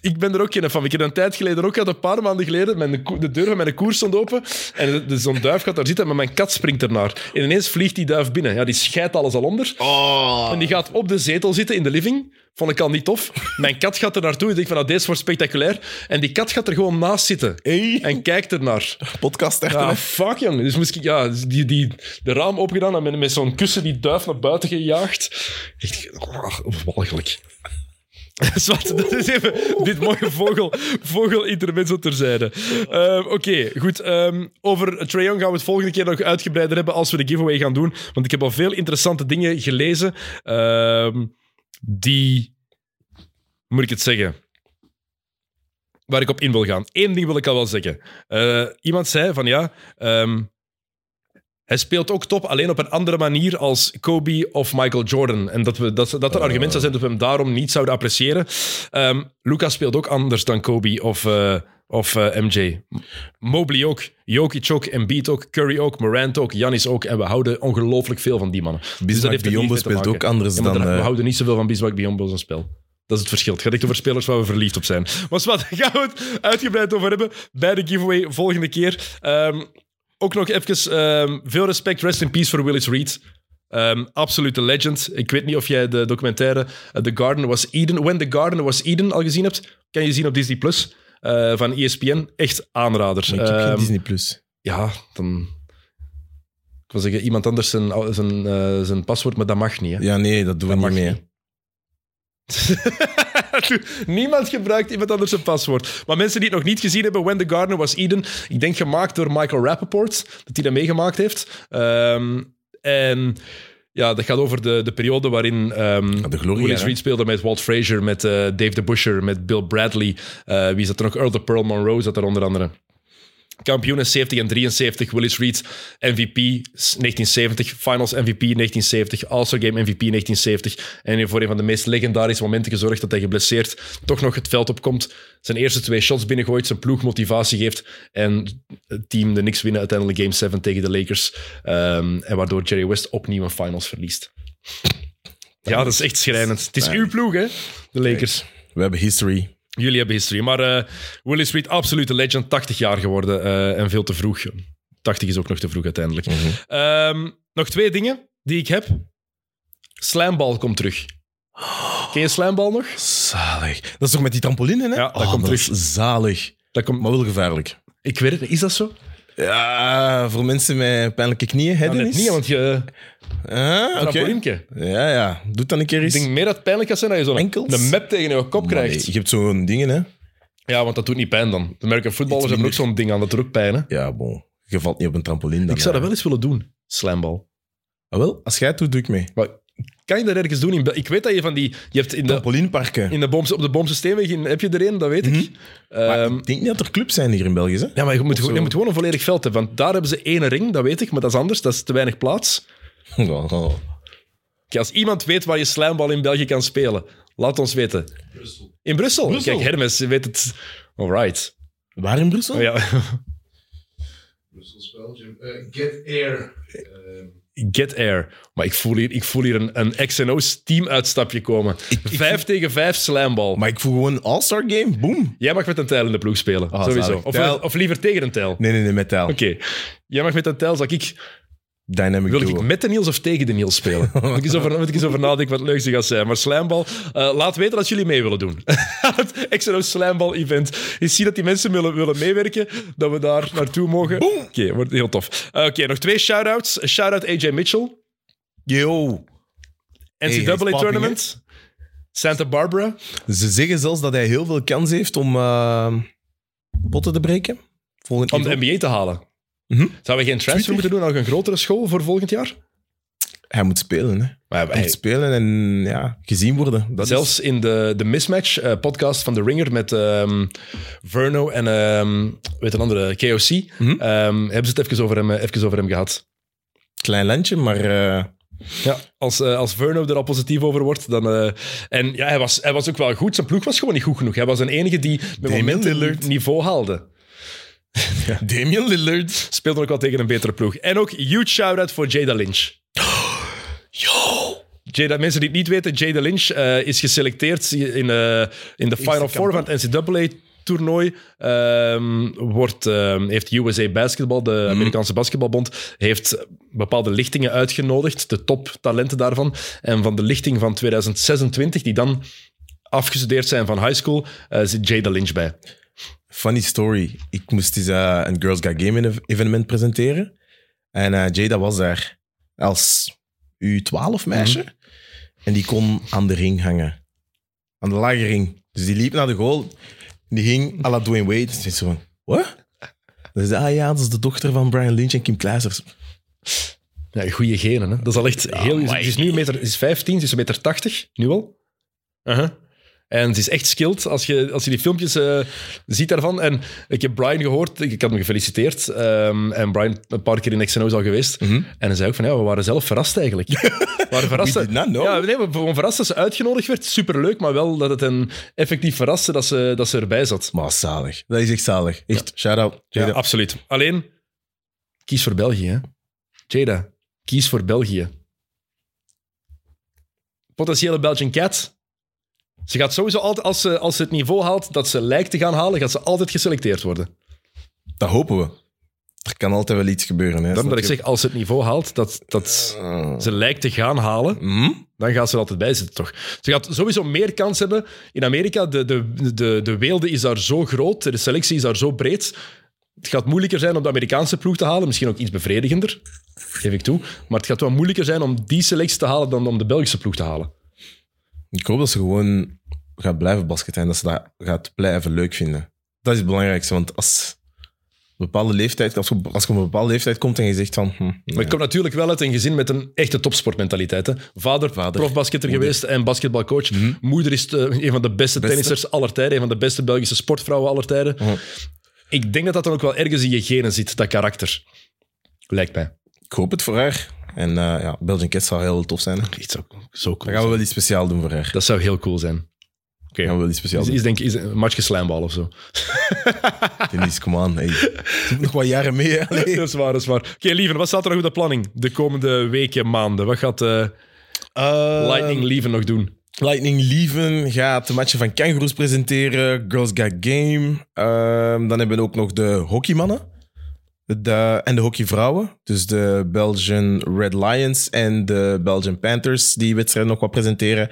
A: ik ben er ook geen van. Ik heb dat een tijd geleden ook gehad, een paar maanden geleden, mijn, ko- de deur van mijn koers stond open en de- de- zo'n duif gaat daar zitten, maar mijn kat springt ernaar. En ineens vliegt die duif binnen. Ja, die scheidt alles al onder. En
B: Oh.
A: die gaat op de zetel zitten in de living. Vond ik al niet tof. Mijn kat gaat er naartoe. Ik denk van, nou, deze wordt spectaculair. En die kat gaat er gewoon naast zitten.
B: Hey.
A: En kijkt ernaar.
B: Podcast echt.
A: Ja, fuck, jong. Dus moest ik ja, dus die, die, de raam opgedaan en met, met zo'n kussen die duif naar buiten gejaagd. Echt, oh, walgelijk. Zwart, dat is even dit mooie vogel, vogel intermezzo terzijde. Ehm, Oké, goed. ehm, over Trae Young gaan we het volgende keer nog uitgebreider hebben als we de giveaway gaan doen. Want ik heb al veel interessante dingen gelezen ehm, die... Moet ik het zeggen? waar ik op in wil gaan. Eén ding wil ik al wel zeggen. Eh, iemand zei van ja, ehm, Hij speelt ook top, alleen op een andere manier als Kobe of Michael Jordan. En dat we, dat, dat een argument zou zijn dat we hem daarom niet zouden appreciëren. Ehm Lucas speelt ook anders dan Kobe of, eh, of eh, MJ. Mobley ook, Jokic ook, Embiid ook, Curry ook, Morant ook, Janis ook. En we houden ongelooflijk veel van die mannen. Dus dat heeft er
B: Biyombo
A: niet mee te
B: speelt
A: maken.
B: ook anders
A: Ja, maar
B: dan,
A: daar- We
B: eh,
A: houden niet zoveel van Biswak Biombo zijn spel. Dat is het verschil. Het gaat echt over spelers waar we verliefd op zijn. Maar wat, gaan we het uitgebreid over hebben bij de giveaway volgende keer. Ehm, ook nog even ehm, veel respect, rest in peace voor Willis Reed. Ehm, absolute legend. Ik weet niet of jij de documentaire eh, The Garden Was Eden, When the Garden Was Eden al gezien hebt. Kan je zien op Disney Plus eh, van ESPN. Echt aanrader.
B: Ik heb geen
A: Ehm,
B: Disney Plus.
A: ja, dan. Ik wil zeggen, iemand anders zijn, zijn, eh, zijn paswoord, maar dat mag niet. Hè?
B: Ja, nee, dat doen we
A: Dat
B: niet
A: mag
B: mee.
A: Niemand gebruikt iemand anders zijn paswoord. Maar mensen die het nog niet gezien hebben, When the Gardener Was Eden, ik denk gemaakt door Michael Rappaport, dat hij dat meegemaakt heeft. Ehm, en ja, dat gaat over de, de periode waarin ehm
B: de glorie,
A: Willis
B: hè?
A: Reed speelde met Walt Frazier, met eh, Dave de Busher, met Bill Bradley. Eh, wie zat er nog? Earl de Pearl Monroe zat er onder andere. Kampioenen 70 en 73, Willis Reed MVP 1970, Finals MVP 1970, Also Game MVP 1970. En heeft voor een van de meest legendarische momenten gezorgd dat hij geblesseerd toch nog het veld opkomt. Zijn eerste twee shots binnengooit, zijn ploeg motivatie geeft en het team de niks winnen uiteindelijk Game 7 tegen de Lakers. Ehm, en waardoor Jerry West opnieuw een Finals verliest. Ja, dat is echt schrijnend. Het is uw ploeg, hè? De Lakers.
B: We hebben history.
A: Jullie hebben history. Maar eh, Willis Reed, absolute legend. 80 jaar geworden eh, en veel te vroeg. 80 is ook nog te vroeg uiteindelijk. Ehm, nog twee dingen die ik heb. Slambal komt terug. Ken je slambal nog?
B: Zalig. Dat is toch met die trampoline, hè?
A: Ja, dat
B: Oh,
A: komt
B: is zalig.
A: Dat komt, Ah,
B: Maar wel gevaarlijk.
A: ik weet het niet. Is dat zo?
B: Ja, voor mensen met pijnlijke knieën, hè,
A: Nou, net
B: Dennis?
A: niet, want je...
B: Ah, oké.
A: trampolineke.
B: Ja, ja. Doe het dan een keer
A: Ik
B: eens.
A: denk meer dat het pijnlijk gaat zijn dat je zo'n
B: Enkels?
A: een map tegen je kop
B: Maar nee,
A: krijgt.
B: je hebt zo'n dingen, hè?
A: Ja, want dat doet niet pijn dan. De merken voetballers
B: Iets
A: hebben ook zo'n ding aan, dat doet ook pijn. Hè?
B: Ja, bon. Je valt niet op een trampoline dan.
A: Ik zou dat
B: hè.
A: wel eens willen doen, slambal.
B: Ah, wel, als jij het doet, doe ik mee.
A: Maar kan je dat ergens doen? In Bel- ik weet dat je van die... Je hebt in de
B: Trampolineparken.
A: In de Boomse- op de Boomse Steenweg in- heb je er een, dat weet ik.
B: Mhm. Maar
A: Ehm,
B: ik denk niet dat er clubs zijn hier in België, hè?
A: ja, maar je moet, gewoon-
B: zo.
A: je moet gewoon een volledig veld hebben. Want daar hebben ze één ring, dat weet ik, maar dat is anders. Dat is te weinig plaats.
B: Oh.
A: Kijk, als iemand weet waar je slijmbal in België kan spelen, laat ons weten.
C: Brussel.
A: In Brussel?
B: Brussel.
A: Kijk, Hermes je weet het. All right.
B: Waar in Brussel?
A: Oh, ja.
D: Brussels, Belgium. Eh, Get Air. Ehm,
A: Get air. Maar ik voel hier, ik voel hier een, een X&O's teamuitstapje komen. vijf tegen vijf slijmbal.
B: Maar ik voel gewoon een All-Star Game. Boom.
A: Jij mag met een tijl in de ploeg spelen.
B: Ah,
A: sowieso.
B: zalig.
A: Of,
B: Tijl.
A: of liever tegen een tijl.
B: Nee, nee, nee, met taal.
A: Oké. Jij mag met een tijl, zal ik
B: Dynamic
A: Wil ik
B: duo.
A: met de Niels of tegen de Niels spelen? Moet ik eens over, moet ik eens over nadenken wat leuk ze gaat zijn. Maar slijmbal, eh, laat weten dat jullie mee willen doen. het XNO slijmbal event. Ik zie dat die mensen willen, willen meewerken, dat we daar naartoe mogen. Oké, wordt heel tof. Eh, Oké, nog twee shout-outs. Een Shout-out AJ Mitchell,
B: Yo.
A: NCAA
B: hij is popping,
A: Tournament, Santa Barbara.
B: Ze zeggen zelfs dat hij heel veel kans heeft om eh, potten te breken. Volgend
A: Om de
B: jaar.
A: NBA te halen.
B: Mhm.
A: Zouden we geen transfer
B: Twitter.
A: moeten doen naar een grotere school voor volgend jaar?
B: Hij moet spelen, hè.
A: Maar
B: Hij moet spelen en ja, gezien worden. Dat
A: Zelfs in de, de Mismatch eh, podcast van The Ringer met ehm, Verno en ehm, weet een andere, KOC,
B: Mhm.
A: ehm, hebben ze het even over hem, eh, even over hem gehad.
B: is een klein landje, maar eh,
A: Ja, als, eh, als Verno er al positief over wordt, dan... eh, en ja, hij was, hij was ook wel goed. Zijn ploeg was gewoon niet goed genoeg. Hij was de enige die met
B: Damian
A: momenten
B: Lillard.
A: niveau haalde.
B: Damian Lillard.
A: Speelde ook wel tegen een betere ploeg. En ook huge shout-out voor Jada Lynch.
B: Yo.
A: Jada, mensen die het niet weten, Jada Lynch eh, is geselecteerd in, eh, in de Final
B: kamp,
A: Four van het NCAA-toernooi. Ehm, wordt, ehm, heeft USA Basketball, de Amerikaanse basketbalbond, heeft bepaalde lichtingen uitgenodigd, de toptalenten daarvan. En van de lichting van 2026, die dan afgestudeerd zijn van high school, eh, zit Jada Lynch bij.
B: Funny story. Ik moest eens eh, een Girls Got Game ev- evenement presenteren. En eh, Jada was daar als U12-meisje.
A: Mhm.
B: En die kon aan de ring hangen. Aan de lage ring. Dus die liep naar de goal. Die ging à la Dwayne Wade. Dus ik zo van, wat? Dan zei ze, ah ja, dat is de dochter van Brian Lynch en Kim Kleisers.
A: Ja, goede genen, hè? Dat is al echt heel... Ze is nu een meter, ze is 15, ze is een meter 80, nu al. Uh-huh. En ze is echt skilled als je, als je die filmpjes eh, ziet daarvan. En ik heb Brian gehoord, ik ik had hem gefeliciteerd. ehm, en Brian een paar keer in XNO's al geweest.
B: Mhm.
A: En hij zei ook van, ja, we waren zelf verrast eigenlijk. we waren verrast.
B: We did not know.
A: Ja, nee, we gewoon verrast dat ze uitgenodigd werd. Superleuk, maar wel dat het een effectief verraste dat ze, dat ze erbij zat.
B: Maar zalig. Dat is echt zalig. Echt, shout-out.
A: Ja,
B: Jada.
A: absoluut. Alleen, kies voor België. Hè? Jada, kies voor België. Potentiële Belgian Cat. Ze gaat sowieso altijd, als ze, als ze het niveau haalt dat ze lijkt te gaan halen, gaat ze altijd geselecteerd worden.
B: Dat hopen we. Er kan altijd wel iets gebeuren. Hè,
A: Dan
B: snap
A: dat ik
B: je?
A: zeg, als ze het niveau haalt dat, dat
B: Eh,
A: ze lijkt te gaan halen,
B: mhm.
A: dan gaat ze er altijd bij zitten, toch? Ze gaat sowieso meer kans hebben. In Amerika, de, de, de, de weelde is daar zo groot, de selectie is daar zo breed. Het gaat moeilijker zijn om de Amerikaanse ploeg te halen. Misschien ook iets bevredigender, geef ik toe. Maar het gaat wel moeilijker zijn om die selectie te halen dan om de Belgische ploeg te halen.
B: Ik hoop dat ze gewoon gaat blijven basketten en dat ze dat gaat blijven leuk vinden. Dat is het belangrijkste, want als een bepaalde leeftijd, als je, als je op een bepaalde leeftijd komt en je zegt van... Hm,
A: Maar
B: nee.
A: ik kom natuurlijk wel uit een gezin met een echte topsportmentaliteit. Hè. Vader,
B: Vader, Mhm.
A: profbasketter geweest en basketbalcoach. Moeder is eh, een van de beste, tennissers aller tijden. Een van de beste Belgische sportvrouwen aller tijden.
B: Mhm.
A: Ik denk dat dat dan ook wel ergens in je genen zit, dat karakter. Lijkt mij.
B: ik hoop het voor haar. En eh, ja, Belgian Cats zou heel tof zijn. Hè.
A: Echt zo, zo
B: Dan
A: cool.
B: gaan we wel iets speciaal doen voor haar.
A: Dat zou heel cool zijn. Oké.
B: Dan gaan we wel iets speciaal
A: Is,
B: doen.
A: is denk ik is een matchje slijmbal of zo.
B: Denise, come on. Hey. Ze moet nog wat jaren mee. hè. Allee.
A: Dat is waar, dat is waar. Oké, Lieven, wat staat er nog op de planning de komende weken, maanden? Wat gaat eh,
B: Eh,
A: Lightning Lieven nog doen?
B: Lightning Lieven gaat de matchen van Kangaroos presenteren. Girls Got Game. Ehm, dan hebben we ook nog de hockeymannen. De, en de hockeyvrouwen. Dus de Belgian Red Lions en de Belgian Panthers. Die wedstrijden nog wat presenteren.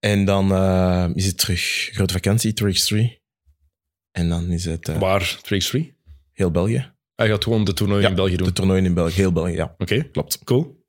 B: En dan ehm, is het terug grote vakantie, 3x3. En dan is het eh,
A: Waar? 3x3?
B: heel België.
A: Hij gaat gewoon de toernooi
B: Ja,
A: in België doen.
B: De
A: Oké,
B: toernooien in België. Heel België, ja. Klopt.
A: cool.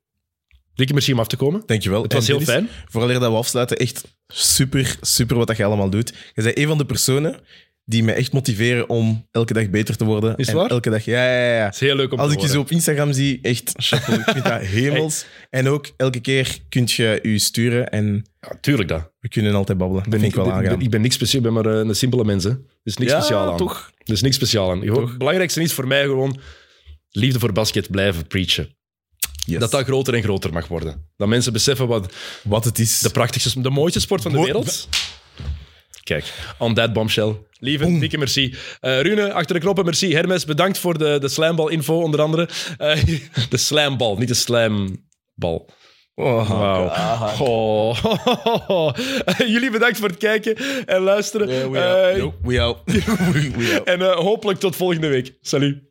A: Dikke merci om af te komen.
B: Dankjewel.
A: Het was
B: En
A: heel
B: Dennis,
A: fijn.
B: Vooraleer dat we afsluiten, echt super, super wat dat je allemaal doet. Je bent een van de personen die mij echt motiveren om elke dag beter te worden.
A: Is het
B: En
A: waar?
B: Elke dag, ja, ja, ja.
A: Het is heel leuk om
B: Als
A: te
B: ik je zo
A: horen.
B: op Instagram zie, echt chapeau. Ik vind dat hemels. En ook elke keer kun je je sturen en
A: Ja, tuurlijk dat.
B: we kunnen altijd babbelen. Dat vind ik wel
A: ik,
B: aangenaam.
A: ben, ik ben niks speciaal, ik ben maar eh, een simpele mens. hè. Er is niks
B: Ja,
A: speciaal aan.
B: toch?
A: Er is niks speciaal aan. Gewoon- Het belangrijkste is voor mij gewoon liefde voor basket blijven preachen.
B: Yes.
A: Dat dat groter en groter mag worden. Dat mensen beseffen wat
B: Wat het is.
A: de prachtigste, de mooiste sport van de
B: Mooi-
A: wereld. Kijk, on that bombshell. Lieve, dikke merci. Eh, Rune, achter de knoppen, merci. Hermes, bedankt voor de, de slambal-info, onder andere. Eh, de slambal, niet de slambal.
B: Oh,
A: Wauw. Oh. Jullie bedankt voor het kijken en luisteren.
B: Yeah, we out.
A: Eh,
B: Yo, we out. we out.
A: en eh, hopelijk tot volgende week. Salut.